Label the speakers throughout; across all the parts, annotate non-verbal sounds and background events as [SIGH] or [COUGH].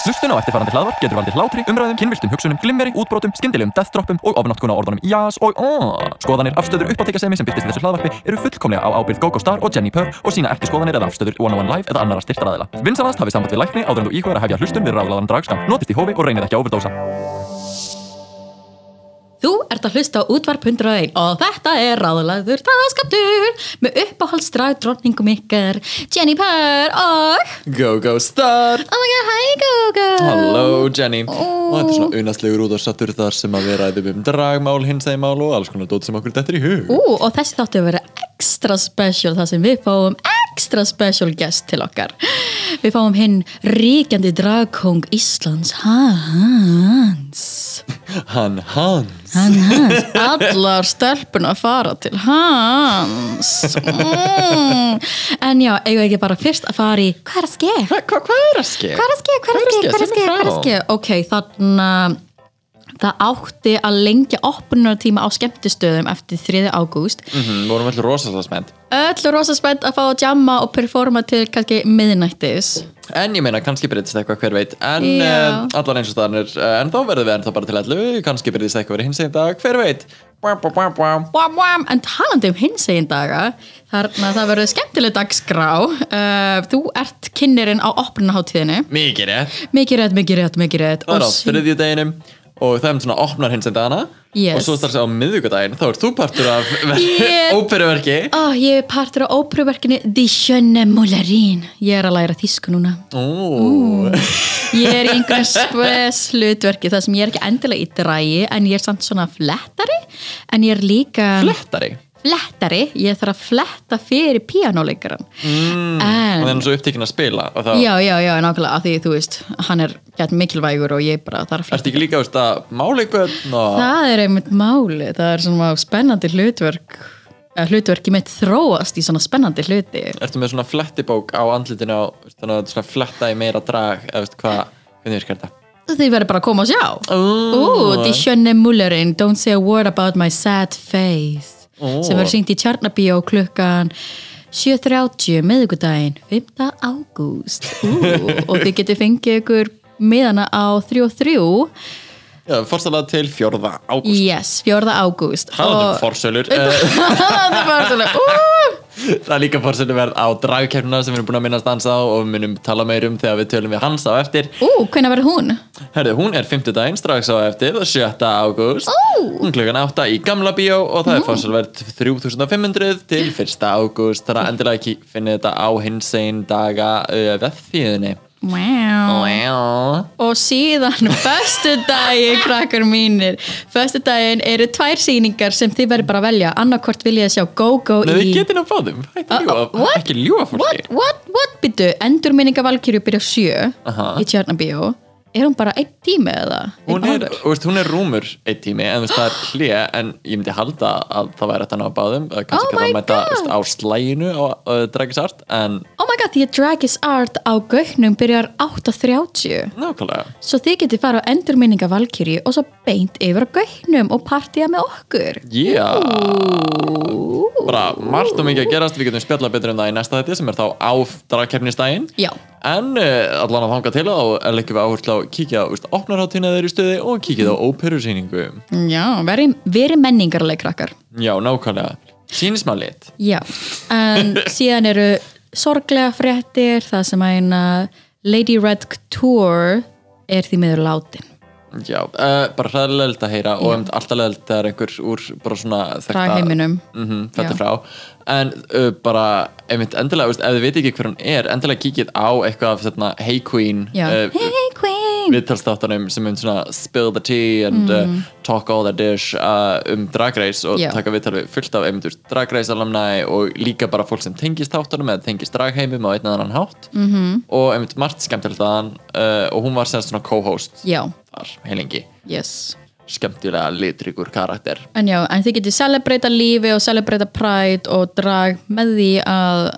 Speaker 1: Hlustun á eftirfarandi hlaðvarp getur valdið hlátri, umræðum, kynviltum hugsunum, glimmeri, útbrotum, skyndilegum deathdroppum og ofnotkun á orðunum jás og aaaah. Skoðanir, afstöður, uppáttekasemi sem byrtist í þessu hlaðvarpi eru fullkomlega á ábyrgð GoGo Star og Jenni Purr og sína ekki skoðanir eða afstöður One on One Live eða annara styrtaraðila. Vinsanast hafið samband við lækni áður en þú íhugar að hefja hlustun við ráðlaðan dragskam. Notist í hófi og reynið ekki að overdósa.
Speaker 2: Þú ert að hlusta á útvarp 101 og þetta er ráðlaður taðskaptur með uppáhaldsdrag dronningum ykkar Jenny Purr og
Speaker 3: Go Go Star
Speaker 2: Oh my god, hi Gogo
Speaker 3: Hello Jenny
Speaker 2: Ó.
Speaker 3: Og þetta er svona unastlegur út á sattur þar sem að við ræðum um dragmál, hinsægmál og alls konar dót sem okkur dettur í hug
Speaker 2: Ú, og þessi þáttu að vera extra special þar sem við fáum extra special guest til okkar Við fáum hinn ríkjandi dragkong Íslands Hans
Speaker 3: Hann Hans
Speaker 2: Hann hans, allar stelpuna fara til hans mm. En já, eigum við ekki bara fyrst að fara í Hvað er að ske?
Speaker 3: Hva- hva- Hvað er að ske?
Speaker 2: Hvað er að ske? Hvað er að ske? Hvað er að ske? Hvað er að ske? Ok, þannig að það átti að lengja opnunartíma á skemmtistöðum eftir 3. ágúst
Speaker 3: Mhm, Vorum allir rosalega spennt
Speaker 2: Öll rosa spennt að fá að jamma og performa til kannski miðnættis
Speaker 3: En ég meina, kannski breytist eitthvað, hver veit En
Speaker 2: Já.
Speaker 3: yeah. allar eins og staðanir uh, En þá verðum við ennþá bara til allu Kannski breytist eitthvað hins einn dag, hver veit Bá, bá, bá, bá.
Speaker 2: Wam, wam. En talandi um hinsegin daga, þarna það verður skemmtileg dagskrá. Uh, þú ert kynnerinn á opnunaháttíðinni.
Speaker 3: Mikið rétt
Speaker 2: Mikið rétt, mikið rétt, mikið rétt.
Speaker 3: Það er á
Speaker 2: Og sí-
Speaker 3: þriðju deginum Og það er svona opnar hins einn dagana Og
Speaker 2: Yes.
Speaker 3: svo starfst á miðvikudaginn Þá er þú partur af
Speaker 2: [LAUGHS]
Speaker 3: [LAUGHS]
Speaker 2: Ég-
Speaker 3: óperuverki
Speaker 2: Ó, Ah, ég er partur á ópröverkinu Die Schöne Mullerin. Ég er að læra þýsku núna. Mm.
Speaker 3: Ó,
Speaker 2: Ég er í einhverjum spes hlutverki þar sem ég er ekki endilega í drægi en ég er samt svona flettari en ég er líka...
Speaker 3: flettari
Speaker 2: Flettari? Ég þarf að fletta fyrir píanóleikaran. Mm,
Speaker 3: og hérna-
Speaker 2: en...
Speaker 3: það er svo upptekinn að spila og þá
Speaker 2: Já, já, já, nákvæmlega, af því þú veist, hann er gett mikilvægur og ég bara þarf að
Speaker 3: ertu ekki líka veist, að máleikvöld og
Speaker 2: Það er einmitt máli, það er svona spennandi hlutverk, eða hlutverki mitt þróast í svona spennandi hluti.
Speaker 3: ertu með svona flettibók á andlitinu og veist, þannig að þetta svona fletta í meira drag eða veist hvað, hvernig virkar þetta
Speaker 2: Þið verður bara að koma og sjá. Ú,
Speaker 3: Ó.
Speaker 2: Die Schöne Mullerin, Don't Say a Word About My Sad Face,
Speaker 3: Ó.
Speaker 2: sem verður syngt í Tjarnabíó klukkan 7.30 miðugudaginn, 5. ágúst. Ú, og þið getur fengið ykkur miðana á 3 og 3.
Speaker 3: já, forsalega til fjórða ágúst
Speaker 2: Yes, 4. ágúst
Speaker 3: Það er forsölur.
Speaker 2: Eh, [LAUGHS] Það er forsölur Ú!
Speaker 3: það er líka forsölu verð á dragkeppnuna sem við erum búin að minnast hans á og við munum tala meir um þegar við tölum við hans á eftir
Speaker 2: Ú, hvenær verður hún?
Speaker 3: herðu, hún er 50 daginn strax á eftir 7. ágúst
Speaker 2: Ó.
Speaker 3: Hún klukkan 8 í gamla bíó og það er fórsalverð 3500 til 1. ágúst þannig að endilega ekki finna þetta á hins einn daga uh, vefþíðinni
Speaker 2: Wow.
Speaker 3: Wow.
Speaker 2: Og síðan [LAUGHS] föstu dagi, krakkar mínir Föstu daginn eru tvær sýningar sem þið verður bara að velja Annarkvort vil ég sjá Go-Go
Speaker 3: Nei, við
Speaker 2: í
Speaker 3: getum á báðum Hættu að
Speaker 2: Uh, uh,
Speaker 3: ljúga,
Speaker 2: what?
Speaker 3: ekki ljúga fólki
Speaker 2: What, what, what, byttu Endurminninga Valkyrju byrja sjö
Speaker 3: Aha.
Speaker 2: í Tjarnabíó Er hún bara einn tími eða?
Speaker 3: Hún
Speaker 2: Einn
Speaker 3: er,
Speaker 2: hálfur?
Speaker 3: þú veist, hún er rúmur eitt tími en þú veist, það er hlýja en ég myndi halda að það væri þetta ná báðum eða
Speaker 2: Oh
Speaker 3: kannski
Speaker 2: my
Speaker 3: ekki að mæta
Speaker 2: God.
Speaker 3: þú veist, á slæginu á uh, Dragisart en
Speaker 2: Oh my god, því að Drag is Art á Gauknum byrjar 8.30
Speaker 3: nákvæmlega
Speaker 2: Svo þið getið fara á endurminninga Valkyri og svo beint yfir á gaugnum og partíja með okkur.
Speaker 3: yeah.
Speaker 2: Ú.
Speaker 3: bara margt og mikið að gerast við getum spjallað betur um það í næsta þetta sem er þá á dragkeppnistægin
Speaker 2: Já.
Speaker 3: en uh, allan að þanga til þá leggjum við áherslu á að kíkja á opnarháttíðina þeirri stuði og kíkja á
Speaker 2: Mm.
Speaker 3: óperusýningu
Speaker 2: Já, veri, veri menningarleg krakkar.
Speaker 3: já, nákvæmlega, sínismá lit
Speaker 2: Já, en síðan eru sorglega fréttir, það sem að eina Lady Red Tour er því meður látin.
Speaker 3: já, uh, bara hræðilegt að heyra og um, alltaf leðilegt þegar einhver úr bara svona
Speaker 2: Dragheiminum.
Speaker 3: Mhm, þetta
Speaker 2: Já.
Speaker 3: frá en uh, bara, einmitt endilega, veist, ef þið veit ekki hver hún er endilega kíkið á eitthvað af þarna, Hey Queen
Speaker 2: Já.
Speaker 3: uh,
Speaker 2: hey Queen!
Speaker 3: viðtalstáttunum sem um svona spill the tea and uh, talk all the dish uh, um Drag Race og
Speaker 2: Mhm. Já.
Speaker 3: taka viðtal við fullt af einmitt úr Drag Race alumni og líka bara fólk sem tengist þáttunum eða tengist dragheimum á einn eða annan hátt
Speaker 2: Mhm.
Speaker 3: -hmm. og einmitt margt skemmtilegt þaðan uh, og hún var sem svona co-host
Speaker 2: Já,
Speaker 3: þar heilingi,
Speaker 2: yes.
Speaker 3: skemmtilega litrikur karakter
Speaker 2: En já, en þið getið celebrata lífi og celebrata pride og drag með því að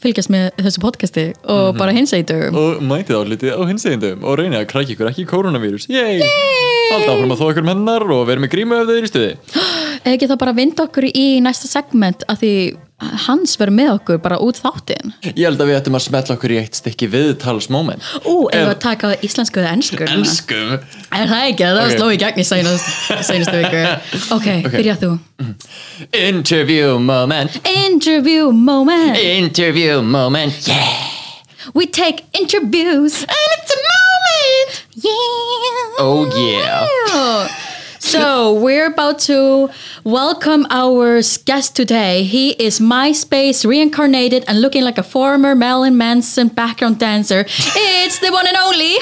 Speaker 2: fylgjast með þessu podcasti og bara hins dögum.
Speaker 3: og mætið álitið á hinsegindum og reynið að krækja ykkur ekki í koronavírus Yay! Alltaf áfram að þó ykkur um mennar og verið með grímu ef þau eru í stuði
Speaker 2: Eða ekki þá bara vinda okkur í næsta segment að því hans verður með okkur bara út þáttinn
Speaker 3: Ég held að við ættum að smetla okkur í eitt stykki viðtalsmoment
Speaker 2: Ú, ef við
Speaker 3: En-
Speaker 2: að taka á íslensku eða ensku núna?
Speaker 3: Elskum
Speaker 2: Er það ekki? Það
Speaker 3: Ok.
Speaker 2: okay. sló í gegn í [LAUGHS] seinustu seinustu viku Ok, okay. byrjað þú
Speaker 3: Interview moment
Speaker 2: Interview moment
Speaker 3: Interview moment Yeah
Speaker 2: We take interviews And it's a moment Yeah
Speaker 3: Oh yeah
Speaker 2: So we're about to welcome our guest today. He is MySpace reincarnated and looking like a former Marilyn Manson background dancer. It's the one and only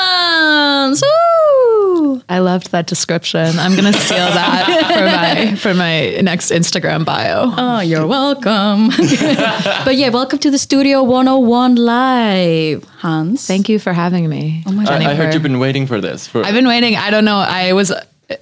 Speaker 2: Hans. Woo!
Speaker 4: I loved that description. I'm gonna steal that for my for my next Instagram bio.
Speaker 2: Oh, you're welcome. [LAUGHS] but yeah, welcome to the Studio 101 Live, Hans.
Speaker 4: Thank you for having me. Oh my
Speaker 3: I, I heard you've been waiting for this for,
Speaker 4: I've been waiting. I don't know. I was.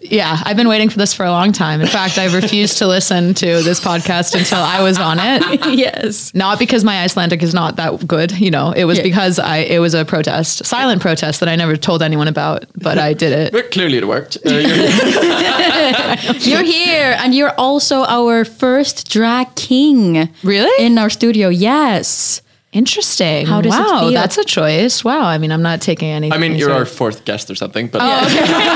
Speaker 4: Yeah, I've been waiting for this for a long time. In fact, I refused to listen to this podcast until I was on it.
Speaker 2: [LAUGHS]
Speaker 4: [LAUGHS]
Speaker 2: yes.
Speaker 4: Not because my Icelandic is not that good, you know. It was
Speaker 2: Yeah.
Speaker 4: because I it was a protest, silent protest that I never told anyone about, but I did it.
Speaker 3: But clearly it worked uh, you're-
Speaker 2: You're here, and you're also our first drag king.
Speaker 4: Really?
Speaker 2: In our studio, yes.
Speaker 4: Interesting.
Speaker 2: How does it
Speaker 4: wow,
Speaker 2: feel?
Speaker 4: that's a choice. Wow. I mean, I'm not taking anything.
Speaker 3: I mean you're
Speaker 4: sort
Speaker 3: our
Speaker 4: of-
Speaker 3: fourth guest or something but
Speaker 4: I was [LAUGHS]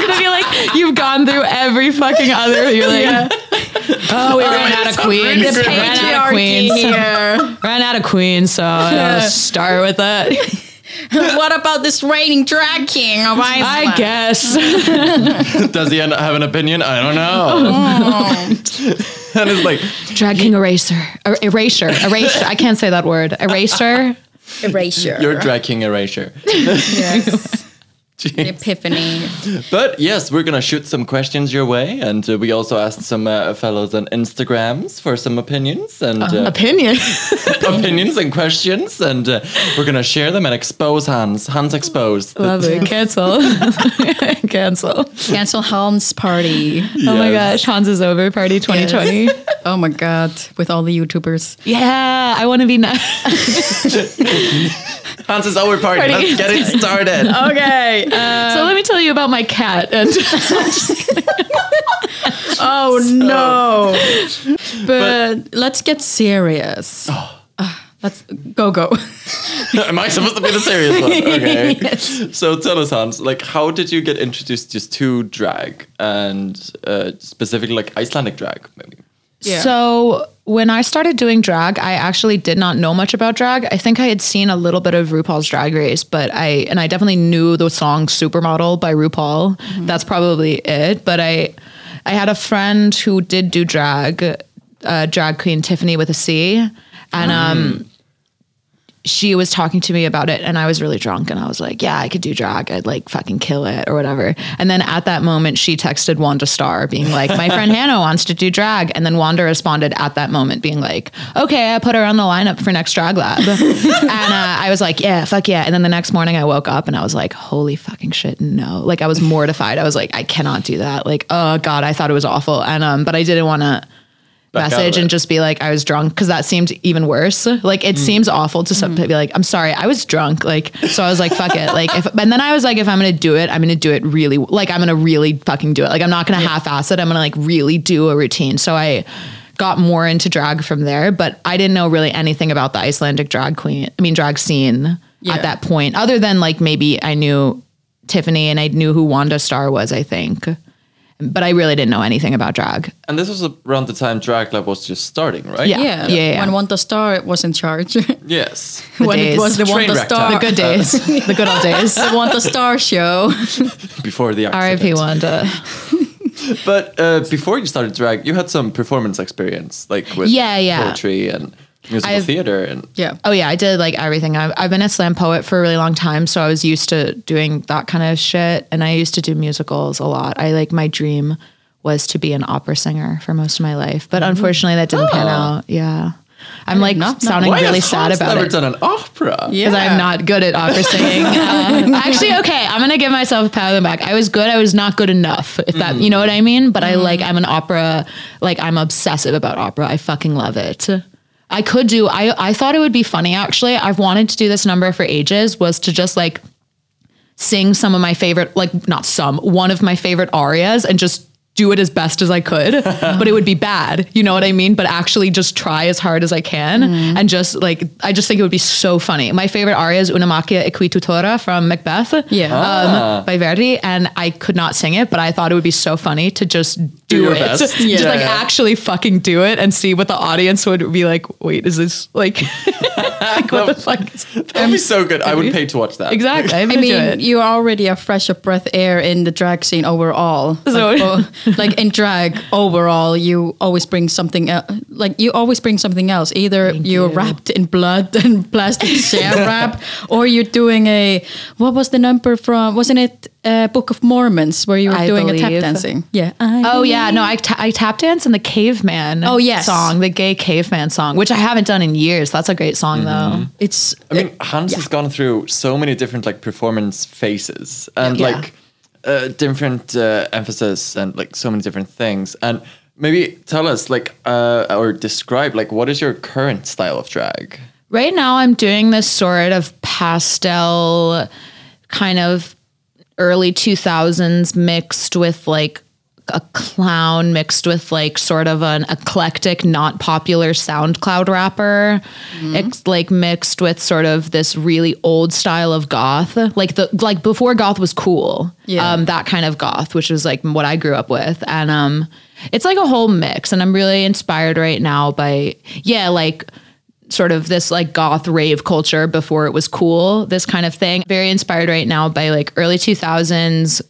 Speaker 4: gonna be like, you've gone through every fucking other. You're like, oh, we ran out of queens.
Speaker 3: The
Speaker 4: ran out of queens. Ran out of queens. So I'll start with that.
Speaker 2: [LAUGHS] what about this reigning drag king of Iceland?
Speaker 4: I guess.
Speaker 3: does he end up have an opinion? I don't know And it's like
Speaker 4: Drag king eraser. Er- erasure. Eraser. I can't say that word. Eraser.
Speaker 2: Erasure.
Speaker 3: you're drag king erasure
Speaker 2: [LAUGHS] yes. Epiphany.
Speaker 3: But yes, we're gonna shoot some questions your way, and uh, we also asked some uh, fellows on Instagrams for some opinions and uh,
Speaker 4: [LAUGHS] Opinion.
Speaker 3: opinions and questions, and uh, we're gonna share them and expose Hans. Hans exposed.
Speaker 4: Love it. Cancel. [LAUGHS] Cancel.
Speaker 2: Cancel Hans party.
Speaker 4: Oh my
Speaker 3: Yes.
Speaker 4: gosh. Hans is over. Party 2020.
Speaker 2: Oh my god, with all the YouTubers.
Speaker 4: [LAUGHS] Yeah. I want to be nice.
Speaker 3: Hans is our party.
Speaker 4: Party.
Speaker 3: Let's get it started.
Speaker 4: Okay.
Speaker 2: [LAUGHS]
Speaker 4: so let me tell you about my cat. And oh
Speaker 3: [LAUGHS]
Speaker 4: no!
Speaker 2: But, let's get serious.
Speaker 3: Oh.
Speaker 2: Ah, let's go go.
Speaker 3: [LAUGHS] Am I supposed to be the serious one? Okay.
Speaker 2: Yes.
Speaker 3: So tell us, Hans, like, how did you get introduced just to drag and uh, specifically like Icelandic drag? Maybe.
Speaker 2: Yeah.
Speaker 4: So when I started doing drag, I actually did not know much about drag. I think I had seen a little bit of RuPaul's Drag Race, but I and I definitely knew the song "Supermodel" by RuPaul. That's probably it. But I, I had a friend who did do drag, uh, drag queen Tiffany with a C, and um, she was talking to me about it and I was really drunk and I was like, yeah, I could do drag. I'd like fucking kill it or whatever. And then at that moment, she texted Wanda Star being like,
Speaker 3: [LAUGHS]
Speaker 4: my friend Hannah wants to do drag. And then Wanda responded at that moment being like, okay, I put her on the lineup for next
Speaker 3: [LAUGHS]
Speaker 4: drag lab. and uh, I was like, yeah, fuck yeah. And then the next morning I woke up and I was like, holy fucking shit. No, like I was mortified. I was like, I cannot do that. Like, oh God, I thought it was awful. And, um, but I didn't want to,
Speaker 3: Back out of
Speaker 4: message
Speaker 3: it.
Speaker 4: and just be like, I was drunk because that seemed even worse. Like it seems awful to some to be like, I'm sorry, I was drunk. Like so, I was like, fuck it. Like, if, and then I was like, if I'm gonna do it, I'm gonna do it really. Like I'm gonna really fucking do it. Like I'm not gonna half-ass it. I'm gonna like really do a routine. So I got more into drag from there, but I didn't know really anything about the Icelandic drag queen. I mean, drag scene
Speaker 2: Yeah.
Speaker 4: at that point, other than like maybe I knew Tiffany and I knew who Wanda Star was. I think. But I really didn't know anything about drag.
Speaker 3: And this was around the time Drag Lab was just starting, right?
Speaker 4: [LAUGHS] Yeah.
Speaker 2: yeah,
Speaker 4: yeah, yeah.
Speaker 2: When Wanda Star was in charge.
Speaker 3: Yes.
Speaker 2: [LAUGHS]
Speaker 3: [LAUGHS]
Speaker 2: when
Speaker 4: days.
Speaker 2: it was the
Speaker 3: Train
Speaker 2: Wanda
Speaker 3: wreck
Speaker 2: Star.
Speaker 3: time.
Speaker 4: The good days, [LAUGHS] the good old
Speaker 2: [LAUGHS]
Speaker 4: days.
Speaker 2: the Wanda Star show.
Speaker 3: Before the accident.
Speaker 4: R.I.P. Wanda.
Speaker 3: But uh, before you started drag, you had some performance experience, like with
Speaker 4: Yeah, yeah.
Speaker 3: poetry and musical
Speaker 4: I've-
Speaker 3: theater, and
Speaker 2: Yeah.
Speaker 4: Oh [LAUGHS] yeah, I did like everything. I've, I've been a slam poet for a really long time, so I was used to doing that kind of shit. And I used to do musicals a lot. I like my dream was to be an opera singer for most of my life, but unfortunately that didn't pan
Speaker 3: Oh.
Speaker 4: out. Yeah, I'm like
Speaker 2: Mm-hmm. not know.
Speaker 4: sounding
Speaker 3: Why
Speaker 4: really
Speaker 3: has
Speaker 4: sad
Speaker 3: Hans
Speaker 4: about
Speaker 3: never
Speaker 4: it.
Speaker 3: done an opera.
Speaker 4: because
Speaker 2: Yeah.
Speaker 4: I'm not good at opera singing. [LAUGHS] Uh, actually, okay, I'm gonna give myself a pat on the back. I was good. I was not good enough. If that, you know what I mean. But I like. I'm an opera. Like I'm obsessive about opera. I fucking love it. I could do. I I thought it would be funny. Actually, I've wanted to do this number for ages. Was to just like sing some of my favorite, like not some, one of my favorite arias, and just do it as best as I could, but it would be bad. You know what I mean? But actually just try as hard as I can and just like I just think it would be so funny. My favorite aria is Una Macchia e qui tutora from Macbeth.
Speaker 2: Yeah.
Speaker 4: [LAUGHS] Um, by Verdi and I could not sing it, but I thought it would be so funny to just do,
Speaker 3: your
Speaker 4: it.
Speaker 3: best.
Speaker 4: [LAUGHS] Just
Speaker 2: Yeah.
Speaker 4: like
Speaker 3: Yeah.
Speaker 4: actually fucking do it and see what the audience would be like, wait, is this like, [LAUGHS] like what the fuck? is-
Speaker 3: That'd be so good. I would
Speaker 4: Maybe.
Speaker 3: pay to watch that.
Speaker 4: Exactly. I
Speaker 2: I
Speaker 4: mean, do
Speaker 2: mean,
Speaker 4: it.
Speaker 2: you are already a fresh of breath air in the drag scene overall.
Speaker 4: So-
Speaker 2: like, o- like in drag overall, you always bring something. el like you always bring something else. Either you're
Speaker 4: you.
Speaker 2: wrapped in blood and [LAUGHS] plastic
Speaker 4: [LAUGHS]
Speaker 2: sham wrap, or you're doing a what was the number from? Wasn't it uh, Book of Mormons where you were
Speaker 4: I
Speaker 2: doing a tap
Speaker 4: believe.
Speaker 2: dancing? Yeah. I
Speaker 4: Oh yeah, no, I, ta- I tap dance in the caveman.
Speaker 2: Oh, yes.
Speaker 4: song, the gay caveman song, which I haven't done in years. That's a great song though.
Speaker 2: It's.
Speaker 3: I mean, Hans has gone through so many different like performance phases and
Speaker 4: Yeah.
Speaker 3: like uh, different uh, emphasis and like so many different things. And maybe tell us like uh, or describe like what is your current style of drag?
Speaker 4: Right now, I'm doing this sort of pastel, kind of early 2000s mixed with like a clown mixed with like sort of an eclectic not popular soundcloud rapper it's like mixed with sort of this really old style of goth like the like before goth was cool
Speaker 2: Yeah.
Speaker 4: um that kind of goth which is like what i grew up with and um it's like a whole mix and i'm really inspired right now by yeah like sort of this like goth rave culture before it was cool this kind of thing very inspired right now by like early 2000s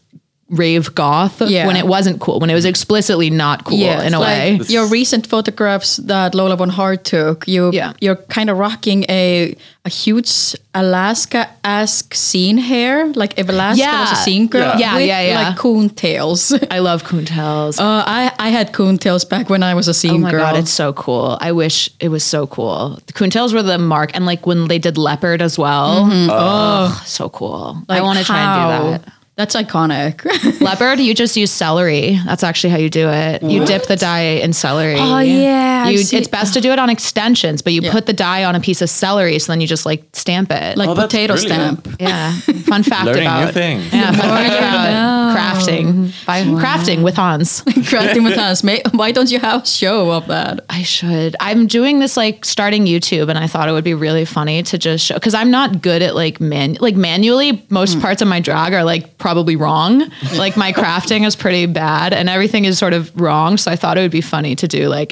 Speaker 4: rave goth
Speaker 2: Yeah.
Speaker 4: when it wasn't cool when it was explicitly not cool in
Speaker 2: it's
Speaker 4: a way
Speaker 2: like Your recent photographs that Lola Von Hart took, you
Speaker 4: Yeah.
Speaker 2: you're kind of rocking a a huge Alaska esque scene hair, like if Alaska was
Speaker 4: Yeah.
Speaker 2: a scene girl,
Speaker 4: Yeah. Yeah,
Speaker 2: with,
Speaker 4: yeah, yeah.
Speaker 2: like coon tails. [LAUGHS] Uh,
Speaker 4: i love coontails
Speaker 2: I I had coon tails back when I was a scene
Speaker 4: Oh my
Speaker 2: girl.
Speaker 4: god, it's so cool! I wish it was so cool. The Coontails were the mark, and like when they did leopard as well. Oh, so cool! I
Speaker 2: Like,
Speaker 4: want to try
Speaker 2: how?
Speaker 4: and do
Speaker 2: That's iconic. [LAUGHS]
Speaker 4: that. Leopard, you just use celery. That's actually how you do it. You dip the dye in celery.
Speaker 2: Oh, yeah, I
Speaker 4: you,
Speaker 2: see-
Speaker 4: it's best to do it on extensions, but you
Speaker 2: Yeah.
Speaker 4: put the dye on a piece of celery, so then you just like stamp it.
Speaker 2: like
Speaker 3: Oh, that's
Speaker 2: potato
Speaker 3: brilliant.
Speaker 2: stamp. [LAUGHS]
Speaker 4: yeah, fun fact
Speaker 3: Learning
Speaker 4: about
Speaker 3: new things.
Speaker 4: Yeah, fun fact about crafting. By, Crafting with Hans.
Speaker 2: Crafting with hands. May- Why don't you have a show of that?
Speaker 4: I should. I'm doing this like starting YouTube, and I thought it would be really funny to just show because I'm not good at like man like manually. Most parts of my drag are like probably wrong. like my crafting is pretty bad, and everything is sort of wrong. So I thought it would be funny to do like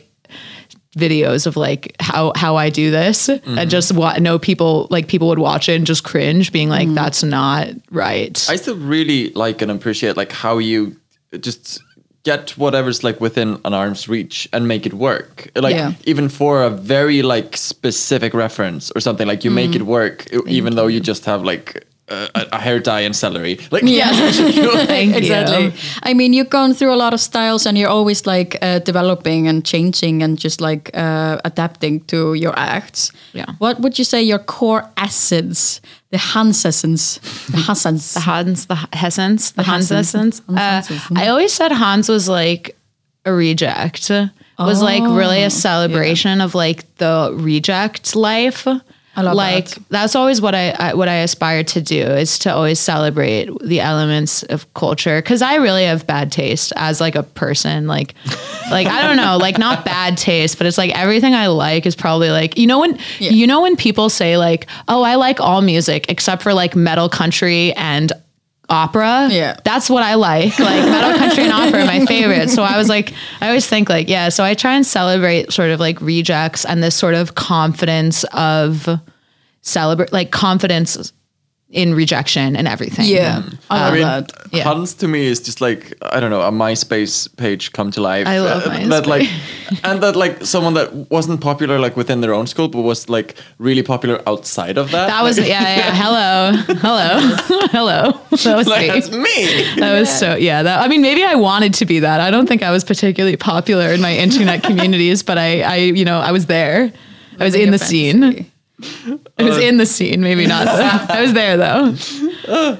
Speaker 4: videos of like how how I do this and just wa- know people like people would watch it and just cringe, being like, "That's not right."
Speaker 3: I still really like and appreciate like how you just get whatever's like within an arm's reach and make it work. Like
Speaker 2: Yeah.
Speaker 3: even for a very like specific reference or something, like you make it work e- even though you just have like a, a- a hair dye and celery. Like [LAUGHS]
Speaker 4: [LAUGHS] Thank you.
Speaker 2: [LAUGHS] exactly. I mean, you've gone through a lot of styles, and you're always like uh, developing and changing, and just like uh, adapting to your acts.
Speaker 4: Yeah.
Speaker 2: What would you say your core essence, the Hans essence, the Hansens?
Speaker 4: the Hans, the Hessens, the Hans
Speaker 2: Hessens.
Speaker 4: Hessens. Uh, I always said Hans was like a reject, was like really a celebration of like the reject life. I
Speaker 2: love
Speaker 4: like
Speaker 2: that.
Speaker 4: that's always what I, I what I aspire to do is to always celebrate the elements of culture because I really have bad taste as like a person like like I don't know like not bad taste but it's like everything I like is probably like you know when you know when people say like oh I like all music except for like metal country and opera
Speaker 2: Yeah.
Speaker 4: that's what I like like metal country and opera are my favorite so I was like I always think like yeah so I try and celebrate sort of like rejects and this sort of confidence of celebrate like confidence in rejection and everything.
Speaker 2: yeah, Uh, I love
Speaker 3: I mean,
Speaker 2: that.
Speaker 4: Yeah.
Speaker 3: Hans to me is just like I don't know a MySpace page come to life.
Speaker 4: I love
Speaker 3: Uh, that like, and that like someone that wasn't popular like within their own school, but was like really popular outside of that.
Speaker 4: That was yeah, yeah. Hello. Hello. [LAUGHS] Hello. That
Speaker 3: [LAUGHS]
Speaker 4: was
Speaker 3: like,
Speaker 4: me.
Speaker 3: that's me.
Speaker 4: That was so yeah, that I mean maybe I wanted to be that. I don't think I was particularly popular in my
Speaker 2: [LAUGHS]
Speaker 4: internet communities, but I I you know, I was there. I was in the scene. I was in the scene, maybe not. I was there though.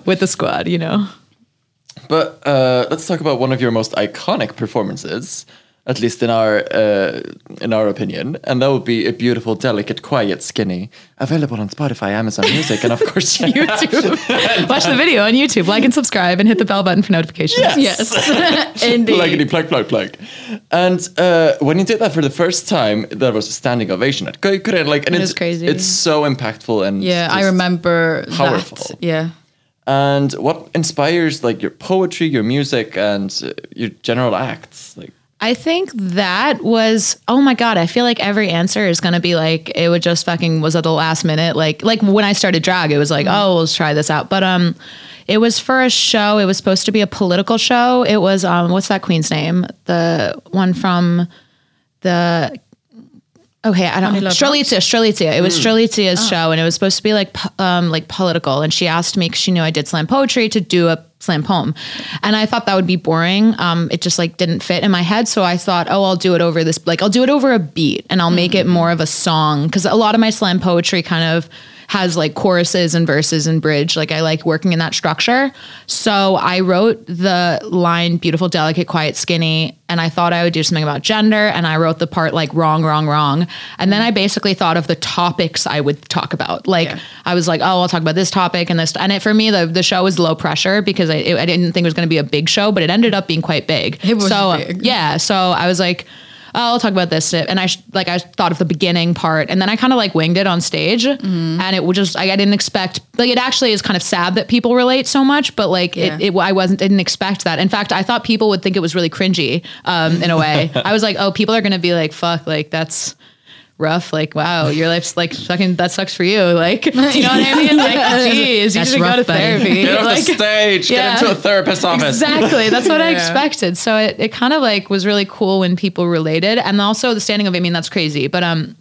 Speaker 4: With the squad, you know.
Speaker 3: But uh, let's talk about one of your most iconic performances. at least in our uh, in our opinion, and that would be a beautiful, delicate, quiet, skinny, available on Spotify, Amazon Music,
Speaker 4: [LAUGHS]
Speaker 3: and of course [LAUGHS]
Speaker 4: YouTube. Watch the video on YouTube, like and subscribe, and hit the bell button for notifications.
Speaker 3: Yes.
Speaker 2: Yes. [LAUGHS] Indeed.
Speaker 3: Pluggity plug plug plug. And uh, when you did that for the first time, there was a standing ovation at Koikure. Like, and
Speaker 4: It
Speaker 3: it's
Speaker 4: is crazy.
Speaker 3: It's so impactful and
Speaker 2: yeah, I
Speaker 3: just-
Speaker 2: remember
Speaker 3: powerful.
Speaker 2: that. Yeah.
Speaker 3: And what inspires like your poetry, your music, and uh, your general acts? Like,
Speaker 4: I think that was oh my god, I feel like every answer is gonna be like it would just fucking was at the last minute. Like like when I started drag, it was like, oh, let's try this out. But um it was for a show. It was supposed to be a political show. It was um what's that queen's name? The one from the Okay, I don't know.
Speaker 2: Pamela
Speaker 4: Strelitzia, Strelitzia. It was Strelitzia's show, and it was supposed to be like po- um, like political. And she asked me because she knew I did slam poetry to do a slam poem, and I thought that would be boring. Um, it just like didn't fit in my head, so I thought, oh, I'll do it over this. Like I'll do it over a beat, and I'll make it more of a song because a lot of my slam poetry kind of has like choruses and verses and bridge. Like I like working in that structure. So I wrote the line beautiful, delicate, quiet, skinny. And I thought I would do something about gender. And I wrote the part like wrong, wrong, wrong. And then I basically thought of the topics I would talk about. Like
Speaker 2: Yeah.
Speaker 4: I was like, oh, I'll talk about this topic and this. And it, for me, the, the show was low pressure because I, it, I didn't think it was going to be a big show, but it ended up being quite big.
Speaker 2: It was
Speaker 4: so,
Speaker 2: big.
Speaker 4: Yeah. So I was like, oh, I'll talk about this. And I sh- like I thought of the beginning part, and then I kind of like winged it on stage,
Speaker 2: Mm-hmm.
Speaker 4: and it would just like, I didn't expect. Like it actually is kind of sad that people relate so much, but like
Speaker 2: Yeah.
Speaker 4: it, it I wasn't didn't expect that. In fact, I thought people would think it was really cringy um, in a
Speaker 2: [LAUGHS]
Speaker 4: way. I was like, oh, people are gonna be like, fuck, like that's rough like wow your life's like fucking that sucks for you like [LAUGHS] do you know what i mean like
Speaker 2: [LAUGHS]
Speaker 4: jeez you
Speaker 2: That's
Speaker 4: should
Speaker 2: rough,
Speaker 4: go to
Speaker 2: buddy.
Speaker 4: therapy [LAUGHS]
Speaker 3: get off
Speaker 4: like,
Speaker 3: the stage,
Speaker 4: yeah.
Speaker 3: get into a
Speaker 4: [LAUGHS]
Speaker 3: therapist's office.
Speaker 4: Exactly. That's what I
Speaker 2: Yeah.
Speaker 4: expected. So it, it kind of like was really cool when people related. And also the standing of I mean, that's crazy. But um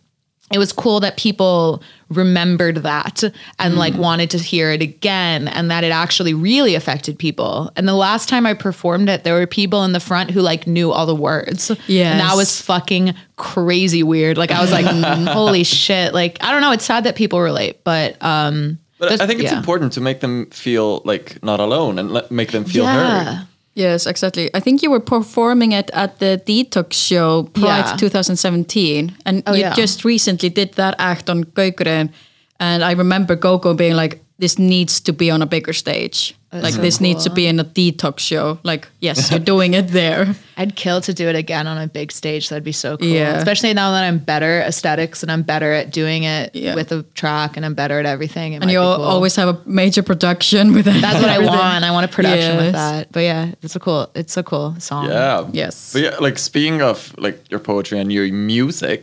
Speaker 4: it was cool that people remembered that and like
Speaker 2: Mm.
Speaker 4: wanted to hear it again and that it actually really affected people. And the last time I performed it, there were people in the front who like knew all the words. And that was
Speaker 2: Yes.
Speaker 4: fucking crazy weird. Like I was like, "Mm,
Speaker 2: [LAUGHS]
Speaker 4: holy shit. Like I don't know, it's sad that people relate, but um
Speaker 3: But
Speaker 4: Just-
Speaker 3: I think it's
Speaker 4: yeah.
Speaker 3: important to make them feel like not alone and let, make them feel heard.
Speaker 2: Yes, exactly. I think you were performing it at the Detox show prior
Speaker 4: Yeah. Oh,
Speaker 2: to 2017, and you
Speaker 4: yeah.
Speaker 2: just recently did that act on Gaukuren. And I remember Gogo being like, "This needs to be on a bigger stage. like this needs to be in a Detox show. Like, yes, you're doing it there.
Speaker 4: I'd kill to do it again on a big stage. That'd be so cool.
Speaker 2: Yeah.
Speaker 4: Especially now that I'm better aesthetics and I'm better at doing it
Speaker 2: Yeah.
Speaker 4: with a track and I'm better at everything. It
Speaker 2: And
Speaker 4: might
Speaker 2: you'll
Speaker 4: be cool.
Speaker 2: always have a major production with that.
Speaker 4: That's what I want. I want a production
Speaker 2: Yes.
Speaker 4: with that. But yeah, it's a cool it's a cool song.
Speaker 3: Yeah.
Speaker 2: Yes.
Speaker 3: But yeah, like speaking of like your poetry and your music,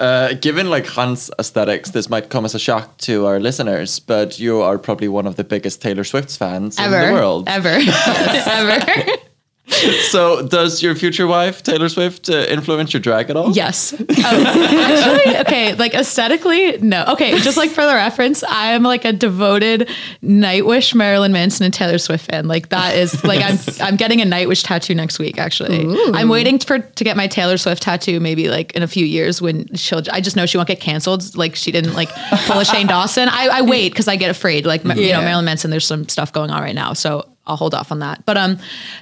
Speaker 3: uh, given like Hans' aesthetics, this might come as a shock to our listeners, but you are probably one of the biggest Taylor Swift fans
Speaker 4: Ever.
Speaker 3: in the world.
Speaker 4: Ever. [LAUGHS]
Speaker 2: [LAUGHS]
Speaker 4: ever.
Speaker 3: So, does your future wife, Taylor Swift, uh, influence your drag at all?
Speaker 4: Yes. Oh. actually, okay, like aesthetically, no. Okay, just like for the reference, I am like a devoted Nightwish, Marilyn Manson, and Taylor Swift fan. Like that is like I'm I'm getting a Nightwish tattoo next week. Actually, I'm waiting for to get my Taylor Swift tattoo maybe like in a few years when she'll. I just know she won't get canceled. Like she didn't like pull a Shane Dawson. I, I wait because I get afraid. Like ma- you know
Speaker 2: Yeah.
Speaker 4: Marilyn Manson, there's some stuff going on right now, so. I'll hold off on that. But um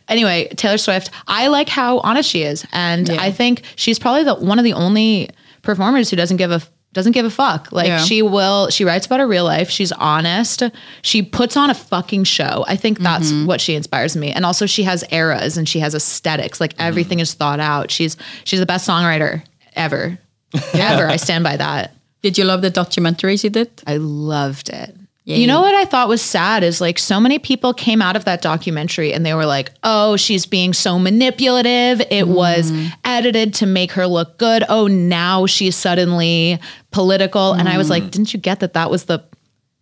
Speaker 4: anyway, Taylor Swift, I like how honest she is and
Speaker 2: Yeah.
Speaker 4: I think she's probably the one of the only performers who doesn't give a doesn't give a fuck. Like
Speaker 2: Yeah.
Speaker 4: she will she writes about her real life, she's honest. She puts on a fucking show. I think that's
Speaker 2: Mm-hmm.
Speaker 4: what she inspires me. And also she has eras and she has aesthetics. Like
Speaker 2: Mm-hmm.
Speaker 4: everything is thought out. She's she's the best songwriter
Speaker 2: [LAUGHS]
Speaker 4: ever. ever. I stand by that.
Speaker 2: [LAUGHS] Did you love the documentaries you did?
Speaker 4: I loved it.
Speaker 2: Yay.
Speaker 4: You know what I thought was sad is like so many people came out of that documentary and they were like, oh, she's being so manipulative. It was edited to make her look good. Oh, now she's suddenly political. And I was like, didn't you get that that was the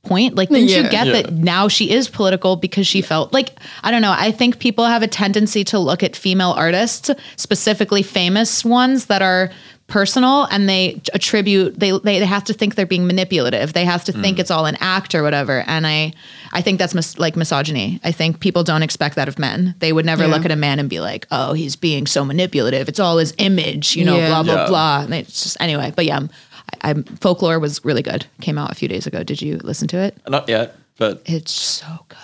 Speaker 4: point? Like, didn't
Speaker 2: Yeah.
Speaker 4: you get
Speaker 3: Yeah.
Speaker 4: that now she is political because she felt like, I don't know, I think people have a tendency to look at female artists, specifically famous ones that are personal and they attribute they, they they have to think they're being manipulative they have to
Speaker 3: Mm.
Speaker 4: think it's all an act or whatever and i i think that's mis- like misogyny i think people don't expect that of men they would never
Speaker 2: Yeah.
Speaker 4: look at a man and be like oh he's being so manipulative it's all his image you know
Speaker 2: Yeah.
Speaker 4: blah blah
Speaker 3: Yeah.
Speaker 4: blah and it's just anyway but yeah I, I'm, folklore was really good came out a few days ago did you listen to it
Speaker 3: Not yet, but
Speaker 4: it's so good.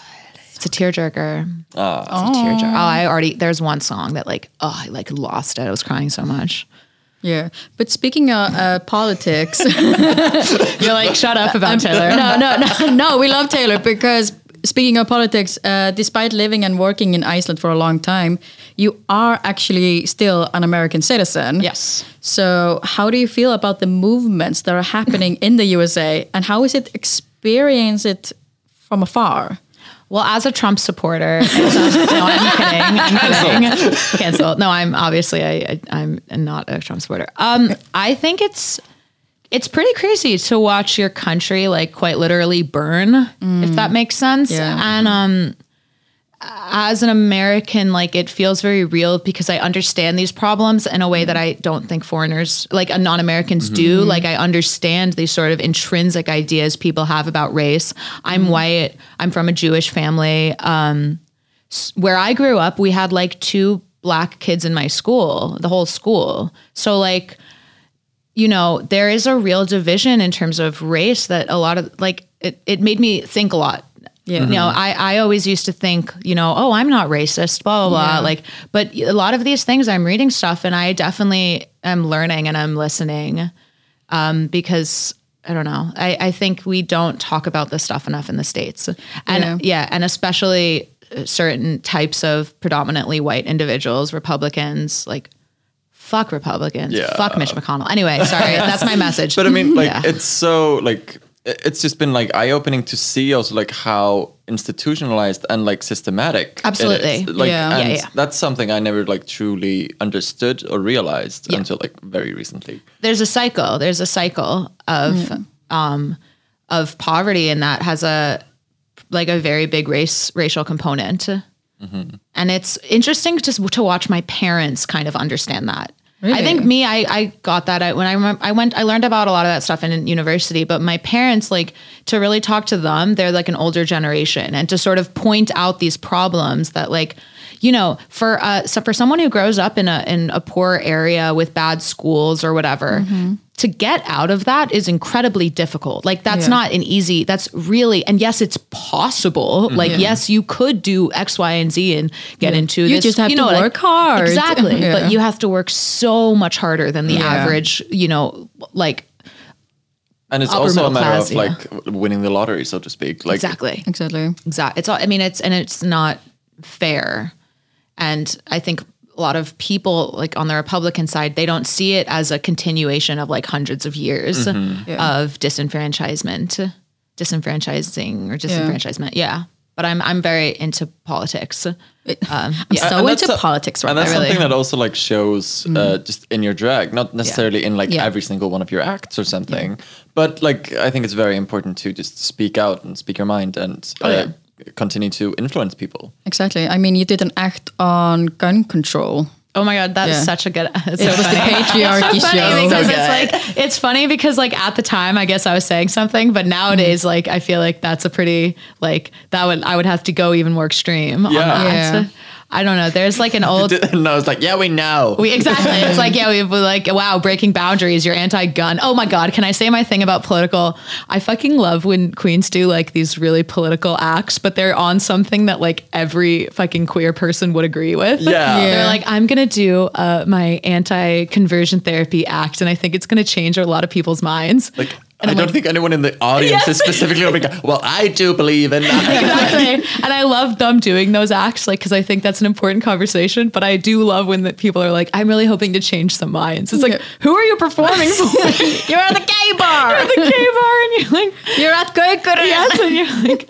Speaker 4: It's a tearjerker.
Speaker 3: uh,
Speaker 4: it's a tearjerker. Oh, I already there's one song that like oh I like lost it. I was crying so much.
Speaker 2: Yeah, but speaking of uh, politics, [LAUGHS]
Speaker 4: You're like shut up about Taylor.
Speaker 2: no, no, no, no. We love Taylor because speaking of politics, uh, despite living and working in Iceland for a long time, you are actually still an American citizen.
Speaker 4: Yes.
Speaker 2: So, how do you feel about the movements that are happening in the USA, and how is it experience it from afar?
Speaker 4: Well, as a Trump supporter, it's not- no, I'm kidding. I'm kidding. Cancel. No, I'm obviously I, I I'm not a Trump supporter. Um, I think it's it's pretty crazy to watch your country like quite literally burn, if that makes sense.
Speaker 2: Yeah.
Speaker 4: And um, as an American, like it feels very real because I understand these problems in a way that I don't think foreigners, like uh, non-Americans, do. Like I understand these sort of intrinsic ideas people have about race. I'm white. I'm from a Jewish family where I grew up, we had like two black kids in my school, the whole school. So like, you know, there is a real division in terms of race that a lot of like it, it made me think a lot.
Speaker 2: Yeah.
Speaker 4: You know, I, I always used to think, you know, oh, I'm not racist, blah, blah, blah. Like, but a lot of these things I'm reading stuff and I definitely am learning and I'm listening because I don't know. I, I think we don't talk about this stuff enough in the States. And
Speaker 2: Yeah.
Speaker 4: yeah, and especially uh, certain types of predominantly white individuals, Republicans, like fuck Republicans,
Speaker 3: Yeah.
Speaker 4: fuck Mitch McConnell. Anyway, sorry, that's my message.
Speaker 3: But I
Speaker 4: [LAUGHS]
Speaker 3: mean, like,
Speaker 4: Yeah.
Speaker 3: it's so like i- it's just been like eye opening to see also like how institutionalized and like systematic. it
Speaker 4: Absolutely.
Speaker 3: is. Like,
Speaker 2: Yeah.
Speaker 3: and
Speaker 4: Yeah, yeah.
Speaker 3: that's something I never like truly understood or realized
Speaker 4: Yeah.
Speaker 3: until like very recently.
Speaker 4: there's a cycle. There's a cycle of um of poverty, and that has a like a very big race racial component. And it's interesting just to watch my parents kind of understand that. I think
Speaker 2: Really?
Speaker 4: me, I, I got that out when I remember, I went, I learned about a lot of that stuff in university, but my parents, like to really talk to them, they're like an older generation and to sort of point out these problems that like, you know, for, uh, so for someone who grows up in a, in a poor area with bad schools or whatever,
Speaker 2: Mm-hmm.
Speaker 4: to get out of that is incredibly difficult. Like that's
Speaker 2: Yeah.
Speaker 4: not an easy, that's really, and yes, it's possible.
Speaker 2: Mm-hmm.
Speaker 4: Like, yes, you could do X, Y, and Z and get into
Speaker 2: You
Speaker 4: this,
Speaker 2: just have to
Speaker 4: like-
Speaker 2: work hard. [LAUGHS]
Speaker 4: Exactly.
Speaker 2: Yeah.
Speaker 4: But you have to work so much harder than the average, you know, like
Speaker 3: And it's
Speaker 4: Upper
Speaker 3: also a
Speaker 4: middle
Speaker 3: matter
Speaker 4: class,
Speaker 3: of
Speaker 4: yeah.
Speaker 3: like w- winning the lottery, so to speak. Like
Speaker 4: exactly.
Speaker 2: Exactly.
Speaker 4: Exactly. It's all I mean, it's and it's not fair. And I think a lot of people like on the Republican side, they don't see it as a continuation of like hundreds of years of disenfranchisement. Disenfranchising or disenfranchisement. Yeah. But I'm I'm very into politics. Um, yeah.
Speaker 2: So
Speaker 3: and
Speaker 2: into
Speaker 3: that's a-
Speaker 2: politics right
Speaker 3: and
Speaker 2: now.
Speaker 3: that's
Speaker 4: really- Mm-hmm.
Speaker 3: something that also like shows uh, just in your drag not necessarily in like
Speaker 4: Yeah.
Speaker 3: every single one of your acts or something but like i think it's very important to just speak out and speak your mind and
Speaker 4: Oh,
Speaker 3: uh, continue to influence people
Speaker 2: Exactly. I mean, you did an act on gun control.
Speaker 4: Oh my god, that's
Speaker 2: Yeah.
Speaker 4: such a good. [LAUGHS] It's
Speaker 2: It was the patriarchy
Speaker 4: funny
Speaker 2: show.
Speaker 4: because it's like it's funny because like at the time I guess I was saying something, but nowadays like I feel like that's a pretty like that would I would have to go even more extreme on
Speaker 3: Yeah.
Speaker 4: that.
Speaker 2: Yeah.
Speaker 4: I don't know. There's like an
Speaker 3: [LAUGHS]
Speaker 4: old
Speaker 3: and i was like yeah we know
Speaker 4: we exactly. It's like yeah, we were like wow, breaking boundaries. You're anti-gun. Oh my god, can I say my thing about political? I fucking love when queens do like these really political acts, but they're on something that like every fucking queer person would agree with.
Speaker 3: Yeah. Yeah.
Speaker 4: they're like I'm gonna do uh, my anti-conversion therapy act, and I think it's gonna change a lot of people's minds.
Speaker 3: like i don't think anyone in the audience is specifically going well i do believe in that
Speaker 4: exactly. And I love them doing those acts, like, because I think that's an important conversation. But I do love when the people are like, I'm really hoping to change some minds. It's like, who are you performing for?
Speaker 2: You're at the gay bar.
Speaker 4: the gay bar, and you're like,
Speaker 2: [LAUGHS]
Speaker 4: [LAUGHS]
Speaker 2: You're at Gaukurin.
Speaker 4: yes, and you're like,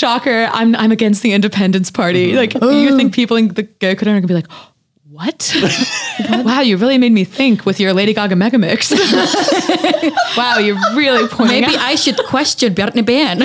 Speaker 4: shocker, I'm I'm against the Independence Party. Like, you think people in the gay community are gonna be like, [LAUGHS] what? wow, you really made me think with your Lady Gaga mega [LAUGHS] mix. wow, you're really pointing
Speaker 2: Maybe
Speaker 4: out.
Speaker 2: I should question Bjarni
Speaker 4: [LAUGHS]
Speaker 2: Ben.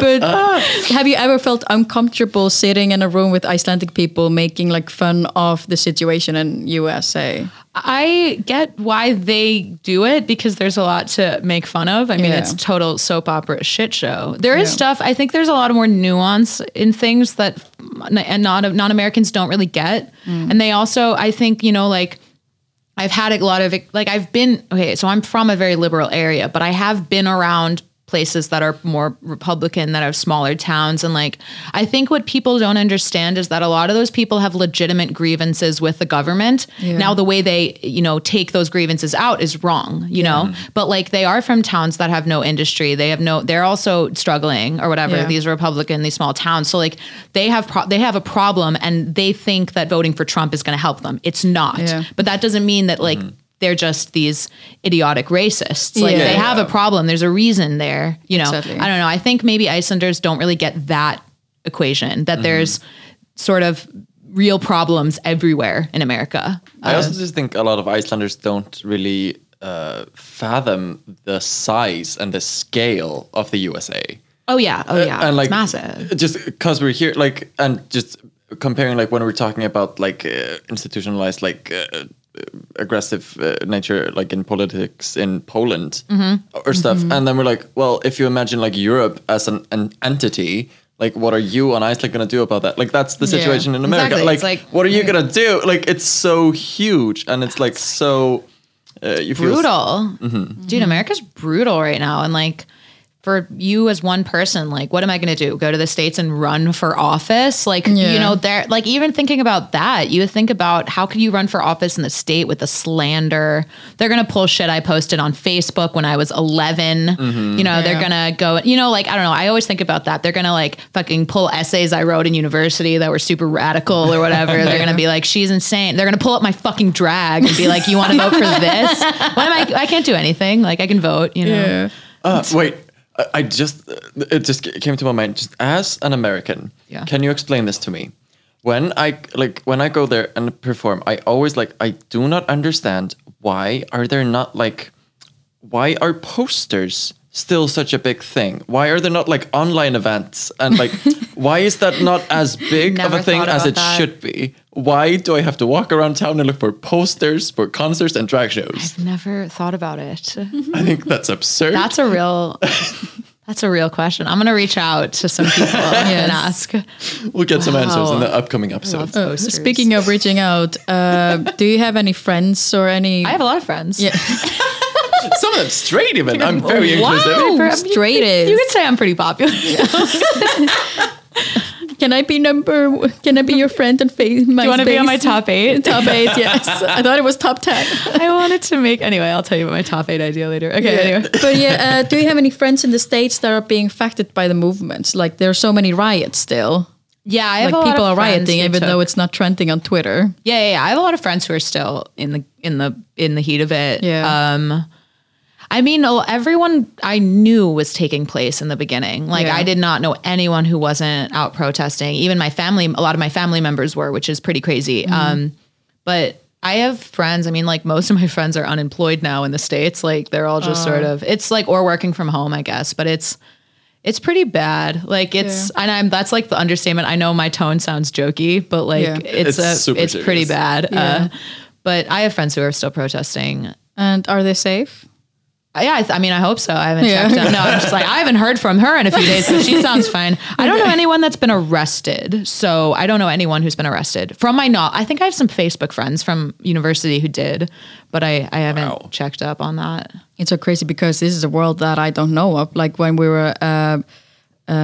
Speaker 2: but
Speaker 4: Uh.
Speaker 2: have you ever felt uncomfortable sitting in a room with Icelandic people making like fun of the situation in USA?
Speaker 4: I get why they do it because there's a lot to make fun of. I mean,
Speaker 2: Yeah.
Speaker 4: it's total soap opera shit show. There is
Speaker 2: Yeah.
Speaker 4: stuff. I think there's a lot more nuance in things that and non non Americans don't really get, and they also I think you know like. I've had a lot of like I've been okay, so I'm from a very liberal area, but I have been around places that are more Republican, that are smaller towns. And like, I think what people don't understand is that a lot of those people have legitimate grievances with the government.
Speaker 2: Yeah.
Speaker 4: Now, the way they, you know, take those grievances out is wrong, you know, but like they are from towns that have no industry. They have no, they're also struggling or whatever.
Speaker 2: Yeah.
Speaker 4: These Republican, these small towns. So like they have, pro- they have a problem and they think that voting for Trump is going to help them. It's not,
Speaker 2: Yeah.
Speaker 4: but that doesn't mean that like,
Speaker 3: Mm-hmm.
Speaker 4: They're just these idiotic racists. Like
Speaker 2: Yeah.
Speaker 4: they have a
Speaker 3: Yeah.
Speaker 4: problem. There's a reason there. You know,
Speaker 2: Exactly.
Speaker 4: I don't know. I think maybe Icelanders don't really get that equation
Speaker 3: Mm-hmm.
Speaker 4: that there's sort of real problems everywhere in America.
Speaker 3: [LAUGHS] I also just think a lot of Icelanders don't really uh, fathom the size and the scale of the USA.
Speaker 4: Oh yeah. Oh yeah.
Speaker 3: and like
Speaker 4: it's massive.
Speaker 3: Just because we're here, like, and just comparing, like, when we're talking about like uh, institutionalized, like. Uh, aggressive uh, nature like in politics in Poland
Speaker 4: Mm-hmm.
Speaker 3: or stuff and then we're like well if you imagine like Europe as an, an entity like what are you on Iceland going to do about that like that's the
Speaker 4: Yeah.
Speaker 3: situation in America
Speaker 4: Exactly. It's
Speaker 3: like,
Speaker 4: like-
Speaker 3: what are you going to do like it's so huge and it's like so uh, you feel
Speaker 4: brutal. Dude, America's brutal right now. And like for you as one person, like what am I gonna do? Go to the States and run for office? Like,
Speaker 2: Yeah.
Speaker 4: you know, there like even thinking about that, you think about how could you run for office in the state with the slander? They're gonna pull shit I posted on Facebook when I was 11 You know,
Speaker 2: Yeah.
Speaker 4: they're gonna go you know, like I don't know, I always think about that. They're gonna like fucking pull essays I wrote in university that were super radical or whatever. They're gonna be like, She's insane. They're gonna pull up my fucking drag and be like, You wanna vote for
Speaker 2: [LAUGHS]
Speaker 4: this? What am I I can't do anything. Like I can vote, you know.
Speaker 2: Yeah.
Speaker 3: Uh, wait, I, I just uh, it just came to my mind. Just as an American,
Speaker 4: Yeah.
Speaker 3: can you explain this to me? When I like when I go there and perform, I always like I do not understand why are there not like why are posters still such a big thing? Why are there not like online events and
Speaker 4: [LAUGHS]
Speaker 3: like why is that not as big of
Speaker 4: Never
Speaker 3: a thing
Speaker 4: thought
Speaker 3: as
Speaker 4: about
Speaker 3: it
Speaker 4: that.
Speaker 3: should be? Why do I have to walk around town and look for posters for concerts and drag shows?
Speaker 4: I've never thought about it.
Speaker 3: I think that's absurd.
Speaker 4: That's a real that's a real question. I'm gonna reach out to some
Speaker 2: [LAUGHS]
Speaker 4: people and ask.
Speaker 3: we'll get some answers in
Speaker 4: Wow.
Speaker 3: the upcoming episode.
Speaker 4: Love posters.
Speaker 2: Oh, Speaking of reaching out, uh, do you have any friends or any
Speaker 4: I have a lot of friends.
Speaker 2: Yeah.
Speaker 3: Some of them straight even. I'm very inclusive.
Speaker 4: Wow,
Speaker 2: straight
Speaker 4: You,
Speaker 2: is?
Speaker 4: could say I'm pretty [LAUGHS] popular.
Speaker 2: Can I be number? Can I be your friend and face? My
Speaker 4: you want to be on my top eight?
Speaker 2: top eight?
Speaker 4: [LAUGHS]
Speaker 2: Yes, I thought it was top ten.
Speaker 4: I wanted to make anyway. I'll tell you about my top eight idea later. Okay. Anyway.
Speaker 2: [LAUGHS] But yeah, uh, do you have any friends in the states that are being affected by the movements? Like there are so many riots still.
Speaker 4: Yeah, I
Speaker 2: Like
Speaker 4: have a
Speaker 2: people
Speaker 4: lot
Speaker 2: are
Speaker 4: of friends
Speaker 2: rioting,
Speaker 4: who
Speaker 2: even
Speaker 4: took-
Speaker 2: though it's not trending on Twitter.
Speaker 4: yeah, yeah, yeah. I have a lot of friends who are still in the in the in the heat of it.
Speaker 2: Yeah.
Speaker 4: Um, I mean, oh, everyone I knew was taking place in the beginning. Like,
Speaker 2: Yeah.
Speaker 4: I did not know anyone who wasn't out protesting. Even my family, a lot of my family members were, which is pretty crazy.
Speaker 2: Mm-hmm.
Speaker 4: Um, but I have friends. I mean, like most of my [LAUGHS] friends are unemployed now in the states. Like, they're all just sort
Speaker 2: Uh.
Speaker 4: of it's like or working from home, I guess. But it's it's pretty bad. Like it's, and I'm that's like the understatement. I know my tone sounds jokey, but like
Speaker 2: Yeah.
Speaker 3: It's
Speaker 4: it's a,
Speaker 3: super
Speaker 4: it's pretty
Speaker 3: serious.
Speaker 4: bad.
Speaker 2: Yeah.
Speaker 4: Uh, but I have friends who are still protesting. Uh,
Speaker 2: And are they safe?
Speaker 4: Yeah, I, th- I mean, I hope so. I haven't
Speaker 2: Yeah.
Speaker 4: checked out. No, I'm just like I haven't heard from her in a few days, so she
Speaker 2: [LAUGHS]
Speaker 4: sounds fine. I don't know anyone that's been arrested, so I don't know anyone who's been arrested from my not. I think I have some Facebook friends from university who did, but I I haven't
Speaker 3: Wow.
Speaker 4: checked up on that.
Speaker 2: It's so crazy because this is a world that I don't know of. Like when we were, uh, um,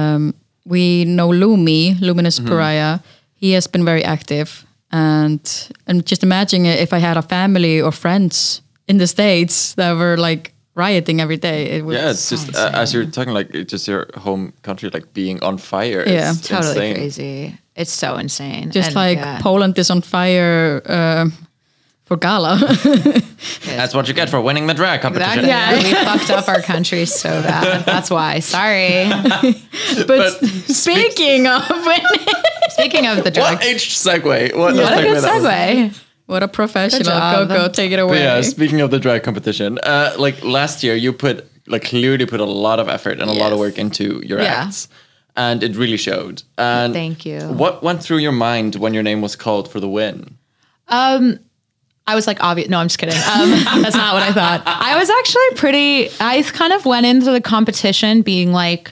Speaker 2: we know Lumi, Luminous
Speaker 3: Mm-hmm.
Speaker 2: Pariah. He has been very active, and and just imagine if I had a family or friends in the states that were like rioting every day. It would
Speaker 3: Yeah, it's just uh, as you're talking, like it's just your home country, like being on fire.
Speaker 2: Yeah.
Speaker 3: is
Speaker 4: Totally
Speaker 3: insane.
Speaker 4: crazy. It's so insane.
Speaker 2: just
Speaker 4: And,
Speaker 2: like
Speaker 4: yeah.
Speaker 2: Poland is on fire um for gala. [LAUGHS]
Speaker 3: That's what you get for winning the drag competition.
Speaker 4: That, yeah, we fucked up our country so bad. That's why. Sorry.
Speaker 2: but, speaking of,
Speaker 4: [LAUGHS] Speaking of the drug,
Speaker 3: What a segue? What,
Speaker 4: what a
Speaker 3: segue
Speaker 4: good
Speaker 3: that was.
Speaker 4: segue.
Speaker 2: what a professional,
Speaker 4: job.
Speaker 2: Coco, take it
Speaker 3: But
Speaker 2: away.
Speaker 3: Yeah, speaking of the drag competition, uh, like last year, you put like clearly put a lot of effort and a lot of
Speaker 4: Yes.
Speaker 3: work into your
Speaker 4: Yeah.
Speaker 3: acts, and it really showed. And
Speaker 4: Thank you.
Speaker 3: What went through your mind when your name was called for the win?
Speaker 4: I was like, obvious. No, I'm just kidding. Um, [LAUGHS] that's not what I thought. I was actually pretty. I kind of went into the competition being like,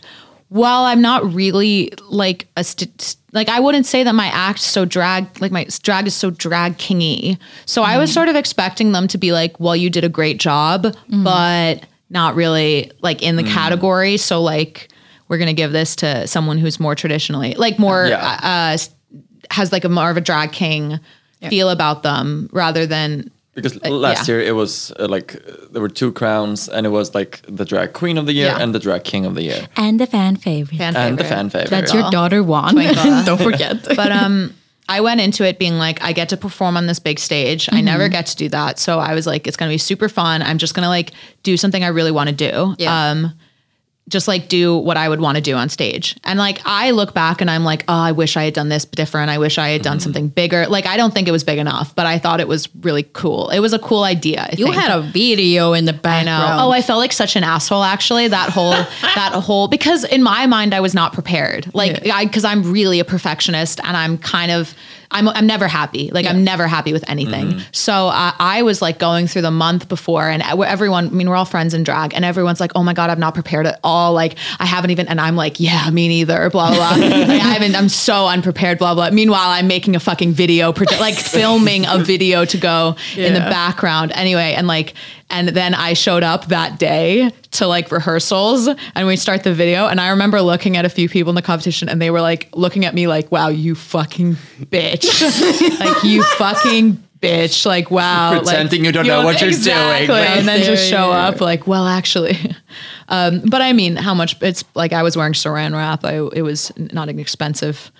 Speaker 4: well, I'm not really like a st- st- like I wouldn't say that my act so drag like my s- drag is so drag kingy. So I was sort of expecting them to be like, well, you did a great job, but not really like in the category. So like we're gonna give this to someone who's more traditionally like more
Speaker 3: Yeah.
Speaker 4: uh, uh, s- has like a more of a drag king feel about them rather than
Speaker 3: Because last
Speaker 4: Uh, yeah.
Speaker 3: year it was uh, like uh, there were two crowns, and it was like the drag queen of the year
Speaker 4: Yeah.
Speaker 3: and the drag king of the year,
Speaker 2: And the fan favorite.
Speaker 4: fan
Speaker 3: and the
Speaker 4: favorite.
Speaker 3: fan favorite.
Speaker 2: That your daughter won. [LAUGHS]
Speaker 4: Twinkle.
Speaker 2: Don't forget.
Speaker 4: But um, I went into it being like, I get to perform on this big stage. I
Speaker 2: Mm-hmm.
Speaker 4: never get to do that, so I was like, it's gonna be super fun. I'm just gonna like do something I really want to do.
Speaker 2: Yeah.
Speaker 4: Um, just like do what I would want to do on stage. And like I look back and I'm like, oh, I wish I had done this different. I wish I had
Speaker 3: Mm-hmm.
Speaker 4: done something bigger. Like I don't think it was big enough, but I thought it was really cool. It was a cool idea. I
Speaker 2: you
Speaker 4: think.
Speaker 2: had a video in the
Speaker 4: I know.
Speaker 2: background.
Speaker 4: Oh, I felt like such an asshole actually.
Speaker 2: [LAUGHS]
Speaker 4: That whole that whole because in my mind I was not prepared. Like
Speaker 2: Yeah.
Speaker 4: I because I'm really a perfectionist and I'm kind of I'm I'm never happy. Like I'm never happy with anything. So uh, I was like going through the month before and e- everyone I mean we're all friends in drag and everyone's like, "Oh my god, I'm not prepared at all." Like I haven't even and I'm like, "Yeah, me neither." blah blah.
Speaker 2: [LAUGHS]
Speaker 4: blah. Like, I haven't I'm so unprepared blah blah. Meanwhile, I'm making a fucking video proje- like filming a video to go in the
Speaker 2: Yeah.
Speaker 4: back background anyway and like and then i showed up that day to like rehearsals and we start the video and i remember looking at a few people in the competition and they were like looking at me like wow you fucking bitch [LAUGHS] like you fucking bitch like wow like,
Speaker 3: Pretending you don't know what you're doing.
Speaker 4: exactly. and then just
Speaker 2: There
Speaker 4: show
Speaker 2: you
Speaker 4: up like well actually um but i mean how much it's like i was wearing saran wrap i it was not an expensive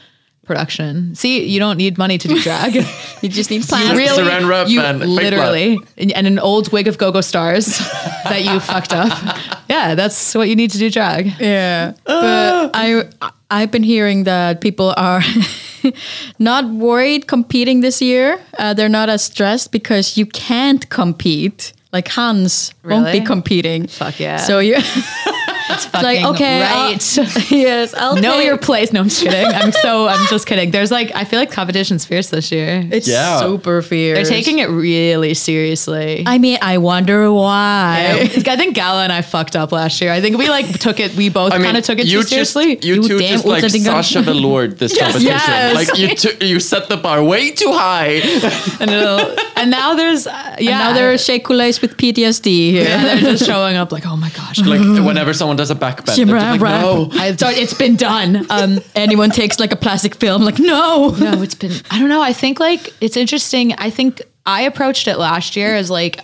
Speaker 4: production see you don't need money to do [LAUGHS] drag
Speaker 2: you just need
Speaker 4: you
Speaker 2: plans.
Speaker 4: really,
Speaker 3: Saran wrap
Speaker 4: you
Speaker 3: and fake blood.
Speaker 4: literally, and and an old wig of go-go stars [LAUGHS] that you fucked up. Yeah, that's what you need to do drag.
Speaker 2: Yeah, but I I've been hearing that people are [LAUGHS] not worried competing this year. Uh, they're not as stressed because you can't compete. Like Hans won't be
Speaker 4: Really?
Speaker 2: competing.
Speaker 4: Fuck yeah.
Speaker 2: So you [LAUGHS] like
Speaker 4: Fucking
Speaker 2: okay, I'll-
Speaker 4: right.
Speaker 2: yes, I'll
Speaker 4: [LAUGHS] Know
Speaker 2: take-
Speaker 4: your place. No, I'm just kidding. I'm so I'm just kidding. There's like I feel like competition's fierce this year.
Speaker 2: It's
Speaker 3: Yeah.
Speaker 2: super
Speaker 4: They're
Speaker 2: fierce.
Speaker 4: taking it really seriously.
Speaker 2: I mean, I wonder why.
Speaker 4: I I think Gala and I fucked up last year. I think we like took it. We both
Speaker 3: I mean,
Speaker 4: kind of took it
Speaker 3: you
Speaker 4: too
Speaker 3: just,
Speaker 4: seriously.
Speaker 3: You, two
Speaker 2: damn
Speaker 3: just like
Speaker 2: ultra dingo.
Speaker 3: Sasha Velour this competition.
Speaker 4: [LAUGHS] yes.
Speaker 3: Like you, took you set the bar way too high. [LAUGHS]
Speaker 4: and, it'll- and now thereys uh, yeah.
Speaker 2: Now there are Sheikulés with PTSD here.
Speaker 4: yeah, they're just showing up like oh
Speaker 3: [LAUGHS]
Speaker 4: my gosh.
Speaker 3: like whenever someone does a backbend, they're
Speaker 2: Shimra,
Speaker 3: just like,
Speaker 2: rap.
Speaker 3: no.
Speaker 4: I don't, it's been done.
Speaker 2: Um, anyone takes like a plastic film, like no.
Speaker 4: [LAUGHS] no, it's been, I don't know. I think like it's interesting. I think I approached it last year as like,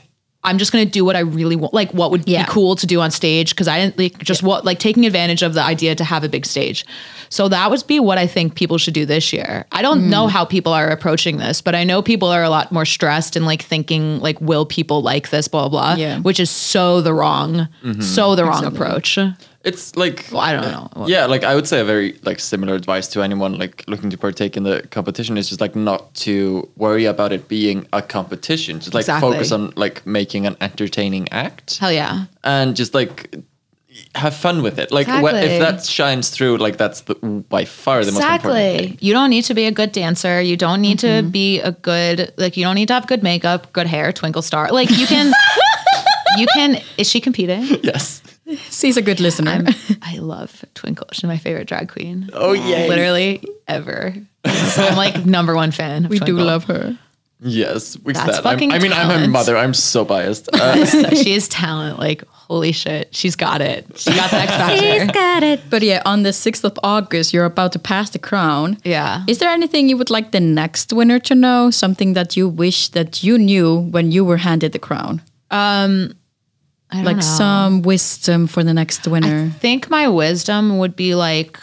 Speaker 4: I'm just going to do what I really want, like what would
Speaker 2: Yeah.
Speaker 4: be cool to do on stage. Cause I didn't like just what, like taking advantage of the idea to have a big stage. So that would be what I think people should do this year. I
Speaker 2: Mm.
Speaker 4: don't know how people are approaching this, but I know people are a lot more stressed and like thinking like, will people like this, blah, blah, blah,
Speaker 2: Yeah. Mm-hmm.
Speaker 4: which is so the wrong, so the wrong approach.
Speaker 3: It's like
Speaker 4: I don't know.
Speaker 3: Yeah, like I would say a very like similar advice to anyone like looking to partake in the competition is just like not to worry about it being a competition. Just like
Speaker 4: Exactly.
Speaker 3: focus on like making an entertaining act
Speaker 4: Hell yeah.
Speaker 3: and just like have fun with it. Like wh-
Speaker 4: Exactly.
Speaker 3: if that shines through, like that's the by far the most important. thing. Mm-hmm.
Speaker 4: You don't need to be a good dancer. You don't need to be a good like you don't need to have good makeup, good hair, twinkle star. Like you
Speaker 3: [LAUGHS]
Speaker 4: can you can is she competing?
Speaker 3: Yes.
Speaker 2: She's a good listener.
Speaker 4: I love Twinkle. She's my favorite drag queen.
Speaker 3: Oh yeah.
Speaker 4: Literally ever. So I'm like number one fan.
Speaker 2: [LAUGHS]
Speaker 4: Of
Speaker 2: we do
Speaker 4: Twinkle.
Speaker 2: love her.
Speaker 3: Yes. We
Speaker 4: That's
Speaker 3: said. I'm-
Speaker 4: fucking
Speaker 3: I mean, I'm her
Speaker 4: talent.
Speaker 3: mother. I'm so biased.
Speaker 4: [LAUGHS]
Speaker 3: Uh,
Speaker 4: So [LAUGHS] she is talent. Like holy shit, she's got it. She got
Speaker 3: [LAUGHS]
Speaker 4: the X factor.
Speaker 2: got it. But yeah, on the 6th of August, you're about to pass the crown.
Speaker 4: Yeah.
Speaker 2: Is there anything you would like the next winner to know? Something that you wish that you knew when you were handed the crown?
Speaker 4: Um, I don't
Speaker 2: Like
Speaker 4: know.
Speaker 2: some wisdom for the next winner.
Speaker 4: think my wisdom would be like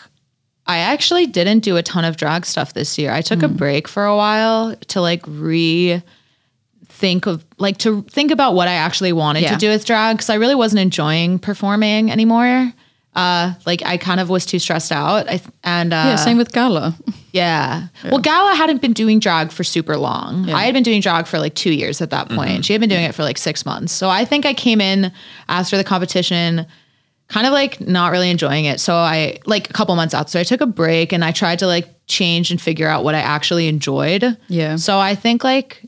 Speaker 4: I actually didn't do a ton of drag stuff this year. I took
Speaker 2: Hmm.
Speaker 4: a break for a while to like re think of like to think about what I actually wanted
Speaker 2: Yeah.
Speaker 4: to do with drag cuz I really wasn't enjoying performing anymore. Uh like I kind of was too stressed out. I th- and uh
Speaker 2: yeah, same with Gala.
Speaker 4: yeah. Well, Gala hadn't been doing drag for super long. I had been doing drag for like two years at that point. She had been doing it for like six months. So I think I came in after the competition, kind of like not really enjoying it. So I, like a couple months out. So I took a break and I tried to like change and figure out what I actually enjoyed.
Speaker 2: Yeah.
Speaker 4: So I think like,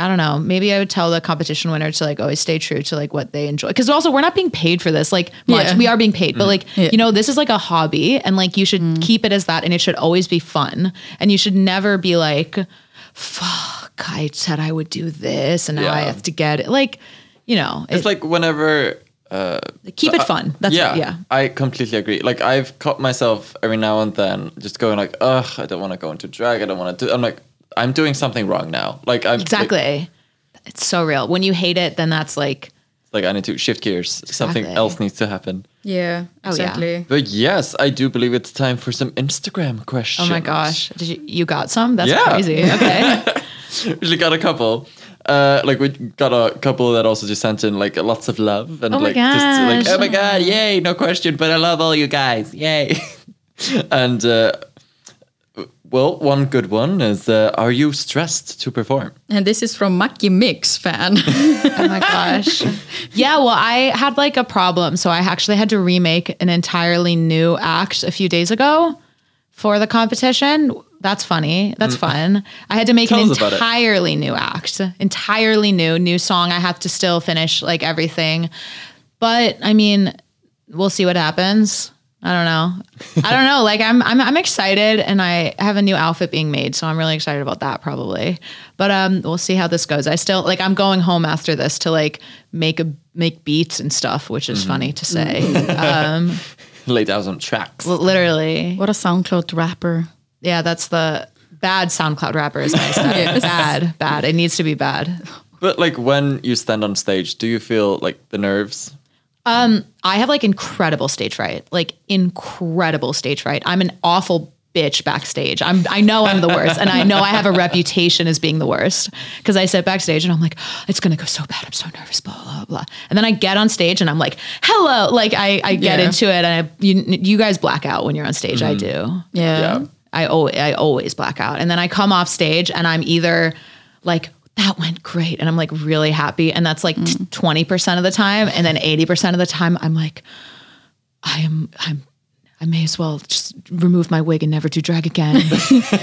Speaker 4: I don't know. Maybe I would tell the competition winner to like always stay true to like what they enjoy. Cause also, we're not being paid for this. Like, much.
Speaker 2: Yeah.
Speaker 4: we are being paid, but
Speaker 3: Mm-hmm.
Speaker 4: like, you know, this is like a hobby and like you should keep it as that and it should always be fun. And you should never be like, fuck, I said I would do this and now I
Speaker 3: Yeah.
Speaker 4: have to get it. Like, you know,
Speaker 3: it's
Speaker 4: it-
Speaker 3: like whenever
Speaker 4: Keep it fun. That's
Speaker 3: yeah,
Speaker 4: it. Yeah.
Speaker 3: I completely agree. Like I've caught myself every now and then just going like, ugh, I don't want to go into drag. I don't want to do. I'm like, I'm doing something wrong now. Like I'm like-
Speaker 4: Exactly. It's so real. When you hate it, then that's like,
Speaker 3: Like, I need to shift gears. Something
Speaker 4: Exactly.
Speaker 3: else needs to happen.
Speaker 2: Oh, Yeah,
Speaker 4: yeah.
Speaker 2: exactly.
Speaker 3: But yes, I do believe it's time for some Instagram questions.
Speaker 4: oh my gosh, did you, you got some? That's
Speaker 3: Yeah.
Speaker 4: crazy. Okay.
Speaker 3: Actually, got a couple. Uh, like we got a couple that also just sent in like lots of love and
Speaker 4: Oh my
Speaker 3: like just
Speaker 4: gosh.
Speaker 3: like oh my god, yay, no question, but I love all you guys, yay. [LAUGHS] and uh, well, one good one is uh, are you stressed to perform? [LAUGHS]
Speaker 2: And this is from Maki Mix fan. [LAUGHS]
Speaker 4: Oh my gosh. Yeah, well, I had like a problem. So I actually had to remake an entirely new act a few days ago for the competition. That's funny. That's fun. I had to make
Speaker 3: Mm. Tell
Speaker 4: an
Speaker 3: us about it.
Speaker 4: entirely new act, entirely new, new song. I have to still finish like everything. But I mean, we'll see what happens. I don't know. I don't know. Like I'm, I'm, I'm excited, and I have a new outfit being made, so I'm really excited about that probably. But um, we'll see how this goes. I still like I'm going home after this to like make a make beats and stuff, which is funny to say. um,
Speaker 3: Lay down some tracks.
Speaker 4: l- literally,
Speaker 2: what a SoundCloud rapper.
Speaker 4: yeah. That's the bad SoundCloud rapper is my style. Bad, bad. It needs to be bad.
Speaker 3: but like when you stand on stage, do you feel like the nerves?
Speaker 4: I have like incredible stage fright, like incredible stage fright. I'm an awful bitch backstage. I'm I know I'm the worst, and I know I have a reputation as being the worst because I sit backstage and I'm like, "Oh, it's gonna go so bad. I'm so nervous, blah blah blah. And then I get on stage and I'm like, hello, like I I get
Speaker 2: Yeah.
Speaker 4: into it, and I, you you guys black out when you're on stage. I do.
Speaker 2: Yeah.
Speaker 4: I always, I always black out. And then I come off stage and I'm either like, that went great. And I'm like really happy. And that's like t- 20% of the time. And then 80% of the time, I'm like, I am, I'm, I may as well just remove my wig and never do drag again.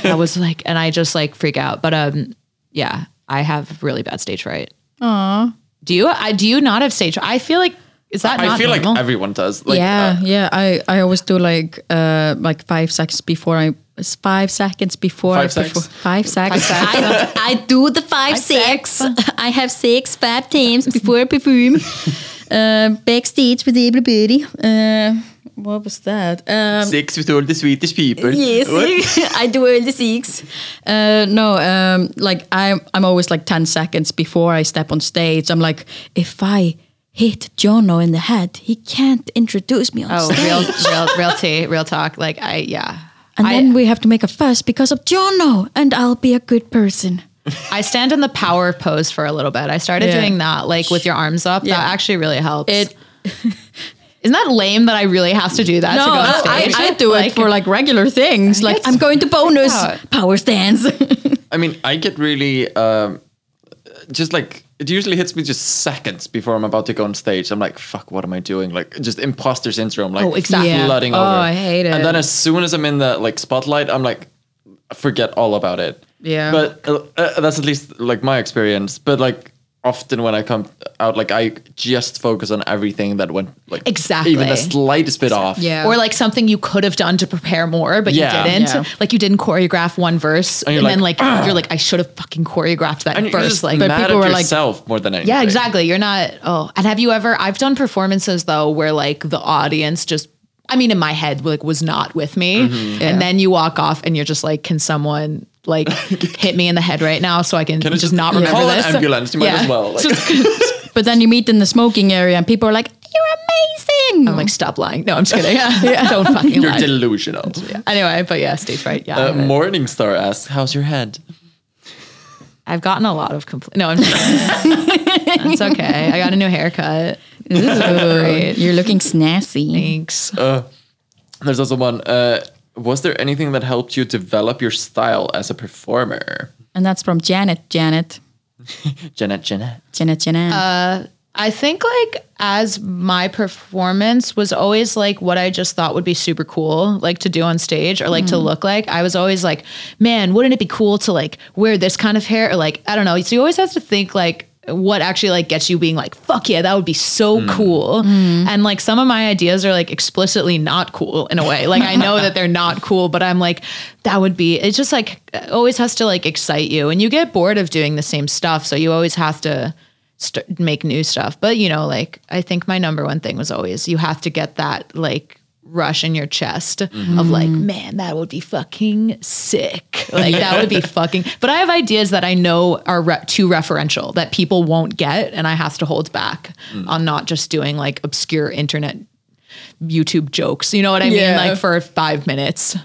Speaker 4: I was like, and I just like freak out. But um, yeah, I have really bad stage fright. Aww. Do you, I, do you not have stage I feel like, is that
Speaker 3: I
Speaker 4: not
Speaker 3: feel
Speaker 4: normal?
Speaker 3: like everyone does. Like,
Speaker 2: yeah,
Speaker 3: uh,
Speaker 2: yeah. I, I always do like uh like five seconds before I it's five seconds before
Speaker 3: Five
Speaker 2: I
Speaker 3: secs?
Speaker 2: perform- five seconds. I, I do the five, six. I have six five times before I [LAUGHS] perform. uh, backstage with everybody. Uh, what was that? Um,
Speaker 3: Six with all the Swedish people.
Speaker 2: Yes,
Speaker 3: What?
Speaker 2: [LAUGHS] I do all the six. Uh, no, um, like I'm, I'm always like ten seconds before I step on stage. I'm like, if I hit Jono in the head, he can't introduce me on
Speaker 4: Oh,
Speaker 3: [LAUGHS]
Speaker 2: stage,
Speaker 4: real, real, real tea, real talk. Like I, yeah.
Speaker 2: and
Speaker 4: I-
Speaker 2: then we have to make a fuss because of Jono, and I'll be a good person.
Speaker 4: I stand in the power pose for a little bit. I started
Speaker 2: Yeah.
Speaker 4: doing that, like with your arms up.
Speaker 2: Yeah.
Speaker 4: That actually really helps.
Speaker 2: It-
Speaker 4: [LAUGHS] Isn't that lame that I really have to do that to go on
Speaker 2: I,
Speaker 4: stage?
Speaker 2: I do it for like regular things. Like I'm going to bonus
Speaker 4: Yeah.
Speaker 2: power stance.
Speaker 3: I mean, I get really um, just like it usually hits me just seconds before I'm about to go on stage. I'm like, fuck, what am I doing? Like just imposter syndrome, like
Speaker 4: Oh, exactly. Yeah.
Speaker 3: flooding
Speaker 4: Oh,
Speaker 3: over.
Speaker 4: I hate it.
Speaker 3: And then as soon as I'm in the like spotlight, I'm like, forget all about it.
Speaker 2: Yeah.
Speaker 3: But uh, uh, that's at least like my experience. But like often when I come out, like I just focus on everything that went like
Speaker 4: Exactly.
Speaker 3: even the slightest bit off.
Speaker 2: Yeah.
Speaker 4: or like something you could have done to prepare more, but
Speaker 3: Yeah.
Speaker 4: you didn't.
Speaker 2: Yeah.
Speaker 4: Like you didn't choreograph one verse, and,
Speaker 3: you're
Speaker 4: then like
Speaker 3: like,
Speaker 4: you're like, I should have fucking choreographed that
Speaker 3: And you're
Speaker 4: verse.
Speaker 3: just
Speaker 4: Like,
Speaker 3: mad
Speaker 2: But people
Speaker 3: at
Speaker 2: were like-
Speaker 3: yourself more than anything.
Speaker 4: Yeah, exactly. You're not. Oh, and have you ever? I've done performances though where like the audience just. I mean, in my head, like was not with me,
Speaker 3: Mm-hmm.
Speaker 4: and then you walk off, and you're just like, "Can someone
Speaker 3: [LAUGHS]
Speaker 4: like hit me in the head right now so I can,
Speaker 3: I
Speaker 4: just,
Speaker 3: just
Speaker 4: not remember
Speaker 3: call an
Speaker 4: this?"
Speaker 3: ambulance? You might as well, like-
Speaker 4: Just-
Speaker 3: [LAUGHS]
Speaker 2: but then you meet in the smoking area, and people are like, "You're amazing."
Speaker 4: I'm like, "Stop lying." No, I'm just
Speaker 3: [LAUGHS]
Speaker 4: kidding. Yeah, don't fucking
Speaker 3: You're
Speaker 4: lie.
Speaker 3: delusional.
Speaker 4: anyway, but yeah, stage fright. Yeah, I
Speaker 3: Uh,
Speaker 4: have it.
Speaker 3: Morningstar asks, "How's your head?"
Speaker 4: I've gotten a lot of complaints. No, I'm
Speaker 3: [LAUGHS]
Speaker 4: just kidding. That's okay. I got a new haircut.
Speaker 2: Oh. [LAUGHS]
Speaker 4: Great.
Speaker 2: You're looking snazzy.
Speaker 4: Thanks.
Speaker 3: There's also one. Uh, was there anything that helped you develop your style as a performer?
Speaker 2: And that's from Janet. Janet.
Speaker 3: Janet, Janet.
Speaker 2: Janet. Janet.
Speaker 4: I think like as my performance was always like what I just thought would be super cool, like to do on stage or like to look like. I was always like, man, wouldn't it be cool to like wear this kind of hair or like I don't know. So you always have to think like what actually like gets you being like fuck yeah that would be so cool and like some of my ideas are like explicitly not cool in a way like i know that they're not cool but i'm like that would be it just like always has to like excite you and you get bored of doing the same stuff so you always have to st- make new stuff. But you know, like I think my number one thing was always you have to get that like rush in your chest of like, man, that would be fucking sick. [LAUGHS] Like that would be fucking. But I have ideas that I know are re- too referential that people won't get, and I have to hold back on not just doing like obscure internet. YouTube jokes, you know what I
Speaker 5: Yeah.
Speaker 4: mean? Like for five minutes.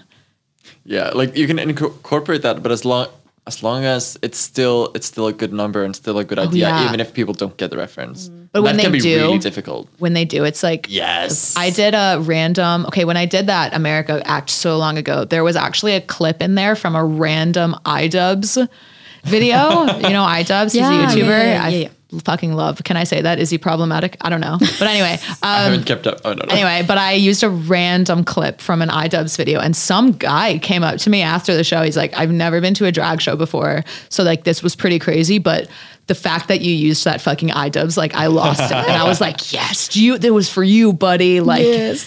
Speaker 3: Yeah, like you can inco- incorporate that, but as long as long as it's still it's still a good number and still a good idea,
Speaker 4: yeah.
Speaker 3: even if people don't get the reference.
Speaker 4: But
Speaker 3: that
Speaker 4: when
Speaker 3: can
Speaker 4: they
Speaker 3: be
Speaker 4: do-
Speaker 3: really difficult.
Speaker 4: When they do, it's like,
Speaker 3: Yes,
Speaker 4: I did a random, okay, when I did that America act so long ago, there was actually a clip in there from a random iDubbbz
Speaker 2: [LAUGHS]
Speaker 4: video. you know, iDubbbz,
Speaker 2: Yeah, yeah,
Speaker 4: he's a YouTuber.
Speaker 2: yeah, yeah,
Speaker 4: I
Speaker 2: yeah.
Speaker 4: fucking love. Can I say that? Is he problematic? I don't know.
Speaker 2: [LAUGHS]
Speaker 4: But anyway,
Speaker 3: I
Speaker 4: um,
Speaker 3: haven't kept up. Oh, no, no.
Speaker 4: anyway, but I used a random clip from an iDubbbz video, and some guy came up to me after the show. He's like, "I've never been to a drag show before, so like this was pretty crazy, but." The fact that you used that fucking iDubbbz, like I lost it, and I
Speaker 2: [LAUGHS]
Speaker 4: was like, "Yes, you. It was for you, buddy."
Speaker 2: [LAUGHS]
Speaker 4: Like, anyway.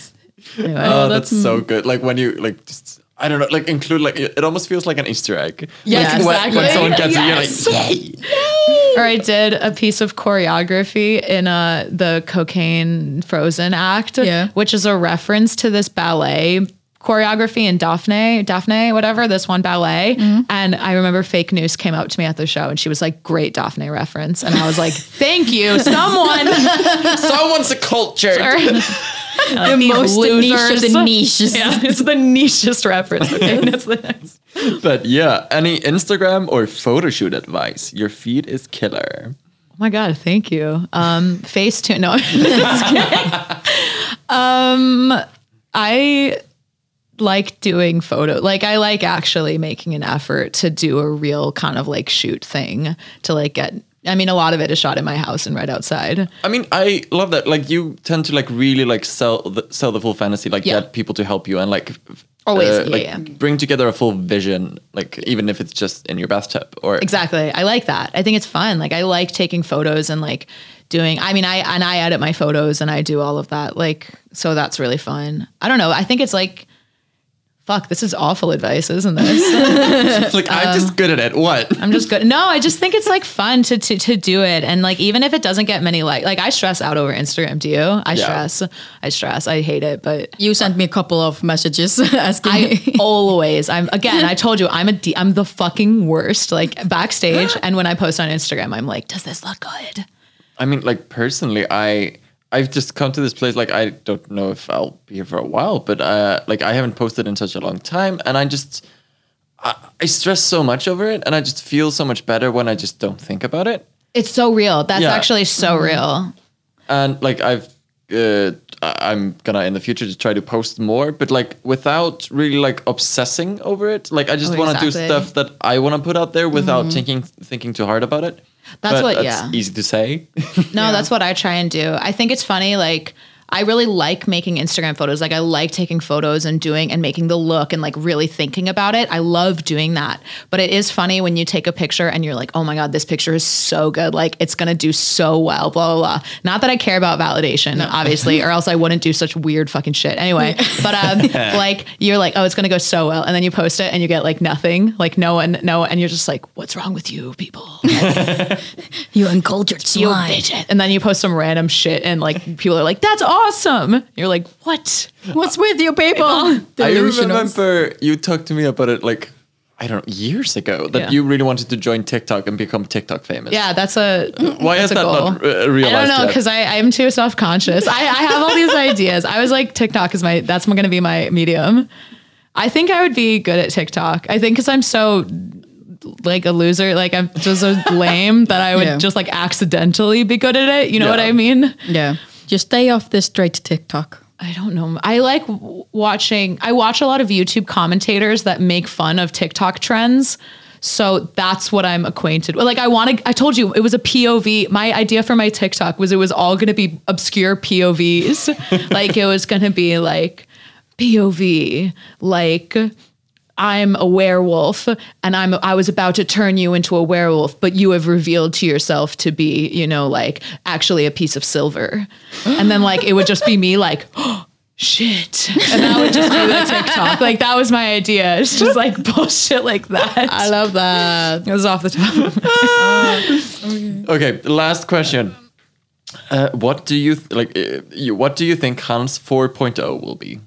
Speaker 3: oh, that's so good. Like when you like just. I don't know, like include like it almost feels like an Easter egg.
Speaker 2: Yes,
Speaker 3: Like, when- When,
Speaker 2: exactly.
Speaker 3: someone gets
Speaker 2: Yes.
Speaker 3: it, you're like, yay!
Speaker 4: [LAUGHS] or I did a piece of choreography in uh, the cocaine frozen act,
Speaker 5: Yeah.
Speaker 4: which is a reference to this ballet choreography in Daphne, Daphne, whatever, this one ballet. And I remember fake news came up to me at the show and she was like, great Daphne reference. And I was like, thank you, someone. [LAUGHS]
Speaker 3: Someone's a culture.
Speaker 4: Like, these
Speaker 2: most niche of the
Speaker 4: losers.
Speaker 2: niches.
Speaker 4: Yeah, it's the nichest reference. [LAUGHS] Okay, that's the next.
Speaker 3: But yeah, any Instagram or photo shoot advice? Your feed is killer.
Speaker 4: Oh my god, thank you. Um, face tune. No, [LAUGHS] just kidding. um, I like doing photo. Like I like actually making an effort to do a real kind of like shoot thing to like get. I mean, a lot of it is shot in my house and right outside.
Speaker 3: I mean, I love that. Like, you tend to like really like sell the, sell the full fantasy, like
Speaker 4: Yeah.
Speaker 3: get people to help you and like f-
Speaker 4: Always, yeah,
Speaker 3: like,
Speaker 4: yeah.
Speaker 3: bring together a full vision, like even if it's just in your bathtub or
Speaker 4: Exactly. I like that. I think it's fun. Like I like taking photos and like doing I mean I and I edit my photos and I do all of that. Like so that's really fun. I don't know. I think it's like fuck, this is awful advice, isn't
Speaker 3: [LAUGHS]
Speaker 4: this?
Speaker 3: like I'm
Speaker 4: Um,
Speaker 3: just good at it. What?
Speaker 4: I'm just good. No, I just think it's like fun to to, to do it, and like even if it doesn't get many like like I stress out over Instagram. Do you? I
Speaker 3: Yeah.
Speaker 4: stress. I stress. I hate it, but
Speaker 2: [LAUGHS]
Speaker 4: [LAUGHS]
Speaker 2: You sent me a couple of messages [LAUGHS] asking
Speaker 4: I
Speaker 2: me.
Speaker 4: always. I'm again. I told you I'm a D, I'm the fucking worst. Like backstage,
Speaker 3: [GASPS]
Speaker 4: and when I post on Instagram, I'm like, does this look good?
Speaker 3: I mean, like personally, I I've just come to this place. Like, I don't know if I'll be here for a while, but uh, like I haven't posted in such a long time, and I just I, I stress so much over it, and I just feel so much better when I just don't think about it.
Speaker 4: It's so real. That's
Speaker 3: Yeah. Mm-hmm.
Speaker 4: actually so real.
Speaker 3: and like I've uh, I- I'm gonna in the future to try to post more, but like without really like obsessing over it. Like I just
Speaker 4: Oh,
Speaker 3: want to
Speaker 4: exactly. Mm-hmm.
Speaker 3: do stuff that I want to put out there without thinking thinking too hard about it.
Speaker 4: That's
Speaker 3: But
Speaker 4: what-
Speaker 3: That's
Speaker 4: yeah.
Speaker 3: easy to say.
Speaker 4: [LAUGHS] No, that's what I try and do. I think it's funny, like I really like making Instagram photos. Like I like taking photos and doing and making the look and like really thinking about it. I love doing that. But it is funny when you take a picture and you're like, oh my God, this picture is so good. Like it's gonna do so well, blah, blah, blah. Not that I care about validation, obviously, or else I wouldn't do such weird fucking shit. Anyway, but um like you're like, oh, it's gonna go so well. And then you post it and you get like nothing, like no one, no, and you're just like, what's wrong with you people?
Speaker 2: you uncultured
Speaker 4: you
Speaker 2: swine.
Speaker 4: bitch. And then you post some random shit, and like
Speaker 2: [LAUGHS]
Speaker 4: people are like, "That's awesome." You're like, "What?
Speaker 2: What's with you people?
Speaker 3: I
Speaker 2: Delusional.
Speaker 3: remember you talked to me about it like I don't know years ago that
Speaker 4: Yeah.
Speaker 3: you really wanted to join TikTok and become TikTok famous.
Speaker 4: Yeah, that's a
Speaker 3: [LAUGHS] Why
Speaker 4: that's
Speaker 3: has
Speaker 4: a
Speaker 3: that
Speaker 4: goal.
Speaker 3: not uh,
Speaker 4: I
Speaker 3: realized?
Speaker 4: don't know
Speaker 3: yet?
Speaker 4: because I I'm too self conscious. I, I have all
Speaker 3: [LAUGHS]
Speaker 4: these ideas. I was like, TikTok is my that's going to be my medium. I think I would be good at TikTok. I think because I'm so like a loser, like I'm
Speaker 3: [LAUGHS]
Speaker 4: just so lame that I would
Speaker 2: Yeah.
Speaker 4: just like accidentally be good at it. You know what
Speaker 3: Yeah.
Speaker 4: I mean?
Speaker 2: Yeah. Just stay off this straight TikTok.
Speaker 4: I don't know. I like w- watching, I watch a lot of YouTube commentators that make fun of TikTok trends. So that's what I'm acquainted with. Like, I want to, I told you it was a POV. My idea for my TikTok was it was all going to be obscure POVs. [LAUGHS] like, it was going to be like POV, like, I'm a werewolf and I'm I was about to turn you into a werewolf, but you have revealed to yourself to be, you know, like actually a piece of silver. And then like it would just be me like [GASPS] shit. And that would just be the TikTok. Like that was my idea. [LAUGHS] It's just like bullshit like that.
Speaker 5: I love that.
Speaker 4: it was off the top.
Speaker 3: Okay, last question. Uh, what do you th- like? Uh, you, what do you think Hans 4.0 will be?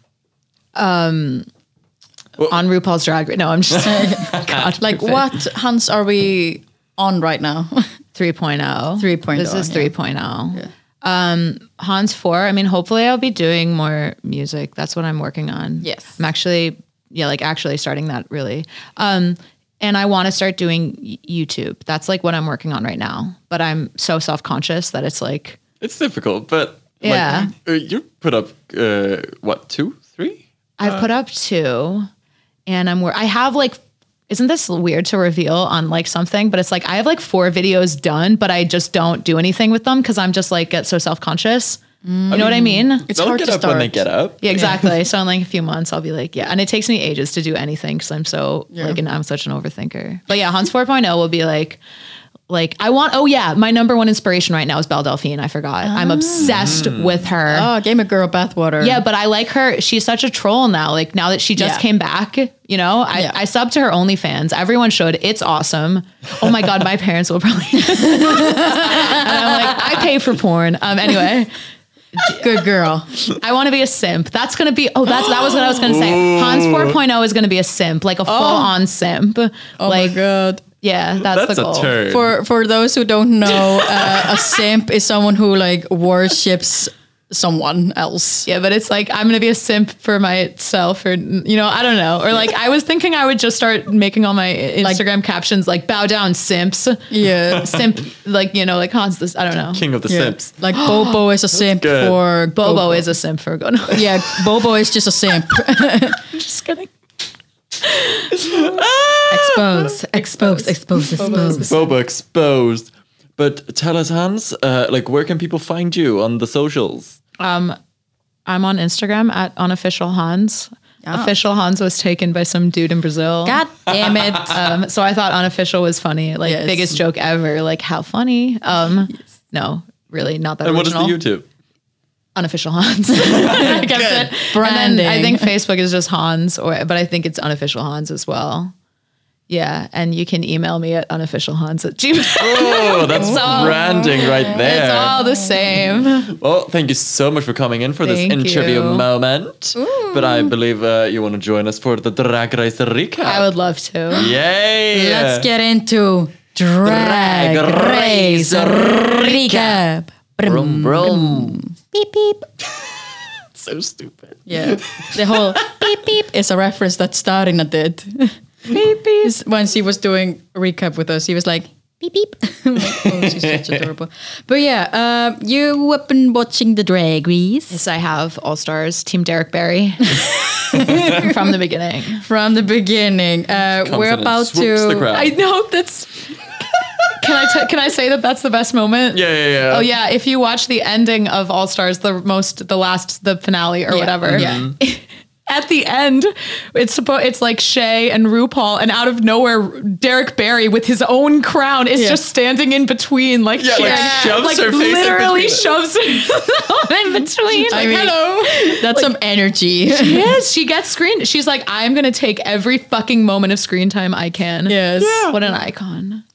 Speaker 4: on RuPaul's Drag Race. No, I'm just [LAUGHS] God,
Speaker 2: Like
Speaker 4: forbid.
Speaker 2: what Hans are we on right now? [LAUGHS]
Speaker 4: 3.0.
Speaker 2: 3.0,
Speaker 4: oh. This is
Speaker 2: oh, yeah.
Speaker 4: 3.0. Um, Hans 4, I mean, hopefully I'll be doing more music. That's what I'm working on.
Speaker 2: Yes.
Speaker 4: I'm actually, yeah, like actually starting that really. Um, and I want to start doing y- YouTube. That's like what I'm working on right now. But I'm so self conscious that it's like,
Speaker 3: It's difficult, but like,
Speaker 4: Yeah.
Speaker 3: uh, you put up uh, what two, three?
Speaker 4: I've put up two, and I'm where I have like. Isn't this weird to reveal on like something? But it's like I have like four videos done, but I just don't do anything with them because I'm just like get so self conscious. You know what I mean?
Speaker 2: It's
Speaker 3: They'll
Speaker 2: hard
Speaker 3: get
Speaker 2: to
Speaker 3: up when they
Speaker 2: start.
Speaker 3: get up.
Speaker 4: yeah, exactly. so in like a few months, I'll be like, yeah. And it takes me ages to do anything because I'm so like, and I'm such an overthinker. But yeah, Hans 4.0 will be like, like I want. Oh yeah, my number one inspiration right now is Belle Delphine. I forgot. I'm obsessed with her.
Speaker 2: Oh, gave a girl bathwater.
Speaker 4: Yeah, but I like her. She's such a troll now. Like now that she just
Speaker 2: Yeah.
Speaker 4: came back, you know, I,
Speaker 2: Yeah.
Speaker 4: I sub to her OnlyFans. Everyone should. It's awesome. Oh my god, my parents will probably. [LAUGHS] and I'm like, I pay for porn. Um. Anyway,
Speaker 2: Good [LAUGHS] girl.
Speaker 4: I want to be a simp. That's gonna be. Oh, that's that was what I was gonna say. Hans 4.0 is gonna be a simp, like a full on simp.
Speaker 2: Oh
Speaker 4: like
Speaker 2: my god.
Speaker 4: yeah, that's,
Speaker 3: That's
Speaker 4: the
Speaker 3: a
Speaker 4: goal.
Speaker 3: turn.
Speaker 2: For for those who don't [LAUGHS] know, uh, a simp is someone who like worships someone else.
Speaker 4: Yeah, but it's like I'm gonna be a simp for myself, or you know, I don't know, or like I was thinking I would just start making all my Instagram captions like "bow down, simps,"
Speaker 2: Yeah.
Speaker 4: simp, like you know, like Hans. This I don't know.
Speaker 3: King [LAUGHS] of the
Speaker 2: Yeah.
Speaker 3: Simps.
Speaker 2: [GASPS] Like Bobo is a simp
Speaker 3: good.
Speaker 2: for
Speaker 4: Bobo is a simp for Gono.
Speaker 2: Yeah, Bobo is just a simp.
Speaker 4: just kidding.
Speaker 2: expose, expose, expose, expose.
Speaker 3: Boba exposed. But tell us, Hans, uh, like where can people find you on the socials?
Speaker 4: [LAUGHS] I'm on Instagram at unofficial Hans. Official Hans was taken by some dude in Brazil.
Speaker 2: God
Speaker 4: [LAUGHS]
Speaker 2: damn it.
Speaker 4: Um, so I thought unofficial was funny, like
Speaker 2: Yes.
Speaker 4: biggest joke ever. Like how funny? Um, no, really not that.
Speaker 3: And what is the
Speaker 4: original.
Speaker 3: YouTube?
Speaker 4: unofficial Hans. [LAUGHS] I kept it. And then I
Speaker 2: Branding.
Speaker 4: think Facebook is just Hans, or but I think it's unofficial Hans as well. Yeah, and you can email me at unofficialhans at gmail.
Speaker 3: Oh, that's branding right
Speaker 4: [LAUGHS] It's
Speaker 3: there.
Speaker 4: all the same.
Speaker 3: Well, thank you so much for coming in for this
Speaker 4: Thank
Speaker 3: interview
Speaker 4: you.
Speaker 3: moment. But I believe uh, you want to join us for the Drag Race recap.
Speaker 4: I would love to.
Speaker 3: Yay!
Speaker 2: Let's get into drag,
Speaker 3: Drag
Speaker 2: race
Speaker 3: race
Speaker 2: recap.
Speaker 3: Brum, brum.
Speaker 2: Beep
Speaker 4: [LAUGHS]
Speaker 2: beep.
Speaker 3: So stupid.
Speaker 2: Yeah, the whole beep beep is a reference that Starina did. beep beep. Once he was doing a recap with us, he was like beep beep. [LAUGHS] I'm like, oh, she's such adorable. But yeah, um, you have been watching the drag race
Speaker 4: Yes, I have All Stars Team Derek [LAUGHS] Barry from the beginning.
Speaker 2: from the beginning. Uh,
Speaker 3: Comes
Speaker 2: we're
Speaker 3: in and
Speaker 2: about
Speaker 3: swoops
Speaker 2: to.
Speaker 3: the crowd.
Speaker 4: I know that's. Can I t- can I say that that's the best moment?
Speaker 3: Yeah, yeah, yeah.
Speaker 4: Oh yeah, if you watch the ending of All Stars, the most, the last, the finale or
Speaker 2: Yeah,
Speaker 4: whatever.
Speaker 2: yeah.
Speaker 4: [LAUGHS] At the end, it's suppo- it's like Shay and RuPaul, and out of nowhere, Derek Barry with his own crown is
Speaker 2: Yeah.
Speaker 4: just standing in between, like
Speaker 3: Yeah, like,
Speaker 4: [LAUGHS] cheering.
Speaker 3: shoves
Speaker 4: Like,
Speaker 3: her face in
Speaker 4: literally
Speaker 3: between.
Speaker 4: shoves her [LAUGHS] in between.
Speaker 2: I
Speaker 4: Like,
Speaker 2: mean,
Speaker 4: hello.
Speaker 2: [LAUGHS] That's some energy.
Speaker 4: Yes, [LAUGHS] she gets screen. She's like, I'm gonna take every fucking moment of screen time I can.
Speaker 2: Yes. Yeah.
Speaker 4: What an icon.
Speaker 2: [LAUGHS]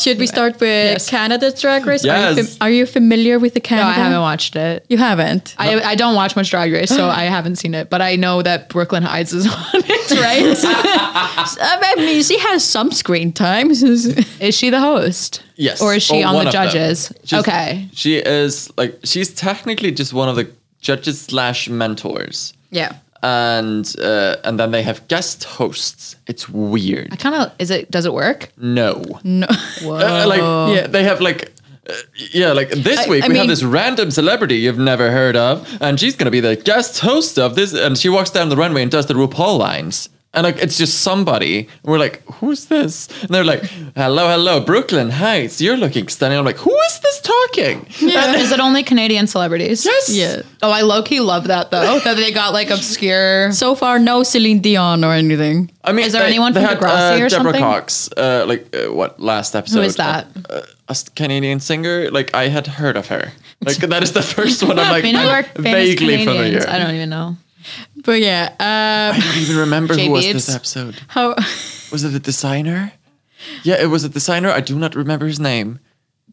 Speaker 2: Should we start with Canada's Drag Race? Are, you
Speaker 3: Yes.
Speaker 2: fam- are you familiar with the
Speaker 4: No,
Speaker 2: Canada?
Speaker 4: I haven't watched it.
Speaker 2: You haven't.
Speaker 4: I, I don't watch much Drag Race, so I haven't seen it, but I know that Brooklyn Heights is [LAUGHS] on it, right?
Speaker 2: [LAUGHS] I mean, she has some screen time. [LAUGHS]
Speaker 4: is she the host?
Speaker 3: Yes. Oh,
Speaker 4: Or is she on
Speaker 3: one
Speaker 4: the
Speaker 3: of them.
Speaker 4: judges?
Speaker 3: She's-
Speaker 4: okay.
Speaker 3: She is like she's technically just one of the judges slash mentors.
Speaker 2: yeah.
Speaker 3: And uh, and then they have guest hosts. It's
Speaker 4: I
Speaker 3: weird.
Speaker 4: kind of, is it, does it work?
Speaker 3: No.
Speaker 2: No.
Speaker 3: Uh, like
Speaker 4: Uh-huh.
Speaker 3: yeah, they have like uh, yeah, like this
Speaker 2: I-
Speaker 3: week
Speaker 2: I
Speaker 3: we
Speaker 2: mean-
Speaker 3: have this random celebrity you've never heard of, and she's gonna be the guest host of this. And she walks down the runway and does the RuPaul lines, and like it's just somebody. And we're like, who's this? And they're like, hello, hello, Brooklyn Heights, you're looking stunning. I'm like, who is this talking?
Speaker 4: Is it only Canadian celebrities?
Speaker 3: Yes.
Speaker 2: Yeah.
Speaker 4: Oh, I low key love that though, that they got like obscure.
Speaker 2: So far, no Celine Dion or anything.
Speaker 3: I mean,
Speaker 4: Is there anyone from Degrassi or
Speaker 3: uh, Deborah
Speaker 4: something?
Speaker 3: Cox, uh, like uh, what last episode?
Speaker 4: is that?
Speaker 3: Uh, a s- Canadian singer. Like I had heard of her. Like that is the [LAUGHS] first one.
Speaker 4: [LAUGHS]
Speaker 3: I'm like
Speaker 4: We know our famous
Speaker 3: vaguely
Speaker 4: Canadians.
Speaker 3: familiar.
Speaker 4: I don't even know.
Speaker 2: But yeah, uh,
Speaker 3: I don't even remember
Speaker 4: Jay
Speaker 3: who was
Speaker 4: Beebs?
Speaker 3: this episode.
Speaker 2: how
Speaker 3: Was it a designer? Yeah, it was a designer. I do not remember his name.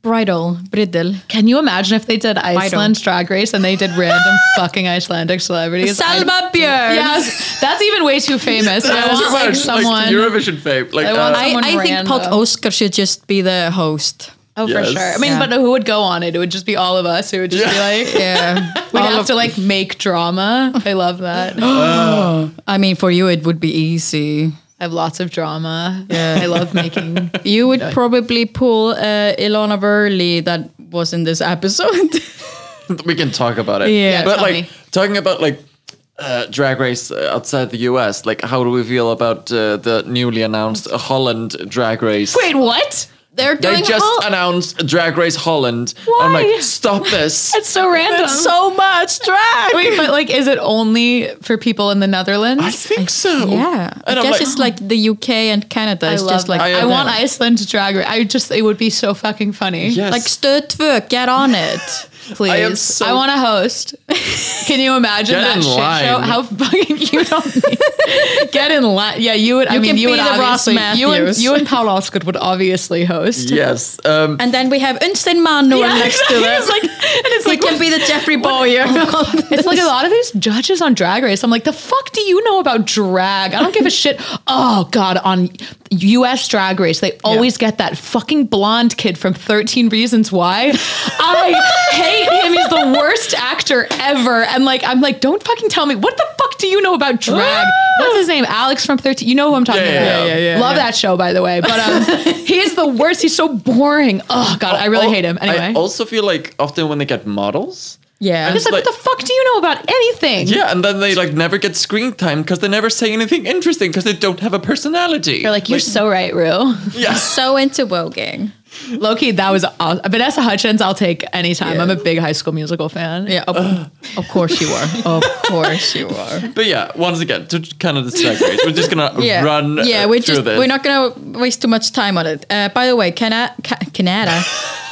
Speaker 2: bridal, bridal.
Speaker 4: Can you imagine if they did
Speaker 2: don't.
Speaker 4: Iceland Drag Race and they did
Speaker 2: [LAUGHS]
Speaker 4: random fucking Icelandic celebrities? I-
Speaker 2: Salma Björn.
Speaker 4: Yes, that's even way too famous. I
Speaker 3: That's
Speaker 4: want
Speaker 3: too
Speaker 4: like
Speaker 3: much,
Speaker 4: someone.
Speaker 3: Eurovision fame. Like
Speaker 4: I
Speaker 3: uh,
Speaker 4: want-
Speaker 2: I,
Speaker 4: Someone
Speaker 2: I think Pod
Speaker 4: random.
Speaker 2: Oscar should just be the host.
Speaker 4: oh, for
Speaker 3: Yes.
Speaker 4: sure. I mean,
Speaker 2: Yeah.
Speaker 4: but who would go on it? It would just be all of us. It would just be [LAUGHS] like
Speaker 2: Yeah.
Speaker 4: we'd have to like make drama. I love that. [GASPS]
Speaker 2: I mean, for you, it would be easy.
Speaker 4: I have lots of drama. Yeah, I love making.
Speaker 2: You would probably pull uh, Ilona Verley that was in this episode. [LAUGHS]
Speaker 3: uh, [LAUGHS] we can talk about it.
Speaker 2: Yeah,
Speaker 3: but
Speaker 4: tell
Speaker 3: like
Speaker 4: me.
Speaker 3: talking about like uh, drag race uh, outside the US, like how do we feel about uh, the newly announced Holland drag race?
Speaker 4: [LAUGHS] Wait, what?
Speaker 2: They're
Speaker 3: they
Speaker 2: doing
Speaker 3: just
Speaker 4: [LAUGHS]
Speaker 2: all-
Speaker 3: announced Drag Race Holland. I'm
Speaker 4: Why?
Speaker 3: like, stop
Speaker 4: [LAUGHS]
Speaker 3: this.
Speaker 4: That's so random.
Speaker 2: so much drag.
Speaker 4: Wait, but like, is it only for people in the Netherlands?
Speaker 3: I think so.
Speaker 2: Yeah, I
Speaker 3: And I'm
Speaker 2: guess
Speaker 3: like,
Speaker 2: it's like the UK and Canada. It's just like
Speaker 3: I
Speaker 4: I,
Speaker 3: am
Speaker 4: want
Speaker 3: down.
Speaker 4: Iceland to drag race. I just it would be so fucking funny.
Speaker 3: yes.
Speaker 2: like Stur Tvö, get
Speaker 4: [LAUGHS]
Speaker 2: on it.
Speaker 4: Please.
Speaker 3: I
Speaker 4: I,
Speaker 3: am so-
Speaker 4: want to
Speaker 2: [LAUGHS]
Speaker 4: host. Can you imagine
Speaker 3: Get
Speaker 4: that
Speaker 3: in
Speaker 4: shit
Speaker 3: line.
Speaker 4: show? How
Speaker 2: [LAUGHS]
Speaker 4: fucking you don't [LAUGHS] need- get in line. Yeah, you would I
Speaker 2: You
Speaker 4: mean
Speaker 2: can
Speaker 4: you
Speaker 2: be
Speaker 4: would
Speaker 2: the Ross
Speaker 4: obviously you and
Speaker 2: Matthews.
Speaker 4: you and Paul Osgood would obviously host.
Speaker 3: yes. Um,
Speaker 2: And then we have Unsten Manuel next to it.
Speaker 4: [LAUGHS] it's like and it's
Speaker 2: He
Speaker 4: like
Speaker 2: can be the Jeffrey
Speaker 4: [LAUGHS]
Speaker 2: Boyer.
Speaker 4: It's like a lot of these judges on Drag Race. I'm like, the fuck do you know about drag? I don't
Speaker 3: [LAUGHS]
Speaker 4: give a shit. Oh God, on U.S. Drag Race, they always get that fucking blonde kid from 13 Reasons Why. I hate him. He's the worst actor ever. And like, I'm like, don't fucking tell me what the fuck do you know about drag? What's his name? Alex from 13. You know who I'm talking
Speaker 3: Yeah, yeah,
Speaker 4: about.
Speaker 3: yeah, yeah,
Speaker 4: Love that show, by the way.
Speaker 3: [LAUGHS]
Speaker 4: But um, he is the worst. He's so boring. Oh God, I really
Speaker 3: al-
Speaker 4: hate him. Anyway.
Speaker 3: I also feel like often when they get models.
Speaker 2: yeah.
Speaker 4: it's like,
Speaker 3: like-
Speaker 4: what the fuck do you know about anything?
Speaker 3: Yeah, and then they like never get screen time because they never say anything interesting because they don't have a personality.
Speaker 4: You're like, you're so right,
Speaker 3: [LAUGHS]
Speaker 4: Rue.
Speaker 3: yes.
Speaker 2: so into voguing.
Speaker 4: Loki, that was awesome. Vanessa Hutchins, I'll take anytime. I'm a big High School Musical fan.
Speaker 2: Yeah, of, of course you
Speaker 4: [LAUGHS]
Speaker 2: are. Of course you are.
Speaker 3: [LAUGHS] But yeah, once again, to kind of distract race, we're just gonna
Speaker 2: [LAUGHS] Yeah,
Speaker 3: run.
Speaker 2: yeah.
Speaker 3: uh,
Speaker 2: we're
Speaker 3: through
Speaker 2: just
Speaker 3: this.
Speaker 2: we're not gonna waste too much time on it. Uh, by the way, Cana- Ca-
Speaker 3: [LAUGHS]
Speaker 2: Canada,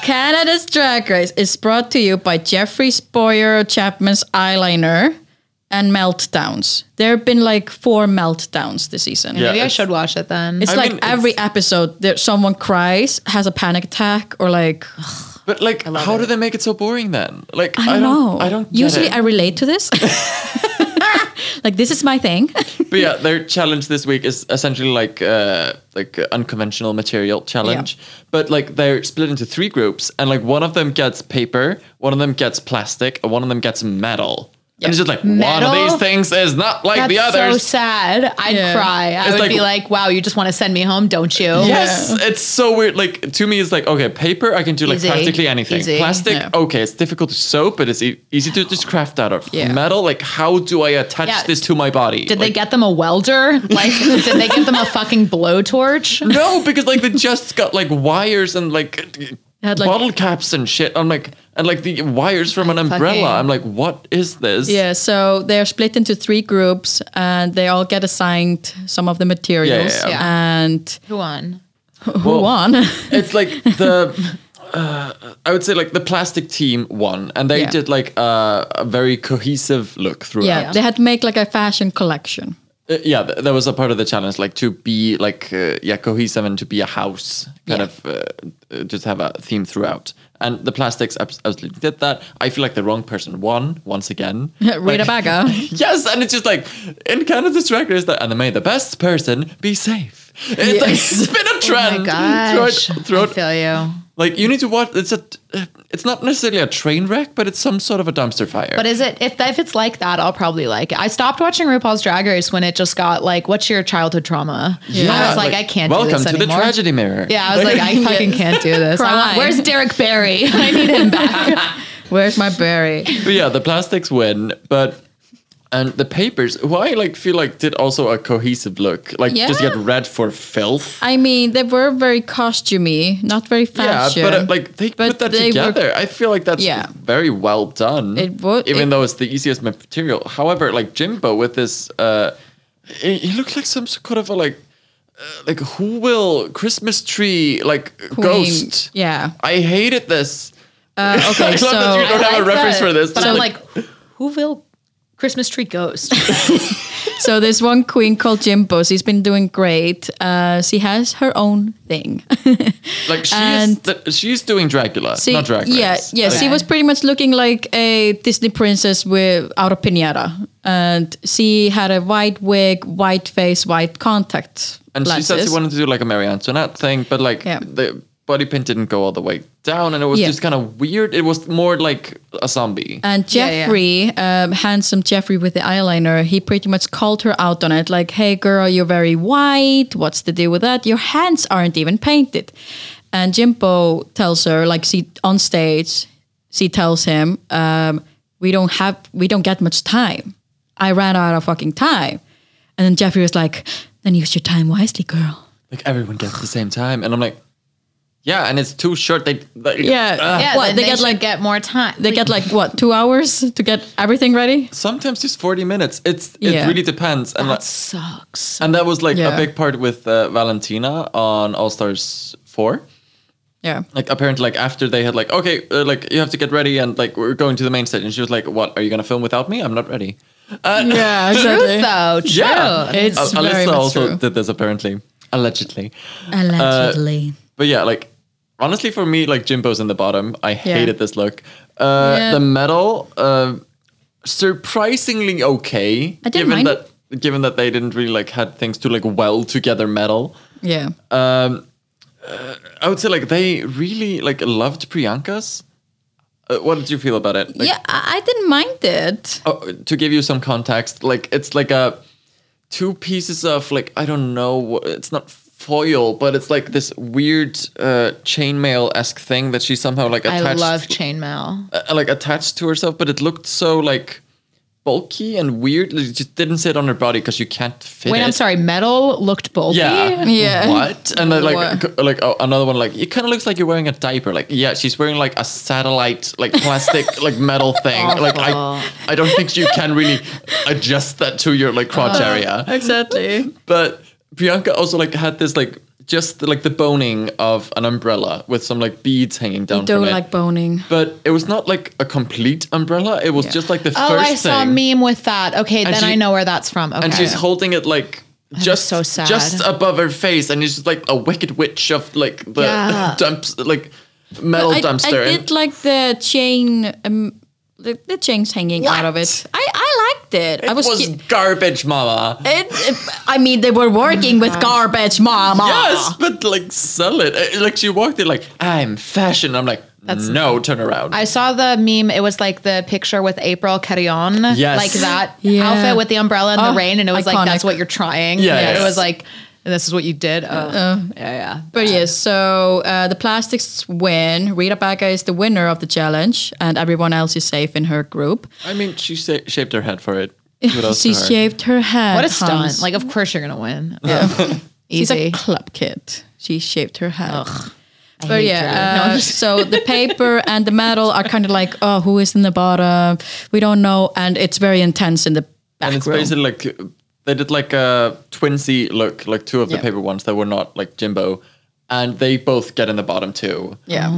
Speaker 2: Canada's Drag Race is brought to you by Jeffrey Spoyer Chapman's eyeliner and meltdowns. There have been like four meltdowns this season.
Speaker 3: Yeah.
Speaker 4: Maybe I
Speaker 3: it's-
Speaker 4: should watch it then.
Speaker 2: It's
Speaker 3: I
Speaker 2: like
Speaker 3: mean, it's-
Speaker 2: every episode that someone cries, has a panic attack, or like
Speaker 3: But like, how do they make it so boring then? Like, I,
Speaker 2: I don't
Speaker 3: don't,
Speaker 2: know.
Speaker 3: I don't. Get
Speaker 2: Usually,
Speaker 3: it.
Speaker 2: I relate to [LAUGHS] this. like this is my thing.
Speaker 3: But yeah, their challenge this week is essentially like uh, like uh, unconventional material challenge. But like they're split into three groups, and like one of them gets paper, one of them gets plastic, and one of them gets metal. And it's just like one of
Speaker 4: Metal?
Speaker 3: these things is not like the
Speaker 4: That's so
Speaker 3: others.
Speaker 4: sad. I'd
Speaker 2: Yeah.
Speaker 4: cry. I
Speaker 3: It's
Speaker 4: would
Speaker 3: like-
Speaker 4: be like, wow, you just want to send me home, don't you?
Speaker 3: Yes, it's so weird. Like to me, it's like okay, paper I can do like
Speaker 4: Easy.
Speaker 3: practically anything.
Speaker 4: Easy,
Speaker 3: Plastic,
Speaker 2: yeah.
Speaker 3: okay, it's difficult to sew, but it's e- easy to just craft out of.
Speaker 2: Yeah.
Speaker 3: Metal, like how do I attach
Speaker 4: Yeah.
Speaker 3: this to my body?
Speaker 4: Did they
Speaker 3: Like,
Speaker 4: get them a [LAUGHS] welder? Like, did they get them a fucking blowtorch?
Speaker 3: No, because like they just got like wires and like,
Speaker 2: had, like-
Speaker 3: bottle caps and shit. I'm like, and like the wires from an umbrella.
Speaker 4: Fucking-
Speaker 3: I'm like, what is this?
Speaker 2: Yeah, so they're split into three groups and they all get assigned some of the materials.
Speaker 3: Yeah, yeah,
Speaker 2: And
Speaker 4: Who won?
Speaker 2: who won? [LAUGHS]
Speaker 3: It's like the. Uh, I would say like the plastic team won, and they
Speaker 2: Yeah.
Speaker 3: did like a, a very cohesive look throughout.
Speaker 2: yeah, they had to make like a fashion collection.
Speaker 3: Uh, yeah, th- that was a part of the challenge, like to be like uh, yeah cohesive and to be a house, kind
Speaker 2: Yeah.
Speaker 3: of uh, uh, just have a theme throughout. And the plastics abs- absolutely did that. I feel like the wrong person won once
Speaker 4: [LAUGHS]
Speaker 3: again.
Speaker 2: Rita
Speaker 3: Like-
Speaker 2: Baga.
Speaker 3: [LAUGHS]
Speaker 2: [LAUGHS]
Speaker 3: yes, and it's just like in Canada's Drag Race, that and they made the best person be safe. It's like
Speaker 2: Yes.
Speaker 3: it's [LAUGHS]
Speaker 4: Oh
Speaker 3: been a trend throughout, throughout
Speaker 4: you.
Speaker 3: like you need to watch. It's a uh, it's not necessarily a train wreck, but it's some sort of a dumpster fire.
Speaker 4: But is it if if it's like that, I'll probably like it. I stopped watching RuPaul's Drag Race when it just got like, what's your childhood trauma?
Speaker 3: Yeah,
Speaker 4: I was like, I can't.
Speaker 3: Welcome
Speaker 4: do this
Speaker 3: to
Speaker 4: anymore.
Speaker 3: the tragedy mirror.
Speaker 4: Yeah, I was like,
Speaker 3: [LAUGHS]
Speaker 4: I fucking can't do this. I
Speaker 2: Cry.
Speaker 4: want, where's Derek Barry? [LAUGHS] I need him back.
Speaker 2: Where's my berry?
Speaker 3: but yeah, the plastics win, but and the papers, who I like feel like did also a cohesive look, like just
Speaker 2: Yeah.
Speaker 3: get red for filth.
Speaker 2: I mean, they were very costumey, not very
Speaker 3: yeah,
Speaker 2: fashion.
Speaker 3: but uh, like they
Speaker 2: But
Speaker 3: put that
Speaker 2: they were-
Speaker 3: together. I feel like that's
Speaker 2: Yeah.
Speaker 3: very well done.
Speaker 2: It would-
Speaker 3: even
Speaker 2: it-
Speaker 3: though it's the easiest material. However, like Jimbo with this, uh, he, he looked like some sort of a like, uh, like who will Christmas tree like ghost.
Speaker 2: [LAUGHS] Yeah.
Speaker 3: I hated this.
Speaker 2: Uh,
Speaker 3: I
Speaker 2: okay,
Speaker 3: love that you
Speaker 2: so
Speaker 3: don't have a
Speaker 4: like
Speaker 3: reference
Speaker 4: that.
Speaker 3: for this.
Speaker 4: But
Speaker 3: It's
Speaker 4: I'm
Speaker 3: like-
Speaker 4: like, who will Christmas tree
Speaker 3: [LAUGHS]
Speaker 4: ghost.
Speaker 2: [LAUGHS] So there's one queen called Jimbo. She's been doing great. Uh, she has her own thing. [LAUGHS]
Speaker 3: Like she's
Speaker 2: And-
Speaker 3: the, she's doing Dracula,
Speaker 2: She-
Speaker 3: not Drag Race.
Speaker 2: Yeah, yeah.
Speaker 3: Like,
Speaker 2: She was pretty much looking like a Disney princess with out of pinata, and she had a white wig, white face, white contact
Speaker 3: and she
Speaker 2: lenses.
Speaker 3: said she wanted to do like a Marie Antoinette thing, but like
Speaker 2: Yeah.
Speaker 3: the body paint didn't go all the way down, and it was
Speaker 2: Yeah. Uh,
Speaker 3: just kind of weird. It was more like a zombie.
Speaker 2: and
Speaker 4: Yeah, yeah.
Speaker 2: Jeffrey, Um, handsome Jeffrey with the eyeliner, he pretty much called her out on it, like, "Hey, girl, you're very white. What's the deal with that? Your hands aren't even painted." And Jimbo tells her, like, she on stage, she tells him, um, "We don't have, we don't get much time. I ran out of fucking time." And then Jeffrey was like, "Then use your time wisely, girl."
Speaker 3: like everyone gets the same time, and I'm like, yeah, and it's too short. They, like,
Speaker 2: Yeah.
Speaker 3: ugh.
Speaker 2: Yeah. What,
Speaker 4: then
Speaker 2: they get,
Speaker 4: should
Speaker 2: like-
Speaker 4: get more time.
Speaker 2: They get like what two hours to get everything ready.
Speaker 3: sometimes just 40 minutes. It's
Speaker 2: Yeah.
Speaker 3: it really depends, and like,
Speaker 4: that sucks.
Speaker 3: and that was like
Speaker 2: Yeah.
Speaker 3: a big part with uh, Valentina on All Stars Four.
Speaker 2: Yeah.
Speaker 3: like apparently like after they had like okay uh, like you have to get ready and like we're going to the main stage and she was like what are you gonna film without me i'm not ready
Speaker 2: Yeah.
Speaker 4: Truth though, true.
Speaker 3: yeah
Speaker 2: It's
Speaker 3: Al-
Speaker 2: very much
Speaker 3: also
Speaker 2: true.
Speaker 3: did this apparently allegedly
Speaker 4: Uh,
Speaker 2: Allegedly.
Speaker 3: but yeah like honestly for me like jimbo's in the bottom i hated this look uh
Speaker 2: Yeah.
Speaker 3: the metal uh surprisingly okay
Speaker 2: I didn't
Speaker 3: given
Speaker 2: mind
Speaker 3: that given that they didn't really like had things to like well together metal
Speaker 2: yeah.
Speaker 3: um, uh, I would say like they really like loved Priyanka's. Uh, what did you feel about it? Like,
Speaker 2: yeah, I, I didn't mind it.
Speaker 3: oh, to give you some context, like it's like a two pieces of like I don't know. what- It's not foil, but it's like this weird uh, chainmail esque thing that she somehow like attached,
Speaker 4: I love chainmail.
Speaker 3: uh, like attached to herself. But it looked so like bulky and weird. It just didn't sit on her body because you can't fit.
Speaker 4: Wait,
Speaker 3: it.
Speaker 4: I'm sorry. Metal looked bulky.
Speaker 3: Yeah.
Speaker 2: Yeah.
Speaker 3: What? And then like
Speaker 2: What?
Speaker 3: c- like oh, another one like it kind of looks like you're wearing a diaper. Like yeah, she's wearing like a satellite like
Speaker 2: [LAUGHS]
Speaker 3: plastic like metal thing. Like I I don't think you can really adjust that to your like crotch area.
Speaker 2: Uh, Exactly.
Speaker 3: But Bianca also like had this like just like the boning of an umbrella with some like beads hanging down
Speaker 2: You
Speaker 3: from
Speaker 2: don't
Speaker 3: it.
Speaker 2: like boning.
Speaker 3: but it was not like a complete umbrella. It was just like the
Speaker 4: Oh,
Speaker 3: first
Speaker 4: I saw a
Speaker 3: thing.
Speaker 4: meme with that. Okay, then
Speaker 3: she-
Speaker 4: I know where that's from. Okay.
Speaker 3: and she's holding it like just
Speaker 4: so sad.
Speaker 3: just above her face, and it's just like a wicked witch of like the
Speaker 4: Yeah.
Speaker 3: [LAUGHS] dumps, like metal
Speaker 2: I, I
Speaker 3: dumpster.
Speaker 2: did like the chain, um, the, the chains hanging out of it. I, I liked it. I
Speaker 3: it was,
Speaker 2: was. cu-
Speaker 3: garbage, Mama.
Speaker 2: it, I mean, they were working with garbage, mama.
Speaker 3: Yes, but like sell it. Uh, Like she walked in, like I'm fashion. I'm like no, turn around.
Speaker 4: I saw the meme. It was like the picture with April Carrion,
Speaker 3: Yes.
Speaker 4: like that
Speaker 2: Yeah.
Speaker 4: outfit with the umbrella and
Speaker 2: Oh,
Speaker 4: the rain, and it was
Speaker 2: iconic.
Speaker 4: like that's what you're trying.
Speaker 3: Yeah,
Speaker 4: And
Speaker 3: yeah.
Speaker 4: it was like this is what you did. Oh. yeah, yeah.
Speaker 2: But yes, so uh, the plastics win. Rita Baga is the winner of the challenge, and everyone else is safe in her group.
Speaker 3: I mean, she sa- shaped her head
Speaker 2: [LAUGHS]
Speaker 3: for it. Kudos
Speaker 2: she
Speaker 3: to her.
Speaker 2: shaved her head.
Speaker 4: What a stunt!
Speaker 2: Hans.
Speaker 4: Like, of course you're gonna win.
Speaker 3: [LAUGHS]
Speaker 2: She's
Speaker 4: Easy.
Speaker 2: a club kid. She shaved her head. But
Speaker 4: hate
Speaker 2: yeah,
Speaker 4: drag.
Speaker 2: uh, so the paper and the metal are kind of like, oh, who is in the bottom? We don't know, and it's very intense in the back
Speaker 3: And it's
Speaker 2: room.
Speaker 3: basically like uh, they did like a twinsy look, like two of the
Speaker 2: Yeah.
Speaker 3: paper ones that were not like Jimbo, and they both get in the bottom too.
Speaker 2: yeah,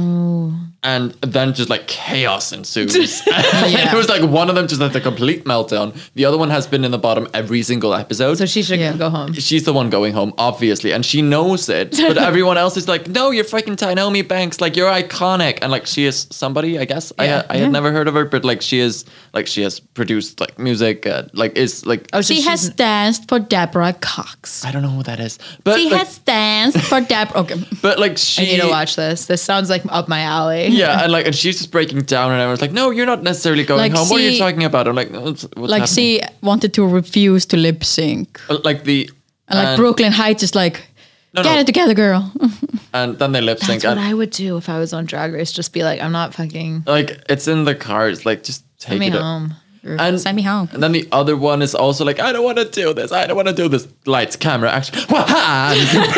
Speaker 3: and then just like chaos
Speaker 2: [LAUGHS]
Speaker 3: ensues. [LAUGHS] it was like one of them just had a complete meltdown. The other one has been in the bottom every single episode.
Speaker 4: so she should
Speaker 2: Yeah.
Speaker 4: go home.
Speaker 3: She's the one going home, obviously, and she knows
Speaker 2: [LAUGHS]
Speaker 3: it. But everyone else is like, "No, you're freaking Tainomi Banks. Like you're iconic." And like she is somebody, I guess. I I had never heard of her, but like she is like she has produced like music, uh, like is like
Speaker 4: Oh, so
Speaker 2: she
Speaker 4: she's-
Speaker 2: has danced for Deborah Cox.
Speaker 3: I don't know who that is, but
Speaker 2: She
Speaker 3: like,
Speaker 2: has danced for Deborah. Okay,
Speaker 3: but like she
Speaker 4: I need to watch this. This sounds like up my alley.
Speaker 3: Yeah, and like and she's just breaking down, and everyone's like, "No, you're not necessarily going
Speaker 2: Like
Speaker 3: home. what are you
Speaker 2: she-
Speaker 3: talking about?" I'm like, "What's, what's
Speaker 2: like
Speaker 3: happening?"
Speaker 2: she wanted to refuse to lip sync,
Speaker 3: Uh, like the
Speaker 2: and like Brooklyn Heights is like,
Speaker 3: No,
Speaker 2: get
Speaker 3: no.
Speaker 2: it together, girl.
Speaker 3: and then they lip sync
Speaker 4: That's what
Speaker 3: and
Speaker 4: I would do if I was on Drag Race. Just be like, I'm not fucking.
Speaker 3: like it's in the cars like just take
Speaker 4: Send me
Speaker 3: it up.
Speaker 4: home.
Speaker 3: and
Speaker 2: Send me home.
Speaker 3: and then the other one is also like I don't want to do this I don't want to do this lights camera action [LAUGHS] Wah-ha!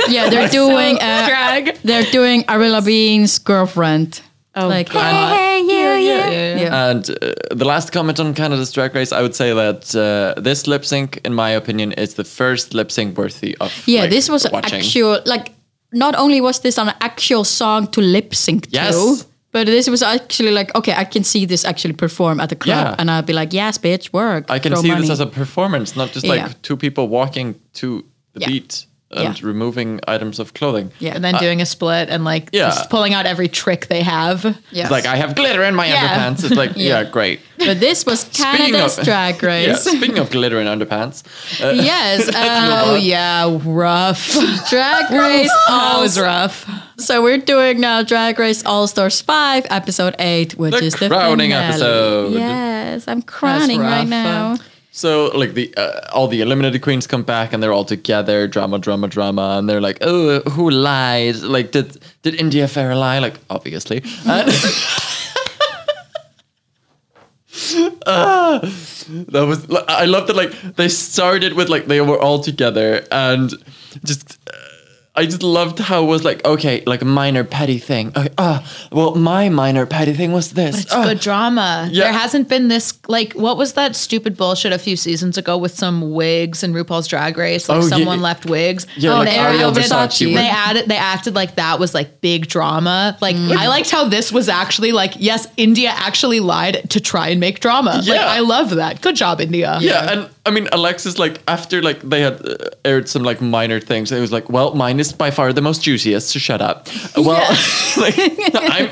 Speaker 2: Yeah, they're doing uh,
Speaker 4: drag.
Speaker 2: They're doing Arilla Bean's girlfriend. Oh, like,
Speaker 3: God.
Speaker 2: hey, hey, you,
Speaker 4: yeah,
Speaker 2: you.
Speaker 4: yeah, yeah.
Speaker 2: [LAUGHS] Yeah.
Speaker 3: and uh, the last comment on Canada's Drag Race I would say that uh, this lip sync in my opinion is the first lip sync worthy of
Speaker 2: Yeah,
Speaker 3: like,
Speaker 2: this was
Speaker 3: watching.
Speaker 2: actual like not only was this an actual song to lip sync
Speaker 3: Yes.
Speaker 2: to, But this was actually like, okay, I can see this actually perform at the club.
Speaker 3: Yeah.
Speaker 2: And I'd be like, yes, bitch, work.
Speaker 3: I can
Speaker 2: throw
Speaker 3: see
Speaker 2: money.
Speaker 3: this as a performance, not just like
Speaker 2: Yeah.
Speaker 3: two people walking to the
Speaker 2: Yeah.
Speaker 3: beat and
Speaker 2: Yeah.
Speaker 3: removing items of clothing.
Speaker 2: Yeah.
Speaker 4: and then doing a split and like
Speaker 3: Uh, Yeah.
Speaker 4: just pulling out every trick they have.
Speaker 2: Yes.
Speaker 3: It's like I have glitter in my
Speaker 4: Yeah.
Speaker 3: underpants. It's like
Speaker 2: [LAUGHS] Yeah.
Speaker 3: yeah, great.
Speaker 2: but this
Speaker 3: [LAUGHS]
Speaker 2: was Canada's
Speaker 3: of- [LAUGHS]
Speaker 2: drag
Speaker 3: Yeah,
Speaker 4: [LAUGHS]
Speaker 2: race.
Speaker 3: speaking of glitter in underpants, uh,
Speaker 2: [LAUGHS]
Speaker 3: [LAUGHS]
Speaker 2: yes. Uh,
Speaker 4: Oh yeah, rough.
Speaker 2: drag race.
Speaker 3: Oh,
Speaker 4: That
Speaker 2: All-
Speaker 4: was rough.
Speaker 2: so we're doing now Drag Race All Stars 5, episode 8, which
Speaker 3: The
Speaker 2: is the
Speaker 3: crowning
Speaker 2: finale.
Speaker 3: episode.
Speaker 2: Yes. I'm crowning right
Speaker 4: rough.
Speaker 2: now.
Speaker 3: so like the uh, all the eliminated queens come back and they're all together, drama, drama, drama, and they're like, oh, who lied? Like, did did India Fair lie? Like, obviously. Uh, And- [LAUGHS] Ah, that was I love that like they started with like they were all together and just uh, I just loved how it was like, okay, like a minor petty thing. Okay, ah, well, my minor petty thing was this.
Speaker 4: It's
Speaker 3: Ah.
Speaker 4: good drama.
Speaker 3: Yeah.
Speaker 4: There hasn't been this like what was that stupid bullshit a few seasons ago with some wigs and RuPaul's Drag Race? Like
Speaker 3: Oh, yeah.
Speaker 4: someone left wigs.
Speaker 3: Yeah,
Speaker 4: Oh,
Speaker 3: like
Speaker 4: they
Speaker 3: Ariel
Speaker 4: acted-
Speaker 3: Versace
Speaker 4: They
Speaker 3: wig.
Speaker 4: added they acted like that was like big drama. Like
Speaker 3: Mm.
Speaker 4: I liked how this was actually like yes, India actually lied to try and make drama. Like
Speaker 3: Yeah.
Speaker 4: I love that. Good job, India.
Speaker 3: yeah, and I mean, Alexis, like after like they had uh, aired some like minor things, it was like, well, mine is by far the most juiciest. So shut up. Well, [LAUGHS] like I'm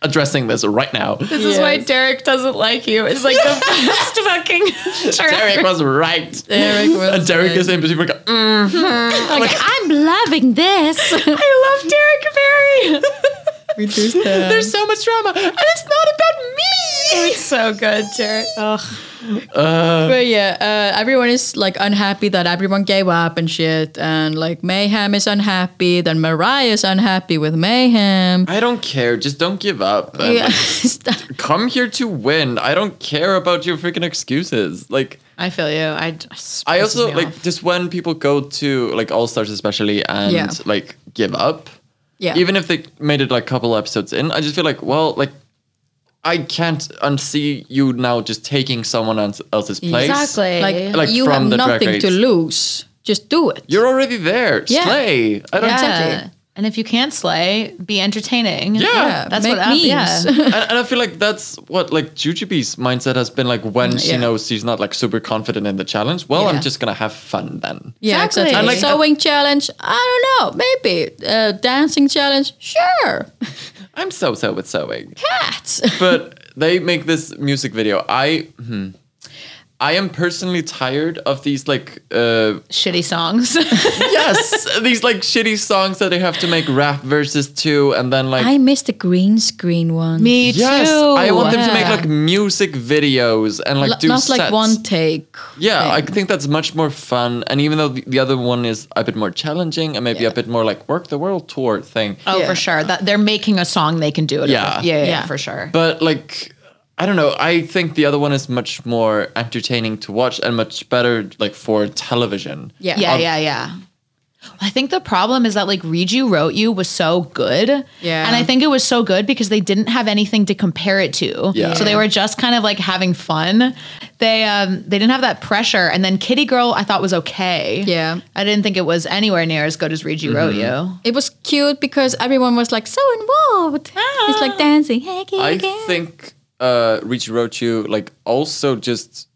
Speaker 3: addressing this right now.
Speaker 4: This is why Derek doesn't like you. It's like [LAUGHS] the best fucking
Speaker 3: Derek was right.
Speaker 2: Derek was
Speaker 3: And [LAUGHS] Derek is in between. Like, mm.
Speaker 2: [LAUGHS] Like, I'm loving this.
Speaker 4: [LAUGHS] I love Derek Barry. [LAUGHS]
Speaker 3: There's so much drama, and it's not about me.
Speaker 4: It's so good, Derek.
Speaker 2: [LAUGHS] But yeah, uh, everyone is like unhappy that everyone gave up and shit. And like Mayhem is unhappy. Then Mariah is unhappy with Mayhem.
Speaker 3: I don't care. Just don't give up. and,
Speaker 2: [LAUGHS] Yeah.
Speaker 3: like, come here to win. I don't care about your freaking excuses. Like
Speaker 4: I feel you. I,
Speaker 3: I also like just when people go to like All Stars especially and
Speaker 2: Yeah.
Speaker 3: like give up.
Speaker 2: [LAUGHS] yeah.
Speaker 3: Even if they made it like a couple episodes in, I just feel like, well, like I can't unsee you now just taking someone else- else's place.
Speaker 4: Exactly.
Speaker 2: like,
Speaker 3: Like
Speaker 2: you have
Speaker 3: from the drag
Speaker 2: nothing
Speaker 3: race.
Speaker 2: to lose. Just do it.
Speaker 3: You're already there.
Speaker 2: Yeah.
Speaker 3: Slay. I don't
Speaker 2: Yeah.
Speaker 3: care.
Speaker 2: Exactly.
Speaker 4: And if you can't slay, be entertaining.
Speaker 3: Yeah.
Speaker 4: That's
Speaker 2: make
Speaker 4: what I-
Speaker 2: memes.
Speaker 4: yeah.
Speaker 3: and, and I feel like that's what like Jujubee's mindset has been like when she
Speaker 2: Yeah.
Speaker 3: knows she's not like super confident in the challenge. Well,
Speaker 2: Yeah.
Speaker 3: I'm just gonna have fun then.
Speaker 2: [LAUGHS] Yeah, exactly.
Speaker 4: Exactly. And,
Speaker 2: like
Speaker 4: like,
Speaker 2: sewing challenge, I don't know, maybe uh, dancing challenge, sure.
Speaker 3: I'm so so with sewing.
Speaker 2: Cats.
Speaker 3: but they make this music video. I hmm, I am personally tired of these like uh
Speaker 4: Shitty songs.
Speaker 3: yes, these like shitty songs that they have to make rap verses to and then like
Speaker 2: [LAUGHS] I miss the green screen one.
Speaker 4: Me
Speaker 3: yes, I want them to make
Speaker 4: Yeah.
Speaker 3: like music videos and like
Speaker 2: L-
Speaker 3: do
Speaker 2: not like
Speaker 3: sets.
Speaker 2: one take.
Speaker 3: yeah, I
Speaker 2: thing.
Speaker 3: think that's much more fun. And even though the, the other one is a bit more challenging and maybe
Speaker 2: Yeah.
Speaker 3: a bit more like work the world tour thing.
Speaker 4: Oh,
Speaker 2: Yeah.
Speaker 4: for sure. That they're making a song they can do it.
Speaker 3: Yeah.
Speaker 4: with. Yeah, yeah,
Speaker 2: Yeah.
Speaker 4: yeah, for sure.
Speaker 3: But like, I don't know. I think the other one is much more entertaining to watch and much better like for television.
Speaker 2: Yeah.
Speaker 4: yeah, yeah, yeah. I think the problem is that like Read You Wrote You was so good.
Speaker 2: Yeah.
Speaker 4: And I think it was so good because they didn't have anything to compare it to.
Speaker 3: Yeah.
Speaker 4: So they were just kind of like having fun. They um they didn't have that pressure. And then Kitty Girl I thought was okay.
Speaker 2: Yeah.
Speaker 4: I didn't think it was anywhere near as good as Read You Wrote
Speaker 3: Mm-hmm.
Speaker 4: You.
Speaker 2: It was cute because everyone was like so involved. It's like eh. dancing. Hey, can
Speaker 3: Ah. I
Speaker 2: you dance?
Speaker 3: think uh, Reach Rochu like also just.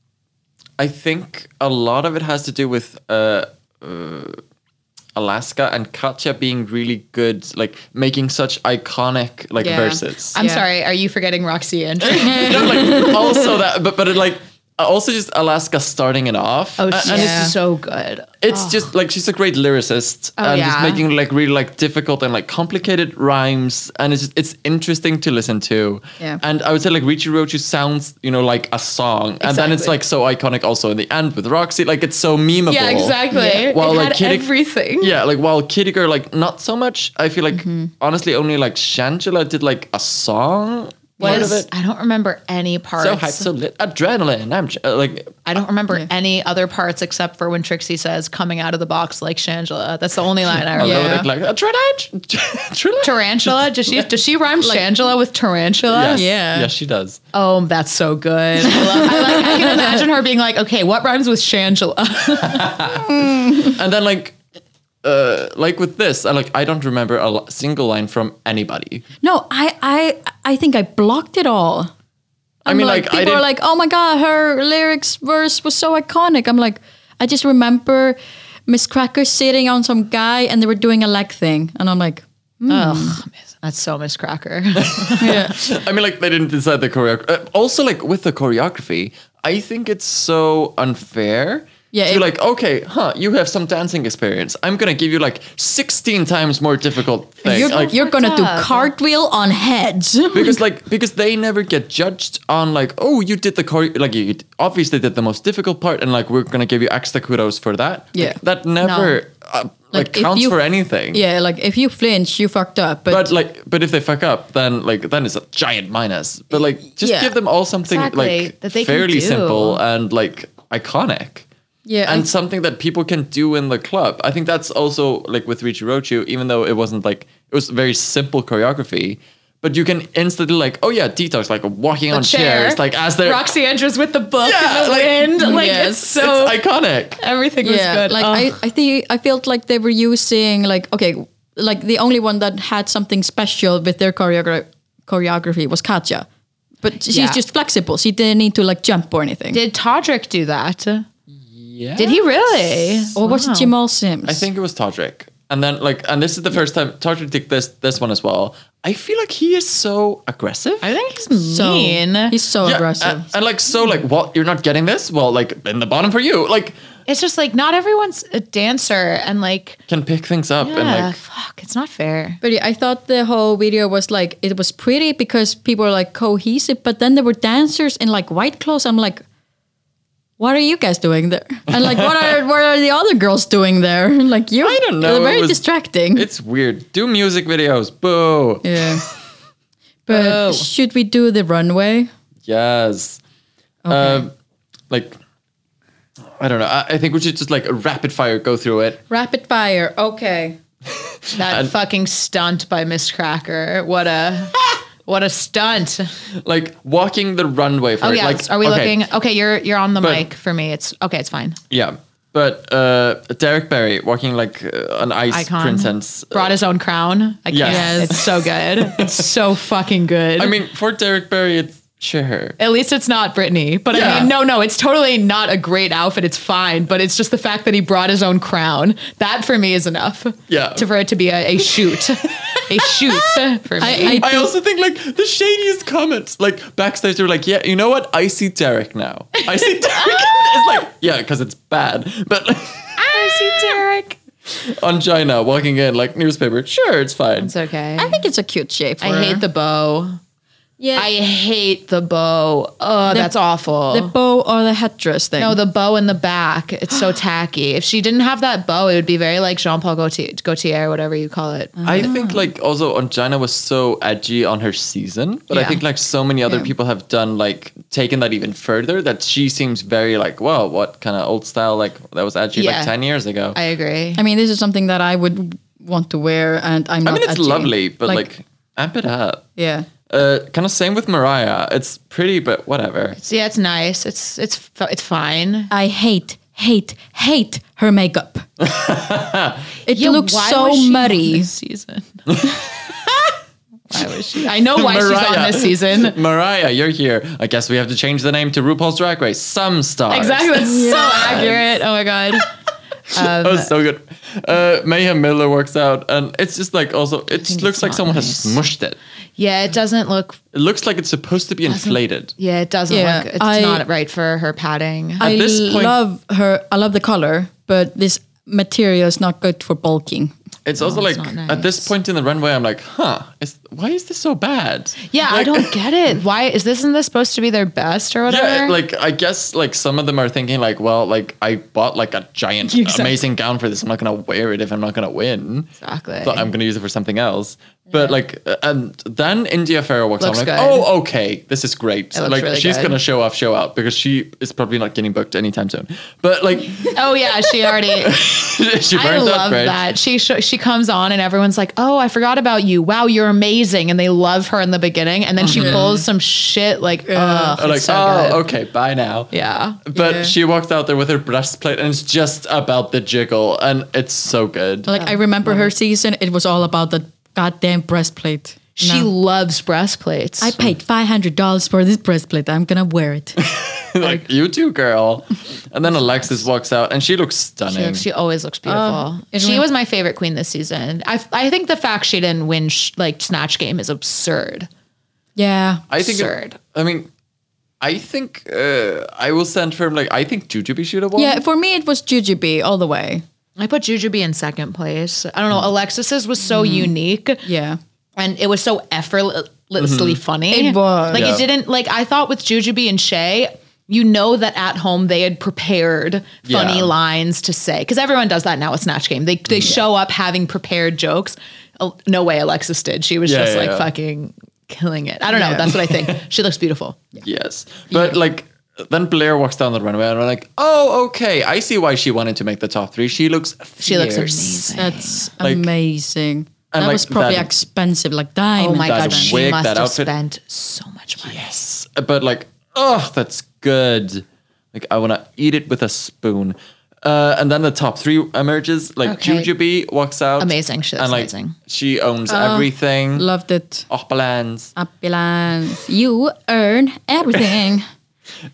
Speaker 3: I think a lot of it has to do with uh, uh, Alaska and Katya being really good, like making such iconic like
Speaker 2: Yeah.
Speaker 3: verses.
Speaker 4: I'm
Speaker 2: Yeah.
Speaker 4: sorry, are you forgetting Roxy Andrews?
Speaker 3: [LAUGHS] No, like also that, but but it, like also just Alaska starting it off.
Speaker 4: oh,
Speaker 3: and-
Speaker 4: she's
Speaker 3: and it's
Speaker 4: so good.
Speaker 3: It's just like she's a great lyricist
Speaker 4: Oh,
Speaker 3: and just
Speaker 4: yeah.
Speaker 3: making like really like difficult and like complicated rhymes and it's just, it's interesting to listen to.
Speaker 2: Yeah.
Speaker 3: And I would say like Richie Roach sounds, you know, like a song. And then it's
Speaker 4: Exactly.
Speaker 3: like so iconic also in the end with Roxy. Like it's so memeable.
Speaker 2: Yeah.
Speaker 3: Well, It like, had Kitty-
Speaker 4: everything.
Speaker 3: Yeah, like while Kitty Girl, like not so much. I feel like honestly only like Shangela did like a song part of it.
Speaker 4: Was, I don't remember any parts.
Speaker 3: So hyped, so lit, adrenaline. I'm j- uh, like
Speaker 4: I don't remember any other parts except for when Trixie says coming out of the box like Shangela. That's the only line I remember.
Speaker 2: Yeah.
Speaker 3: yeah. like, like adrenaline. [LAUGHS]
Speaker 4: Tarantula? Does she does she rhyme Shangela with tarantula?
Speaker 3: Yes.
Speaker 2: Yeah.
Speaker 3: Yes, she does.
Speaker 4: Oh, that's so good. I, love, I, like, I can
Speaker 3: [LAUGHS]
Speaker 4: imagine her being like, okay, what rhymes with Shangela?
Speaker 3: and then like uh, like with this, I like I don't remember a li- single line from anybody.
Speaker 2: No, I I I think I blocked it all.
Speaker 3: I
Speaker 2: I'm
Speaker 3: mean, like, I
Speaker 2: people are
Speaker 3: didn't-
Speaker 2: like, oh my god, her lyrics verse was so iconic. I'm like, I just remember Miss Cracker sitting on some guy and they were doing a leg thing, and I'm like,
Speaker 3: Mm.
Speaker 4: Ugh, miss- that's so
Speaker 3: [LAUGHS]
Speaker 4: Miss Cracker.
Speaker 2: yeah.
Speaker 3: I mean, like they didn't decide the choreography. Uh, also, like with the choreography, I think it's so unfair.
Speaker 2: Yeah,
Speaker 3: To
Speaker 2: it-
Speaker 3: like, okay, huh? You have some dancing experience. I'm gonna give you like 16 times more difficult things.
Speaker 2: you're,
Speaker 3: like,
Speaker 2: you're gonna do
Speaker 4: fucked up.
Speaker 2: cartwheel on heads. [LAUGHS]
Speaker 3: because like because they never get judged on like oh you did the choreo like you, you obviously did the most difficult part and like we're gonna give you extra kudos for that
Speaker 2: Yeah.
Speaker 3: Like, that never uh, like,
Speaker 2: if
Speaker 3: counts
Speaker 2: you-
Speaker 3: for anything
Speaker 2: yeah, like if you flinch, you fucked up. But,
Speaker 3: but like but if they fuck up then like then it's a giant minus but like just
Speaker 2: Yeah.
Speaker 3: give them all something
Speaker 4: Exactly,
Speaker 3: like
Speaker 4: that they can
Speaker 3: fairly
Speaker 4: do.
Speaker 3: simple and like iconic
Speaker 2: yeah,
Speaker 3: and
Speaker 2: I-
Speaker 3: something that people can do in the club. I think that's also like with Rochu, even though it wasn't like it was very simple choreography, but you can instantly like, oh yeah, detox, like walking on
Speaker 4: chair.
Speaker 3: chairs, like as they're [LAUGHS]
Speaker 4: Roxy enters with the book
Speaker 3: Yeah,
Speaker 4: in the
Speaker 3: like-
Speaker 4: wind. Like
Speaker 2: Yes.
Speaker 4: it's so
Speaker 3: it's iconic.
Speaker 4: everything was
Speaker 2: yeah.
Speaker 4: good. Oh.
Speaker 2: Like
Speaker 3: Oh.
Speaker 4: Ugh.
Speaker 2: I, I think I felt like they were using like okay, like the only one that had something special with their choreogra- choreography was Katja, but she's
Speaker 4: Yeah.
Speaker 2: just flexible. She didn't need to like jump or anything.
Speaker 4: Did Todrick do that?
Speaker 3: Yeah.
Speaker 4: Did he really?
Speaker 2: or was it Jamal Sims?
Speaker 3: I think it was Todrick. And then like and this is the first time Todrick did this this one as well. I feel like he is so aggressive.
Speaker 4: I think he's
Speaker 2: so.
Speaker 4: mean.
Speaker 2: He's so
Speaker 3: Yeah, uh,
Speaker 2: aggressive.
Speaker 3: And, and like so like what you're not getting this? Well like in the bottom for you. Like
Speaker 4: it's just like not everyone's a dancer and like
Speaker 3: can pick things up and
Speaker 4: yeah,
Speaker 3: like
Speaker 4: fuck, it's not fair.
Speaker 2: But yeah, I thought the whole video was like it was pretty because people were like cohesive, but then there were dancers in like white clothes. I'm like, what are you guys doing there? And like, what are what are the other girls doing there? [LAUGHS] Like you, I
Speaker 3: don't know, it
Speaker 2: Very
Speaker 3: was-
Speaker 2: distracting.
Speaker 3: It's weird. Do music videos. Boo.
Speaker 2: yeah. [LAUGHS] But
Speaker 4: Oh.
Speaker 2: should we do the runway?
Speaker 3: Yes. Um, like, I don't know. I, I think we should just like rapid fire go through it.
Speaker 2: Rapid fire.
Speaker 3: [LAUGHS]
Speaker 2: Okay.
Speaker 4: That
Speaker 3: And-
Speaker 4: fucking stunt by Miss Cracker.
Speaker 3: [LAUGHS]
Speaker 4: What a what a stunt.
Speaker 3: Like walking the runway for
Speaker 4: Oh
Speaker 3: it.
Speaker 4: yeah.
Speaker 3: Like,
Speaker 4: Are we
Speaker 3: okay,
Speaker 4: looking okay, you're you're on the
Speaker 3: But-
Speaker 4: mic for me. It's okay, it's fine.
Speaker 3: Yeah. But uh, Derek Barry walking like uh, an ice
Speaker 4: Icon.
Speaker 3: princess.
Speaker 4: Brought his own crown. I
Speaker 3: Yes.
Speaker 4: can't. It's so good. It's so fucking good.
Speaker 3: I mean, for Derek Barry, it's sure.
Speaker 4: At least it's not Britney. But
Speaker 3: Yeah.
Speaker 4: I mean, no, no, it's totally not a great outfit. It's fine. But it's just the fact that he brought his own crown. That for me is enough.
Speaker 3: Yeah.
Speaker 4: To, for it to be a, a shoot. a shoot for me.
Speaker 2: I, I
Speaker 3: I also think like the shadiest comments, like backstage, they were like, "Yeah, you know what? I see Derek now. I
Speaker 4: [LAUGHS]
Speaker 3: see Derek." it's like, yeah, because it's bad. But [LAUGHS]
Speaker 4: I see Derek.
Speaker 3: on China, walking in like newspaper, sure, it's fine.
Speaker 4: It's okay.
Speaker 2: I think it's a cute shape. for
Speaker 4: I hate
Speaker 2: her.
Speaker 4: the bow.
Speaker 2: yeah
Speaker 4: I hate the bow. Oh, that's awful.
Speaker 2: the bow or the headdress thing.
Speaker 4: no, the bow in the back. It's [GASPS] so tacky. If she didn't have that bow, it would be very like Jean Paul Gaultier, Gaultier, whatever you call it.
Speaker 3: I think like also Angina was so edgy on her season, but I
Speaker 4: Yeah.
Speaker 3: think like so many other
Speaker 4: Yeah.
Speaker 3: people have done like taken that even further that she seems very like wow what kind of old style like that was edgy
Speaker 4: Yeah.
Speaker 3: like ten years ago.
Speaker 4: I
Speaker 3: I,
Speaker 4: agree.
Speaker 2: I mean, this is something that I would want to wear, and I'm. not
Speaker 3: mean it's
Speaker 2: edgy.
Speaker 3: lovely, but like, amp it up.
Speaker 2: yeah.
Speaker 3: Uh, kind of same with Mariah. It's pretty, but whatever.
Speaker 4: So yeah, it's nice. It's it's fi- it's fine.
Speaker 2: I hate, hate, hate her
Speaker 3: [LAUGHS]
Speaker 2: makeup. it
Speaker 4: Yeah,
Speaker 2: looks
Speaker 4: why
Speaker 2: so
Speaker 4: was she on
Speaker 2: muddy.
Speaker 4: this
Speaker 3: [LAUGHS]
Speaker 4: season. why was she? I know why she's on
Speaker 3: Mariah.
Speaker 4: this season.
Speaker 3: [LAUGHS] Mariah, you're here. I guess we have to change the name to RuPaul's Drag Race. Some stars.
Speaker 4: Exactly. That's so accurate. Oh my god.
Speaker 3: That was Oh, so good. Uh, Mayhem Miller works out, and it's just like also it just
Speaker 4: think
Speaker 3: looks
Speaker 4: it's
Speaker 3: like
Speaker 4: not
Speaker 3: someone
Speaker 4: nice.
Speaker 3: has smushed it.
Speaker 4: Yeah, it doesn't look.
Speaker 3: It looks like it's supposed to be inflated.
Speaker 4: Yeah, it doesn't
Speaker 2: Yeah,
Speaker 4: look. It's
Speaker 2: I-
Speaker 4: not right for her padding.
Speaker 2: I
Speaker 3: this point-
Speaker 2: love her. I love the color, but this material is not good for bulking.
Speaker 3: It's also like
Speaker 4: Oh, it's not
Speaker 3: at this
Speaker 4: nice.
Speaker 3: point in the runway, I'm like, huh, is, why is this so bad?
Speaker 4: yeah, I
Speaker 3: Like-
Speaker 4: don't get it. Why is this? Isn't this supposed to be their best or whatever?
Speaker 3: Yeah, like I guess like some of them are thinking like, well, like I bought like a giant
Speaker 4: [LAUGHS] Exactly.
Speaker 3: amazing gown for this. I'm not gonna wear it if I'm not gonna win.
Speaker 4: Exactly.
Speaker 3: So I'm gonna use it for something else. But like, uh, and then India Farrow walks out. I'm
Speaker 4: Looks
Speaker 3: like,
Speaker 4: good.
Speaker 3: oh, okay, this is great.
Speaker 4: looks
Speaker 3: like,
Speaker 4: really
Speaker 3: she's
Speaker 4: good.
Speaker 3: gonna show off, show out because she is probably not getting booked anytime soon. But like, [LAUGHS]
Speaker 4: Oh yeah, she already.
Speaker 3: she
Speaker 4: I
Speaker 3: burned that
Speaker 4: love
Speaker 3: bridge.
Speaker 4: that. She sh- she comes on and everyone's like, "Oh, I forgot about you. Wow, you're amazing." And they love her in the beginning, and then she pulls some shit like, "Ugh,
Speaker 3: I'm
Speaker 4: it's
Speaker 3: Mm-hmm. like,
Speaker 4: so
Speaker 3: oh,
Speaker 4: good."
Speaker 3: okay, bye now.
Speaker 4: yeah."
Speaker 3: But
Speaker 2: Yeah.
Speaker 3: she walked out there with her breastplate, and it's just about the jiggle, and it's so good.
Speaker 2: Like I remember her season, Oh, it was all about the goddamn breastplate.
Speaker 4: She
Speaker 2: No.
Speaker 4: loves breastplates.
Speaker 2: I paid five hundred dollars for this breastplate. I'm gonna wear
Speaker 3: [LAUGHS]
Speaker 2: it.
Speaker 3: like you too, girl. And then Alexis walks out, and she looks stunning.
Speaker 4: She, looks- she always looks beautiful.
Speaker 2: it
Speaker 4: she
Speaker 2: went-
Speaker 4: was my favorite queen this season. I, I think the fact she didn't win sh- like snatch game is absurd.
Speaker 2: yeah.
Speaker 3: I think.
Speaker 4: absurd.
Speaker 3: I mean, I think uh, I will stand firm. Like I think Jujubee should have won.
Speaker 2: yeah, for me it was Jujubee all the way.
Speaker 4: I put Jujubee in second place. I don't know. Alexis's was so unique
Speaker 2: Yeah.
Speaker 4: and it was so effortlessly funny.
Speaker 2: It was.
Speaker 4: like
Speaker 3: Mm-hmm. Yeah.
Speaker 4: it didn't like I thought with Jujubee and Shay. You know that at home they had prepared funny
Speaker 3: Yeah.
Speaker 4: lines to say because everyone does that now with Snatch Game. They they show up having prepared jokes. Oh, No way, Alexis did. She was
Speaker 3: Yeah,
Speaker 4: just
Speaker 3: yeah,
Speaker 4: like
Speaker 3: yeah.
Speaker 4: fucking killing it. I don't know.
Speaker 2: Yeah.
Speaker 4: That's what I think. she looks beautiful.
Speaker 3: Yes, but like then Blair walks down the runway, and we're like, oh, okay, I see why she wanted to make the top three. She looks. Fierce.
Speaker 4: She looks amazing.
Speaker 2: That's
Speaker 3: Like-
Speaker 2: amazing. That
Speaker 3: like
Speaker 2: was probably
Speaker 3: that-
Speaker 2: expensive, like diamond.
Speaker 4: Oh my
Speaker 3: That
Speaker 4: god, she
Speaker 3: wig,
Speaker 4: must
Speaker 3: that
Speaker 4: have
Speaker 3: outfit.
Speaker 4: spent so much money.
Speaker 3: Yes, but like, oh, that's good. Like I want to eat it with a spoon. Uh, and then the top three emerges. Like
Speaker 4: Okay.
Speaker 3: Jujubee walks out.
Speaker 4: Amazing. She looks
Speaker 3: and, like,
Speaker 4: amazing. Oh.
Speaker 3: She owns everything.
Speaker 2: Loved it.
Speaker 3: Opalans.
Speaker 2: Appelance. You earn
Speaker 3: [LAUGHS]
Speaker 2: everything.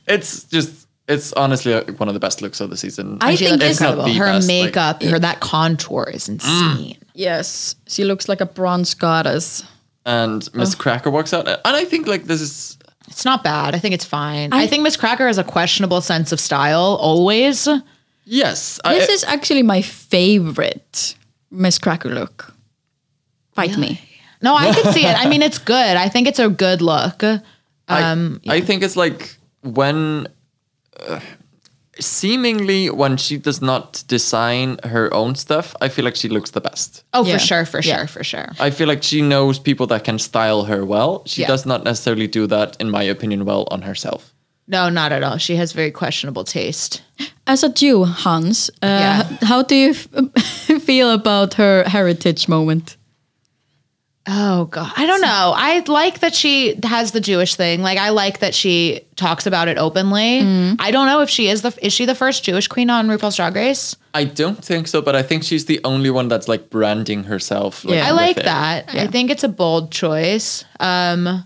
Speaker 3: It's just, it's honestly like, one of the best looks of the season.
Speaker 2: I
Speaker 4: she
Speaker 2: think
Speaker 4: looks
Speaker 2: it's
Speaker 3: not
Speaker 4: incredible.
Speaker 3: the
Speaker 4: Her
Speaker 3: best, like- Mm.
Speaker 4: makeup, her that contour is insane.
Speaker 2: yes. She looks like a bronze goddess.
Speaker 3: and Miss Cracker walks out. And I think like this is,
Speaker 4: It's not bad. I think it's fine. I, think Miss Cracker has a questionable sense of style always.
Speaker 3: yes. I, uh,
Speaker 2: This is actually my favorite Miss Cracker look. Fight me.
Speaker 4: No, I could see it. I mean, it's good. I think it's a good look.
Speaker 3: I, I think it's like when, uh, seemingly when she does not design her own stuff, I feel like she looks the best.
Speaker 4: Oh,
Speaker 2: Yeah.
Speaker 4: for sure, for
Speaker 2: Yeah.
Speaker 4: sure, for sure.
Speaker 3: I feel like she knows people that can style her well. She
Speaker 4: Yeah.
Speaker 3: does not necessarily do that, in my opinion, well on herself.
Speaker 4: No, not at all. She has very questionable taste.
Speaker 2: As a Jew, Hans, uh,
Speaker 4: Yeah.
Speaker 2: h- how do you f- [LAUGHS] feel about her heritage moment?
Speaker 4: Oh god, I don't know. I like that she has the Jewish thing. Like I like that she talks about it openly. I don't know if she is the is she the first Jewish queen on RuPaul's Drag Race?
Speaker 3: I don't think so, but I think she's the only one that's like branding herself.
Speaker 2: Yeah.
Speaker 4: I
Speaker 3: with
Speaker 4: like
Speaker 3: it.
Speaker 4: that. I think it's a bold choice. Um,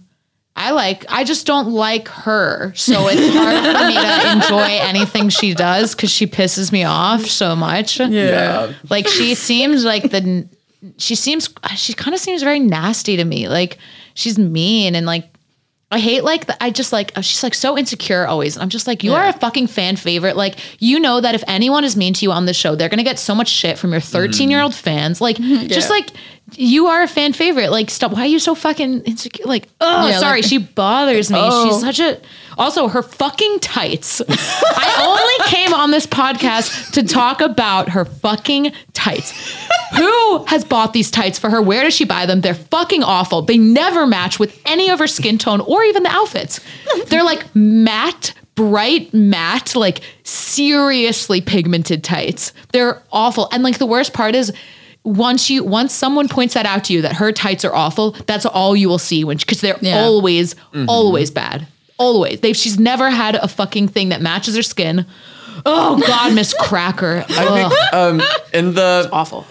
Speaker 4: I like. I just don't like her, so it's hard for
Speaker 3: [LAUGHS]
Speaker 4: me to enjoy anything she does because she pisses me off so much.
Speaker 3: Yeah.
Speaker 4: Like she seems like the. She seems. She kind of seems very nasty to me. Like she's mean and like. I hate like the, I just like oh, she's like so insecure always. And I'm just like you are a fucking fan favorite. Like you know that if anyone is mean to you on this show, they're gonna get so much shit from your 13 year
Speaker 2: Mm.
Speaker 4: old
Speaker 2: [LAUGHS]
Speaker 4: fans. Like just like you are a fan favorite. Like stop. Why are you so fucking insecure? Like oh
Speaker 2: Yeah,
Speaker 4: sorry,
Speaker 2: like-
Speaker 4: she bothers me.
Speaker 2: Oh.
Speaker 4: She's such a also her fucking tights. I only came on this podcast to talk about her fucking tights. Who has bought these tights for her? Where does she buy them? They're fucking awful. They never match with any of her skin tone or even the outfits. They're like matte, bright matte, like seriously pigmented tights. They're awful. And like the worst part is once you once someone points that out to you that her tights are awful, that's all you will see when because they're
Speaker 2: Yeah.
Speaker 4: always always bad. Always. They she's never had a fucking thing that matches her skin. Oh god, Miss Cracker.
Speaker 3: I
Speaker 4: Ugh,
Speaker 3: think, um, [LAUGHS] in the
Speaker 4: awful.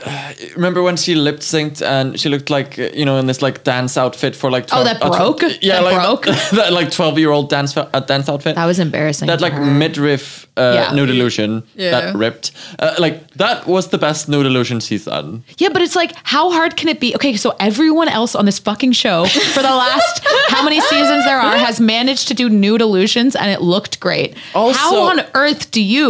Speaker 3: remember when she lip synced and she looked like uh, you know in this like dance outfit for like 12,
Speaker 4: Oh, that
Speaker 3: uh, tw-
Speaker 4: broke?
Speaker 3: yeah
Speaker 4: That
Speaker 3: like
Speaker 4: broke?
Speaker 3: [LAUGHS] that like twelve year old dance uh, dance outfit
Speaker 4: That was embarrassing.
Speaker 3: that
Speaker 4: for
Speaker 3: like
Speaker 4: her.
Speaker 3: midriff uh,
Speaker 4: Yeah.
Speaker 3: nude illusion
Speaker 2: Yeah.
Speaker 3: that ripped uh, like that was the best nude illusion she's done
Speaker 4: Yeah, but it's like, how hard can it be? Okay, so everyone else on this fucking show for the
Speaker 3: [LAUGHS]
Speaker 4: last how many seasons there are has managed to do nude illusions and it looked great.
Speaker 3: Also-
Speaker 4: how on earth do you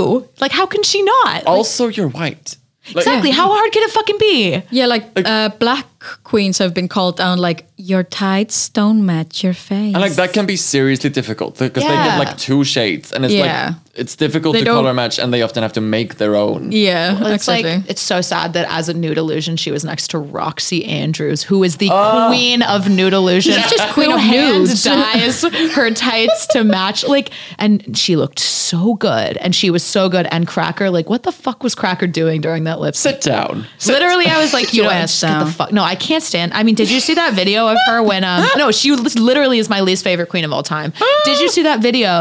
Speaker 4: like? How can she not?
Speaker 3: also you're white Like-
Speaker 4: exactly. How hard can it fucking be?
Speaker 2: Yeah, like uh, black queens have been called down, like your tights don't match your face.
Speaker 3: And like that can be seriously difficult because they
Speaker 4: Yeah.
Speaker 3: get like two shades, and it's
Speaker 4: Yeah.
Speaker 3: like it's difficult
Speaker 5: They
Speaker 3: to
Speaker 5: don't-
Speaker 3: color match, and they often have to make their own.
Speaker 5: Yeah,
Speaker 4: [LAUGHS] It's
Speaker 5: exactly.
Speaker 4: like it's so sad that as a nude illusion, she was next to Roxy Andrews, who is the queen of nude illusion.
Speaker 5: She's just queen of nudes.
Speaker 4: [LAUGHS] Dyes her tights to match, like, and she looked so good, and she was so good. And Cracker, like, what the fuck was Cracker doing during that lip?
Speaker 3: Sit down.
Speaker 4: Literally, I was like, you know
Speaker 5: Your
Speaker 4: what?
Speaker 5: ass
Speaker 4: Just get the
Speaker 5: down.
Speaker 4: fuck. No, I can't stand. I mean, did you see that video of her when? Um, no, she li- literally is my least favorite queen of all time. Did you see that video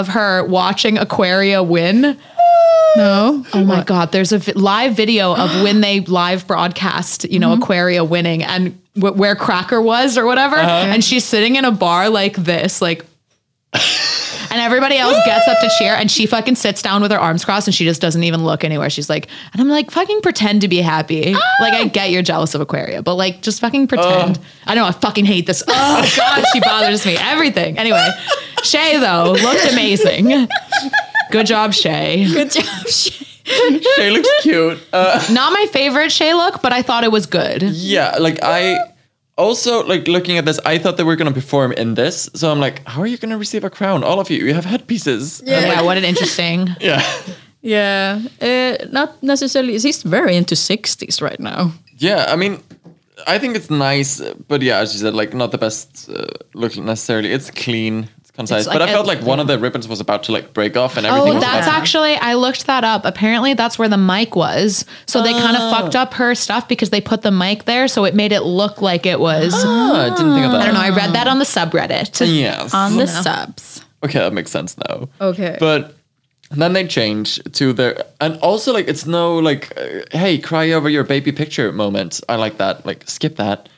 Speaker 4: of her watching Aquaria win?
Speaker 5: no.
Speaker 4: Oh my God, there's a vi- live video of when they live broadcast, you know, Aquaria winning and wh- where Cracker was or whatever. And she's sitting in a bar like this, like, and everybody else gets up to cheer and she fucking sits down with her arms crossed and she just doesn't even look anywhere. She's like, and I'm like, fucking pretend to be happy. Like, I get you're jealous of Aquaria, but like, just fucking pretend. I know, I fucking hate this. Oh God, she bothers me. Everything. Anyway, Shay, though, looked amazing. Good job, Shay.
Speaker 2: Good job. Shay.
Speaker 3: She looks cute.
Speaker 4: Not my favorite Shay look, but I thought it was good.
Speaker 3: Yeah, like I also like looking at this, I thought they were gonna perform in this. So I'm like, how are you gonna receive a crown? All of you, you have headpieces. Um,
Speaker 4: Yeah, what an interesting.
Speaker 3: Yeah. [LAUGHS]
Speaker 5: Yeah, [LAUGHS] uh, not necessarily. He's very into sixties right now.
Speaker 3: Yeah, I mean I think it's nice, but yeah, as you said, like not the best uh, look necessarily. It's clean, it's concise.
Speaker 4: It's
Speaker 3: but
Speaker 4: like
Speaker 3: I felt
Speaker 4: a-
Speaker 3: like one of the ribbons was about to like break off and everything.
Speaker 4: Oh,
Speaker 3: was
Speaker 4: that's
Speaker 3: about-
Speaker 4: actually I looked that up. Apparently, that's where the mic was. So they kind of fucked up her stuff because they put the mic there, so it made it look like it was.
Speaker 3: Ah, I didn't think of that.
Speaker 4: I don't know. I read that on the subreddit.
Speaker 3: Yes.
Speaker 5: On the subs.
Speaker 3: okay, that makes sense now.
Speaker 5: Okay.
Speaker 3: But then they change to their and also like it's no like uh, hey cry over your baby picture moment. I like that. Like skip that.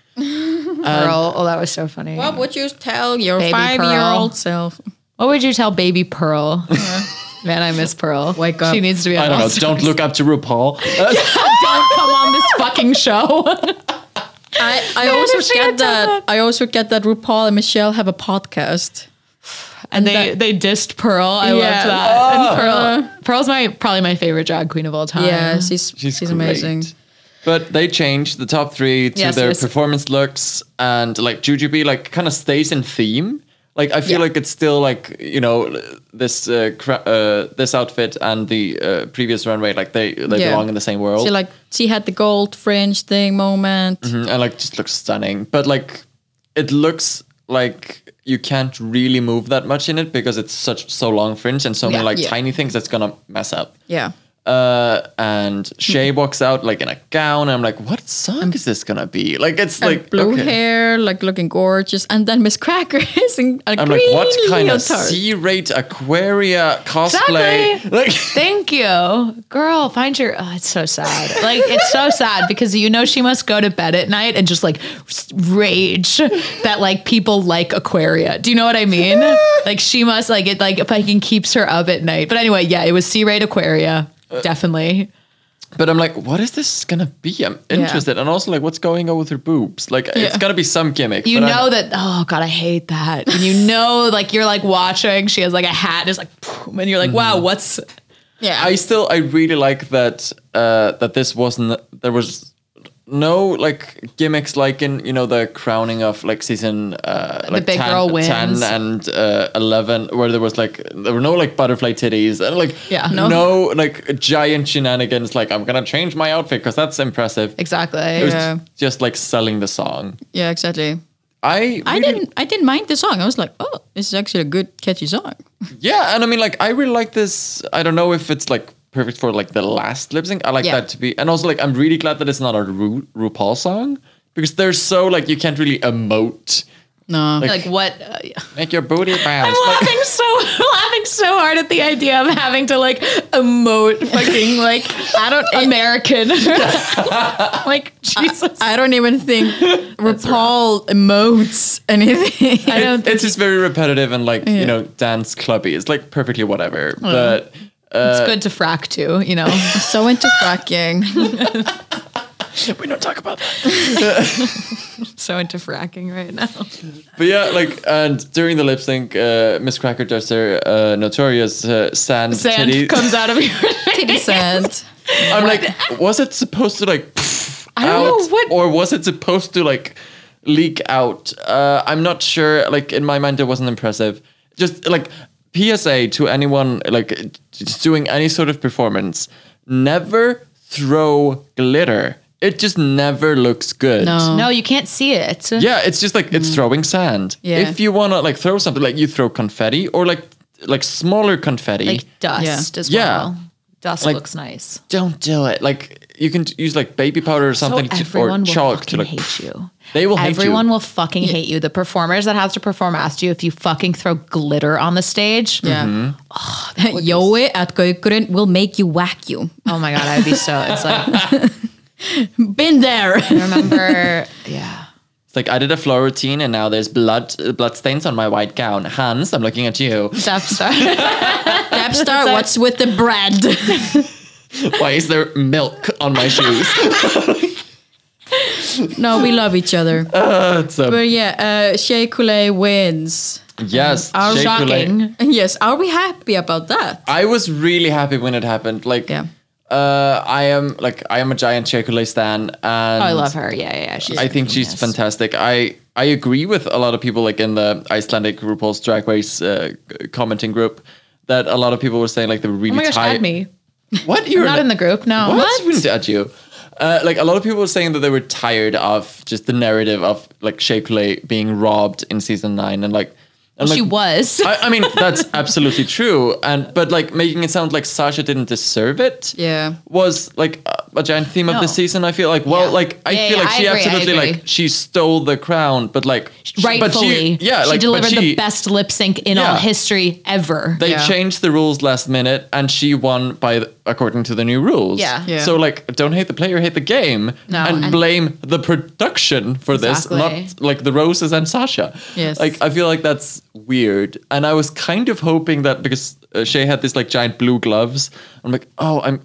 Speaker 4: Pearl. Oh, that was so funny.
Speaker 5: What would you tell your
Speaker 4: Baby
Speaker 5: five-year-old
Speaker 4: Pearl.
Speaker 5: self?
Speaker 4: What would you tell baby Pearl? [LAUGHS] Man, I miss Pearl.
Speaker 5: Wake up.
Speaker 4: She needs to be.
Speaker 3: I
Speaker 4: on
Speaker 3: don't know.
Speaker 4: All
Speaker 3: Don't look up to RuPaul. Uh,
Speaker 4: [LAUGHS] Don't come on this fucking show.
Speaker 5: I,
Speaker 3: [LAUGHS]
Speaker 5: I
Speaker 4: if
Speaker 5: also
Speaker 4: she had
Speaker 5: get that,
Speaker 4: done
Speaker 5: I also get that RuPaul and Michelle have a podcast.
Speaker 4: and they they dissed Pearl. I
Speaker 5: Yeah. Oh.
Speaker 4: loved that. And Pearl, Pearl's my probably my favorite drag queen of all time.
Speaker 5: uh, yeah, she's she's,
Speaker 3: she's
Speaker 5: amazing.
Speaker 3: great. But they changed the top three to
Speaker 4: Yes,
Speaker 3: their
Speaker 4: yes.
Speaker 3: performance looks and like Jujubee like kind of stays in theme. Like I feel
Speaker 4: Yeah.
Speaker 3: like it's still like you know this uh, cra- uh this outfit and the uh, previous runway like they they
Speaker 5: Yeah.
Speaker 3: belong in the same world.
Speaker 5: She like she had the gold fringe thing moment.
Speaker 3: Mhm, and like just looks stunning. But like it looks like you can't really move that much in it because it's such so long fringe and so many
Speaker 4: Yeah,
Speaker 3: like
Speaker 5: yeah.
Speaker 3: tiny things that's gonna mess up.
Speaker 5: Yeah,
Speaker 3: Uh, and Shay
Speaker 5: Hmm.
Speaker 3: walks out like in a gown. And I'm like, what song is this gonna be? Like it's
Speaker 5: and
Speaker 3: like
Speaker 5: blue
Speaker 3: okay.
Speaker 5: hair, like looking gorgeous, and then Miss Cracker [LAUGHS] is in a
Speaker 3: I'm like,
Speaker 5: green
Speaker 3: what kind of
Speaker 5: leotard.
Speaker 3: C-rate Aquaria cosplay?
Speaker 4: Exactly.
Speaker 3: Like, [LAUGHS]
Speaker 4: Thank you. Girl, find your oh, it's so sad. Like it's so sad because you know she must go to bed at night and just like s- rage that like people like Aquaria. Do you know what
Speaker 3: [LAUGHS]
Speaker 4: I mean? like she must like it like fucking keeps her up at night. But anyway, yeah, it was C rate Aquaria.
Speaker 3: Uh,
Speaker 4: Definitely.
Speaker 3: but I'm like, what is this gonna be? I'm interested, and also like, what's going on with her boobs? Like, it's gotta be some gimmick.
Speaker 4: You
Speaker 3: but I'm-
Speaker 4: know that oh god, I hate that. And you know like you're like watching, she has like a hat and it's like poof, and you're
Speaker 3: Mm-hmm.
Speaker 4: like, wow, what's
Speaker 5: yeah,
Speaker 3: I still I really like that uh that this wasn't there was no like gimmicks like in you know the crowning of like season uh like
Speaker 4: big girl wins.
Speaker 3: 10 and uh 11 where there was like there were no like butterfly titties and like
Speaker 4: Yeah.
Speaker 3: no, like giant shenanigans like I'm gonna change my outfit because that's impressive
Speaker 4: exactly.
Speaker 3: it was
Speaker 5: Yeah.
Speaker 3: just like selling the song
Speaker 5: yeah, exactly.
Speaker 3: I
Speaker 5: I
Speaker 3: really-
Speaker 5: didn't I didn't mind the song. I was like, oh, this is actually a good catchy song.
Speaker 3: Yeah, and I mean, like, I really like this. I don't know if it's like perfect for like the last lip sync. I like
Speaker 5: Yeah.
Speaker 3: that to be, and also like, I'm really glad that it's not a Ru- RuPaul song because they're so like you can't really emote.
Speaker 5: No,
Speaker 4: like what uh,
Speaker 3: Make your booty bounce.
Speaker 4: I'm
Speaker 3: Like,
Speaker 4: laughing so [LAUGHS] laughing so hard at the idea of having to like emote fucking like I [LAUGHS] don't American like Jesus.
Speaker 5: I don't even
Speaker 3: [LAUGHS]
Speaker 5: think RuPaul emotes anything.
Speaker 4: I don't
Speaker 3: it's just very repetitive and like you know dance clubby. It's like perfectly whatever. But Uh,
Speaker 4: it's good to frack too, you [LAUGHS] know.
Speaker 5: so into [LAUGHS] fracking.
Speaker 3: we don't talk about that.
Speaker 4: [LAUGHS] so into fracking right now. [LAUGHS]
Speaker 3: But yeah, like, and during the lip sync, uh, Miss Cracker does her uh, notorious uh, sand,
Speaker 4: Sand
Speaker 3: titty.
Speaker 4: comes out of your [LAUGHS]
Speaker 5: Titty sand.
Speaker 3: I'm like, was it supposed to like? I
Speaker 4: don't know what-
Speaker 3: Or was it supposed to like leak out. Uh, I'm not sure. Like in my mind, it wasn't impressive. Just like PSA to anyone like just doing any sort of performance, never throw glitter. It just never looks good.
Speaker 4: No, Mm. you can't see it.
Speaker 3: Yeah, it's just like it's throwing sand.
Speaker 2: Yeah.
Speaker 3: If you wanna like throw something, like you throw confetti or like like smaller confetti,
Speaker 4: Like dust as
Speaker 3: Yeah.
Speaker 4: well. Dust
Speaker 3: Like-
Speaker 4: looks nice.
Speaker 3: don't do it. Like you can t- use like baby powder or something to,
Speaker 4: so
Speaker 3: or
Speaker 4: everyone will
Speaker 3: chalk
Speaker 4: fucking
Speaker 3: to like.
Speaker 4: hate you.
Speaker 3: [LAUGHS] They will hate you.
Speaker 4: everyone will fucking hate you. The performers that have to perform after you, if you fucking throw glitter on the stage,
Speaker 2: Yeah.
Speaker 3: Mm-hmm.
Speaker 2: Jói Oh, at Gaukurinn will make you whack you.
Speaker 4: oh my god, I'd be so. It's like
Speaker 2: Been [LAUGHS] there.
Speaker 4: I remember, yeah.
Speaker 3: It's like I did a floor routine and now there's blood uh, blood stains on my white gown. Hans, I'm looking at you. [LAUGHS]
Speaker 4: Steph [LAUGHS] Star.
Speaker 5: [LAUGHS]
Speaker 2: Dapstar, what's with the bread?
Speaker 3: Why is there milk on my shoes?
Speaker 4: [LAUGHS]
Speaker 2: no, we love each other.
Speaker 3: Uh, That's a-
Speaker 2: But yeah, uh, Shea Coulee wins.
Speaker 3: yes,
Speaker 2: Our
Speaker 3: Shea Coulee.
Speaker 4: um, shocking.
Speaker 2: [LAUGHS] Yes, are we happy about that?
Speaker 3: I was really happy when it happened. Like,
Speaker 2: Yeah.
Speaker 3: uh, I am like I am a giant Chocolate stan, and
Speaker 4: Oh, I love her. Yeah, yeah, yeah. She's
Speaker 3: I think she's fantastic. I I agree with a lot of people like in the Icelandic RuPaul's Drag Race uh, g- commenting group that a lot of people were saying like they were really
Speaker 4: Oh my gosh,
Speaker 3: tired.
Speaker 4: add me.
Speaker 3: What you're
Speaker 4: Not in the group. No.
Speaker 3: What? I wouldn't at you. Uh, like a lot of people were saying that they were tired of just the narrative of like Shea Coulee being robbed in season nine and like and,
Speaker 4: She
Speaker 3: like,
Speaker 4: was.
Speaker 3: I, I mean that's absolutely true and but like making it sound like Sasha didn't deserve it
Speaker 2: Yeah.
Speaker 3: was like a, a giant theme of the
Speaker 4: No.
Speaker 3: season I feel like well
Speaker 4: Yeah.
Speaker 3: like I
Speaker 4: Yeah,
Speaker 3: feel
Speaker 4: yeah,
Speaker 3: like
Speaker 4: I
Speaker 3: she
Speaker 4: agree, I
Speaker 3: absolutely
Speaker 4: agree.
Speaker 3: like she stole the crown but like she- but she-
Speaker 4: Rightfully,
Speaker 3: yeah like
Speaker 4: she
Speaker 3: but
Speaker 4: delivered
Speaker 3: she-
Speaker 4: the best lip sync in all
Speaker 3: Yeah.
Speaker 4: history ever.
Speaker 3: they
Speaker 2: Yeah.
Speaker 3: changed the rules last minute and she won by the, according to the new rules
Speaker 4: Yeah. Yeah.
Speaker 3: so like don't hate the player hate the game
Speaker 4: No,
Speaker 3: and,
Speaker 4: and-
Speaker 3: blame the production for
Speaker 4: Exactly.
Speaker 3: this not like the roses and sasha
Speaker 2: Yes.
Speaker 3: like i feel like that's weird and i was kind of hoping that because uh, shay had this like giant blue gloves i'm like oh i'm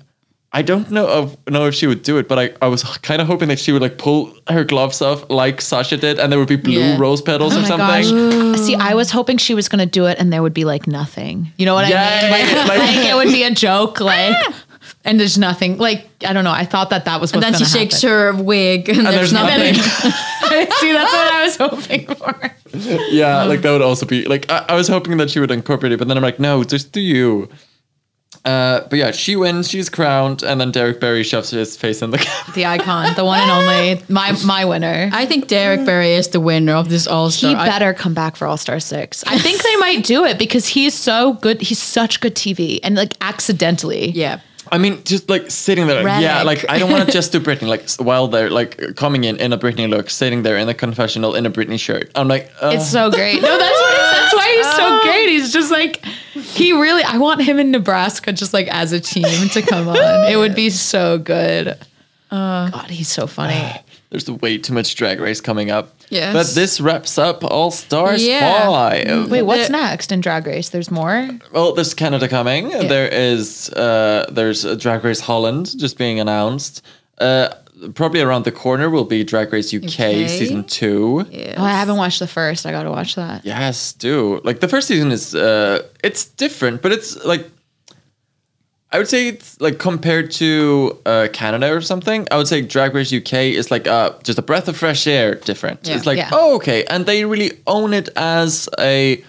Speaker 3: I don't know of, know if she would do it, but I, I was kind of hoping that she would like pull her gloves off like Sasha did, and there would be blue
Speaker 2: Yeah.
Speaker 3: rose petals or
Speaker 4: Oh my
Speaker 3: something.
Speaker 4: gosh. See, I was hoping she was going to do it and there would be like nothing. You know what
Speaker 3: Yay.
Speaker 4: I mean? Like,
Speaker 3: Like-
Speaker 4: like, it would be a [LAUGHS] joke, like, and there's nothing. Like, I don't know. I thought that that was
Speaker 2: And
Speaker 4: what's
Speaker 2: then she shakes her wig
Speaker 3: there's
Speaker 2: and, Oh, there's, nothing.
Speaker 3: nothing.
Speaker 4: her. See, that's [LAUGHS] what I was hoping for.
Speaker 3: yeah,
Speaker 2: Mm-hmm.
Speaker 3: like that would also be like I, I was hoping that she would incorporate it, but then I'm like, no, just do you. Uh, but yeah, she wins, she's crowned, and then Derek Barry shoves his face in the [LAUGHS] camera.
Speaker 4: The icon, the one and only, my my winner.
Speaker 2: [LAUGHS] I think Derek Barry is the winner of this All Star.
Speaker 4: he better come back for All Star Six. I think they might do it because he's so good. He's such good TV, and like accidentally,
Speaker 2: yeah.
Speaker 3: I mean, just like sitting there, like, yeah,
Speaker 4: Relic.
Speaker 3: like I don't want to
Speaker 2: [LAUGHS]
Speaker 3: just do Britney, like s- while they're like coming in in a Britney look, sitting there in the confessional in a Britney shirt. I'm like, uh,
Speaker 4: It's so great. No, that's what he's, that's why he's so great. He's just like he really. I want him in Nebraska, just like as a team to [LAUGHS] come on. It would be so good. God, he's so funny.
Speaker 3: there's way too much drag race coming up.
Speaker 2: Yes.
Speaker 3: But this wraps up All Stars
Speaker 2: Yeah.
Speaker 3: 5.
Speaker 4: Wait, what's
Speaker 2: Uh,
Speaker 4: next in Drag Race? There's more.
Speaker 3: Well, there's Canada coming. There is uh, there's uh, Drag Race Holland just being announced. Uh, probably around the corner will be Drag Race UK,
Speaker 2: Okay.
Speaker 3: season two.
Speaker 4: Oh, I haven't watched the first. I gotta watch that.
Speaker 3: Yes, do like the first season is uh, it's different, but it's like I would say it's like compared to uh, Canada or something. I would say Drag Race UK is like uh, just a breath of fresh air. Different.
Speaker 2: Yeah.
Speaker 3: It's like
Speaker 4: Yeah.
Speaker 3: oh okay, and they really own it as a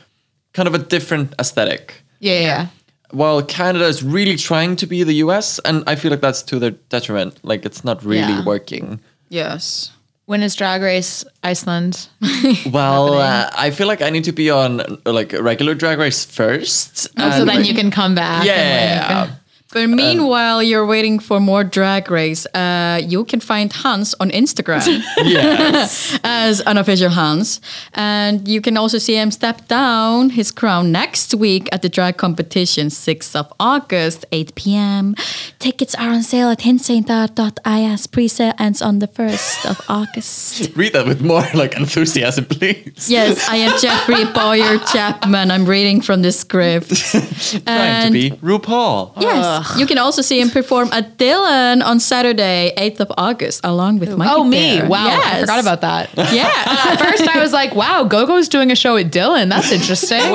Speaker 3: kind of a different aesthetic.
Speaker 4: Yeah, yeah. yeah.
Speaker 3: while Canada is really trying to be the US, and I feel like that's to their detriment. Like it's not really
Speaker 4: Yeah.
Speaker 3: working.
Speaker 2: Yes.
Speaker 4: When is Drag Race [LAUGHS] Iceland? Oh,
Speaker 3: Well, uh, I feel like I need to be on uh, like regular Drag Race first.
Speaker 4: Oh, so
Speaker 3: and,
Speaker 4: then
Speaker 3: like,
Speaker 4: you can come back. and,
Speaker 3: yeah.
Speaker 4: like-
Speaker 2: But meanwhile, you're waiting for more drag race. Uh, you can find Hans on [LAUGHS] Instagram
Speaker 4: [LAUGHS]
Speaker 3: yes.
Speaker 2: as unofficial Hans. And you can also see him step down his crown next week at the drag competition, 6th of August, 8 p.m. Tickets are on sale at hinseindar.is. Pre sale ends on the 1st of August.
Speaker 3: Read that with more like enthusiasm, please.
Speaker 2: Yes, I am Jeffrey Boyer Chapman. I'm reading from the script.
Speaker 3: Trying to
Speaker 2: And-
Speaker 3: be RuPaul.
Speaker 2: Yes, you can also see him perform at Dylan on Saturday, 8th of August, along with Mikey.
Speaker 4: Oh, me.
Speaker 2: Bear.
Speaker 4: Wow.
Speaker 2: Yes.
Speaker 4: I forgot about that.
Speaker 2: Yeah. [LAUGHS]
Speaker 4: At first, I was like, wow, Gogo's doing a show at Dylan. That's interesting.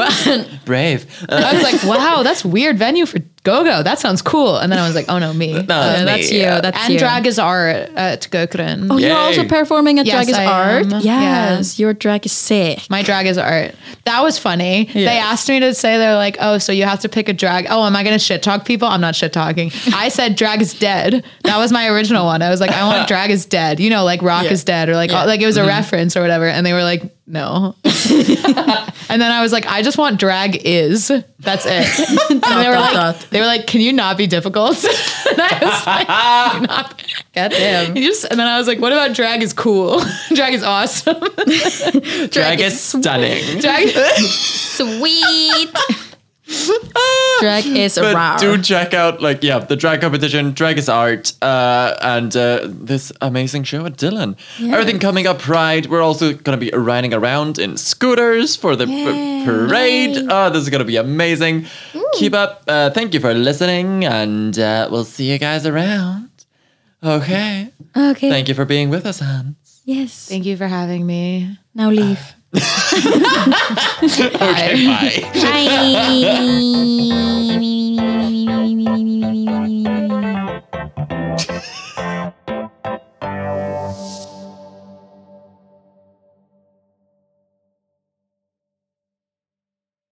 Speaker 3: Brave. Uh,
Speaker 4: I was like, wow, that's weird venue for go go, that sounds cool. And then I was like, oh no, me.
Speaker 3: that's
Speaker 4: Uh,
Speaker 3: me,
Speaker 2: that's you.
Speaker 3: yeah.
Speaker 2: That's
Speaker 4: and
Speaker 2: you.
Speaker 4: drag is art at Gökren.
Speaker 2: Oh, you're
Speaker 3: Yay.
Speaker 2: also performing at
Speaker 4: Yes,
Speaker 2: Drag is
Speaker 4: I
Speaker 2: Art.
Speaker 4: am.
Speaker 2: Yes, your drag is sick.
Speaker 4: My drag is art. That was funny. They
Speaker 2: Yes.
Speaker 4: asked me to say they're like, oh, so you have to pick a drag. Oh, am I gonna shit talk people? I'm not shit talking. I said drag is dead. That was my original one. I was like, I
Speaker 2: [LAUGHS]
Speaker 4: want drag is dead. You know, like rock
Speaker 2: Yeah.
Speaker 4: is dead, or like
Speaker 2: Yeah. Mm-hmm.
Speaker 4: like it was a reference or whatever. And they were like,
Speaker 2: [LAUGHS]
Speaker 4: no. and then I was like, I just want drag is. That's
Speaker 2: [LAUGHS]
Speaker 4: it. And they were
Speaker 2: dot,
Speaker 4: like,
Speaker 2: dot.
Speaker 4: they were like, can you not be difficult? [LAUGHS] and I was like, "Can you not be-"
Speaker 2: [LAUGHS] Goddamn.
Speaker 4: You just, and then I was like, what about drag is cool? [LAUGHS] drag is awesome.
Speaker 2: [LAUGHS]
Speaker 3: Drag is stunning.
Speaker 4: drag.
Speaker 2: Sweet. [LAUGHS]
Speaker 3: Ah!
Speaker 2: drag is
Speaker 3: But
Speaker 2: raw.
Speaker 3: do check out like yeah the drag competition, drag is art, uh, and uh, this amazing show at Dylan. Everything coming up Pride. We're also gonna be riding around in scooters for the p- parade. Oh, this is gonna be amazing. Keep up. Uh, thank you for listening, and uh, we'll see you guys around. Okay.
Speaker 2: okay.
Speaker 3: Thank you for being with us, Hans.
Speaker 2: yes.
Speaker 4: Thank you for having me.
Speaker 2: Now leave.
Speaker 3: Okay. Bye.
Speaker 2: [LAUGHS] Bye.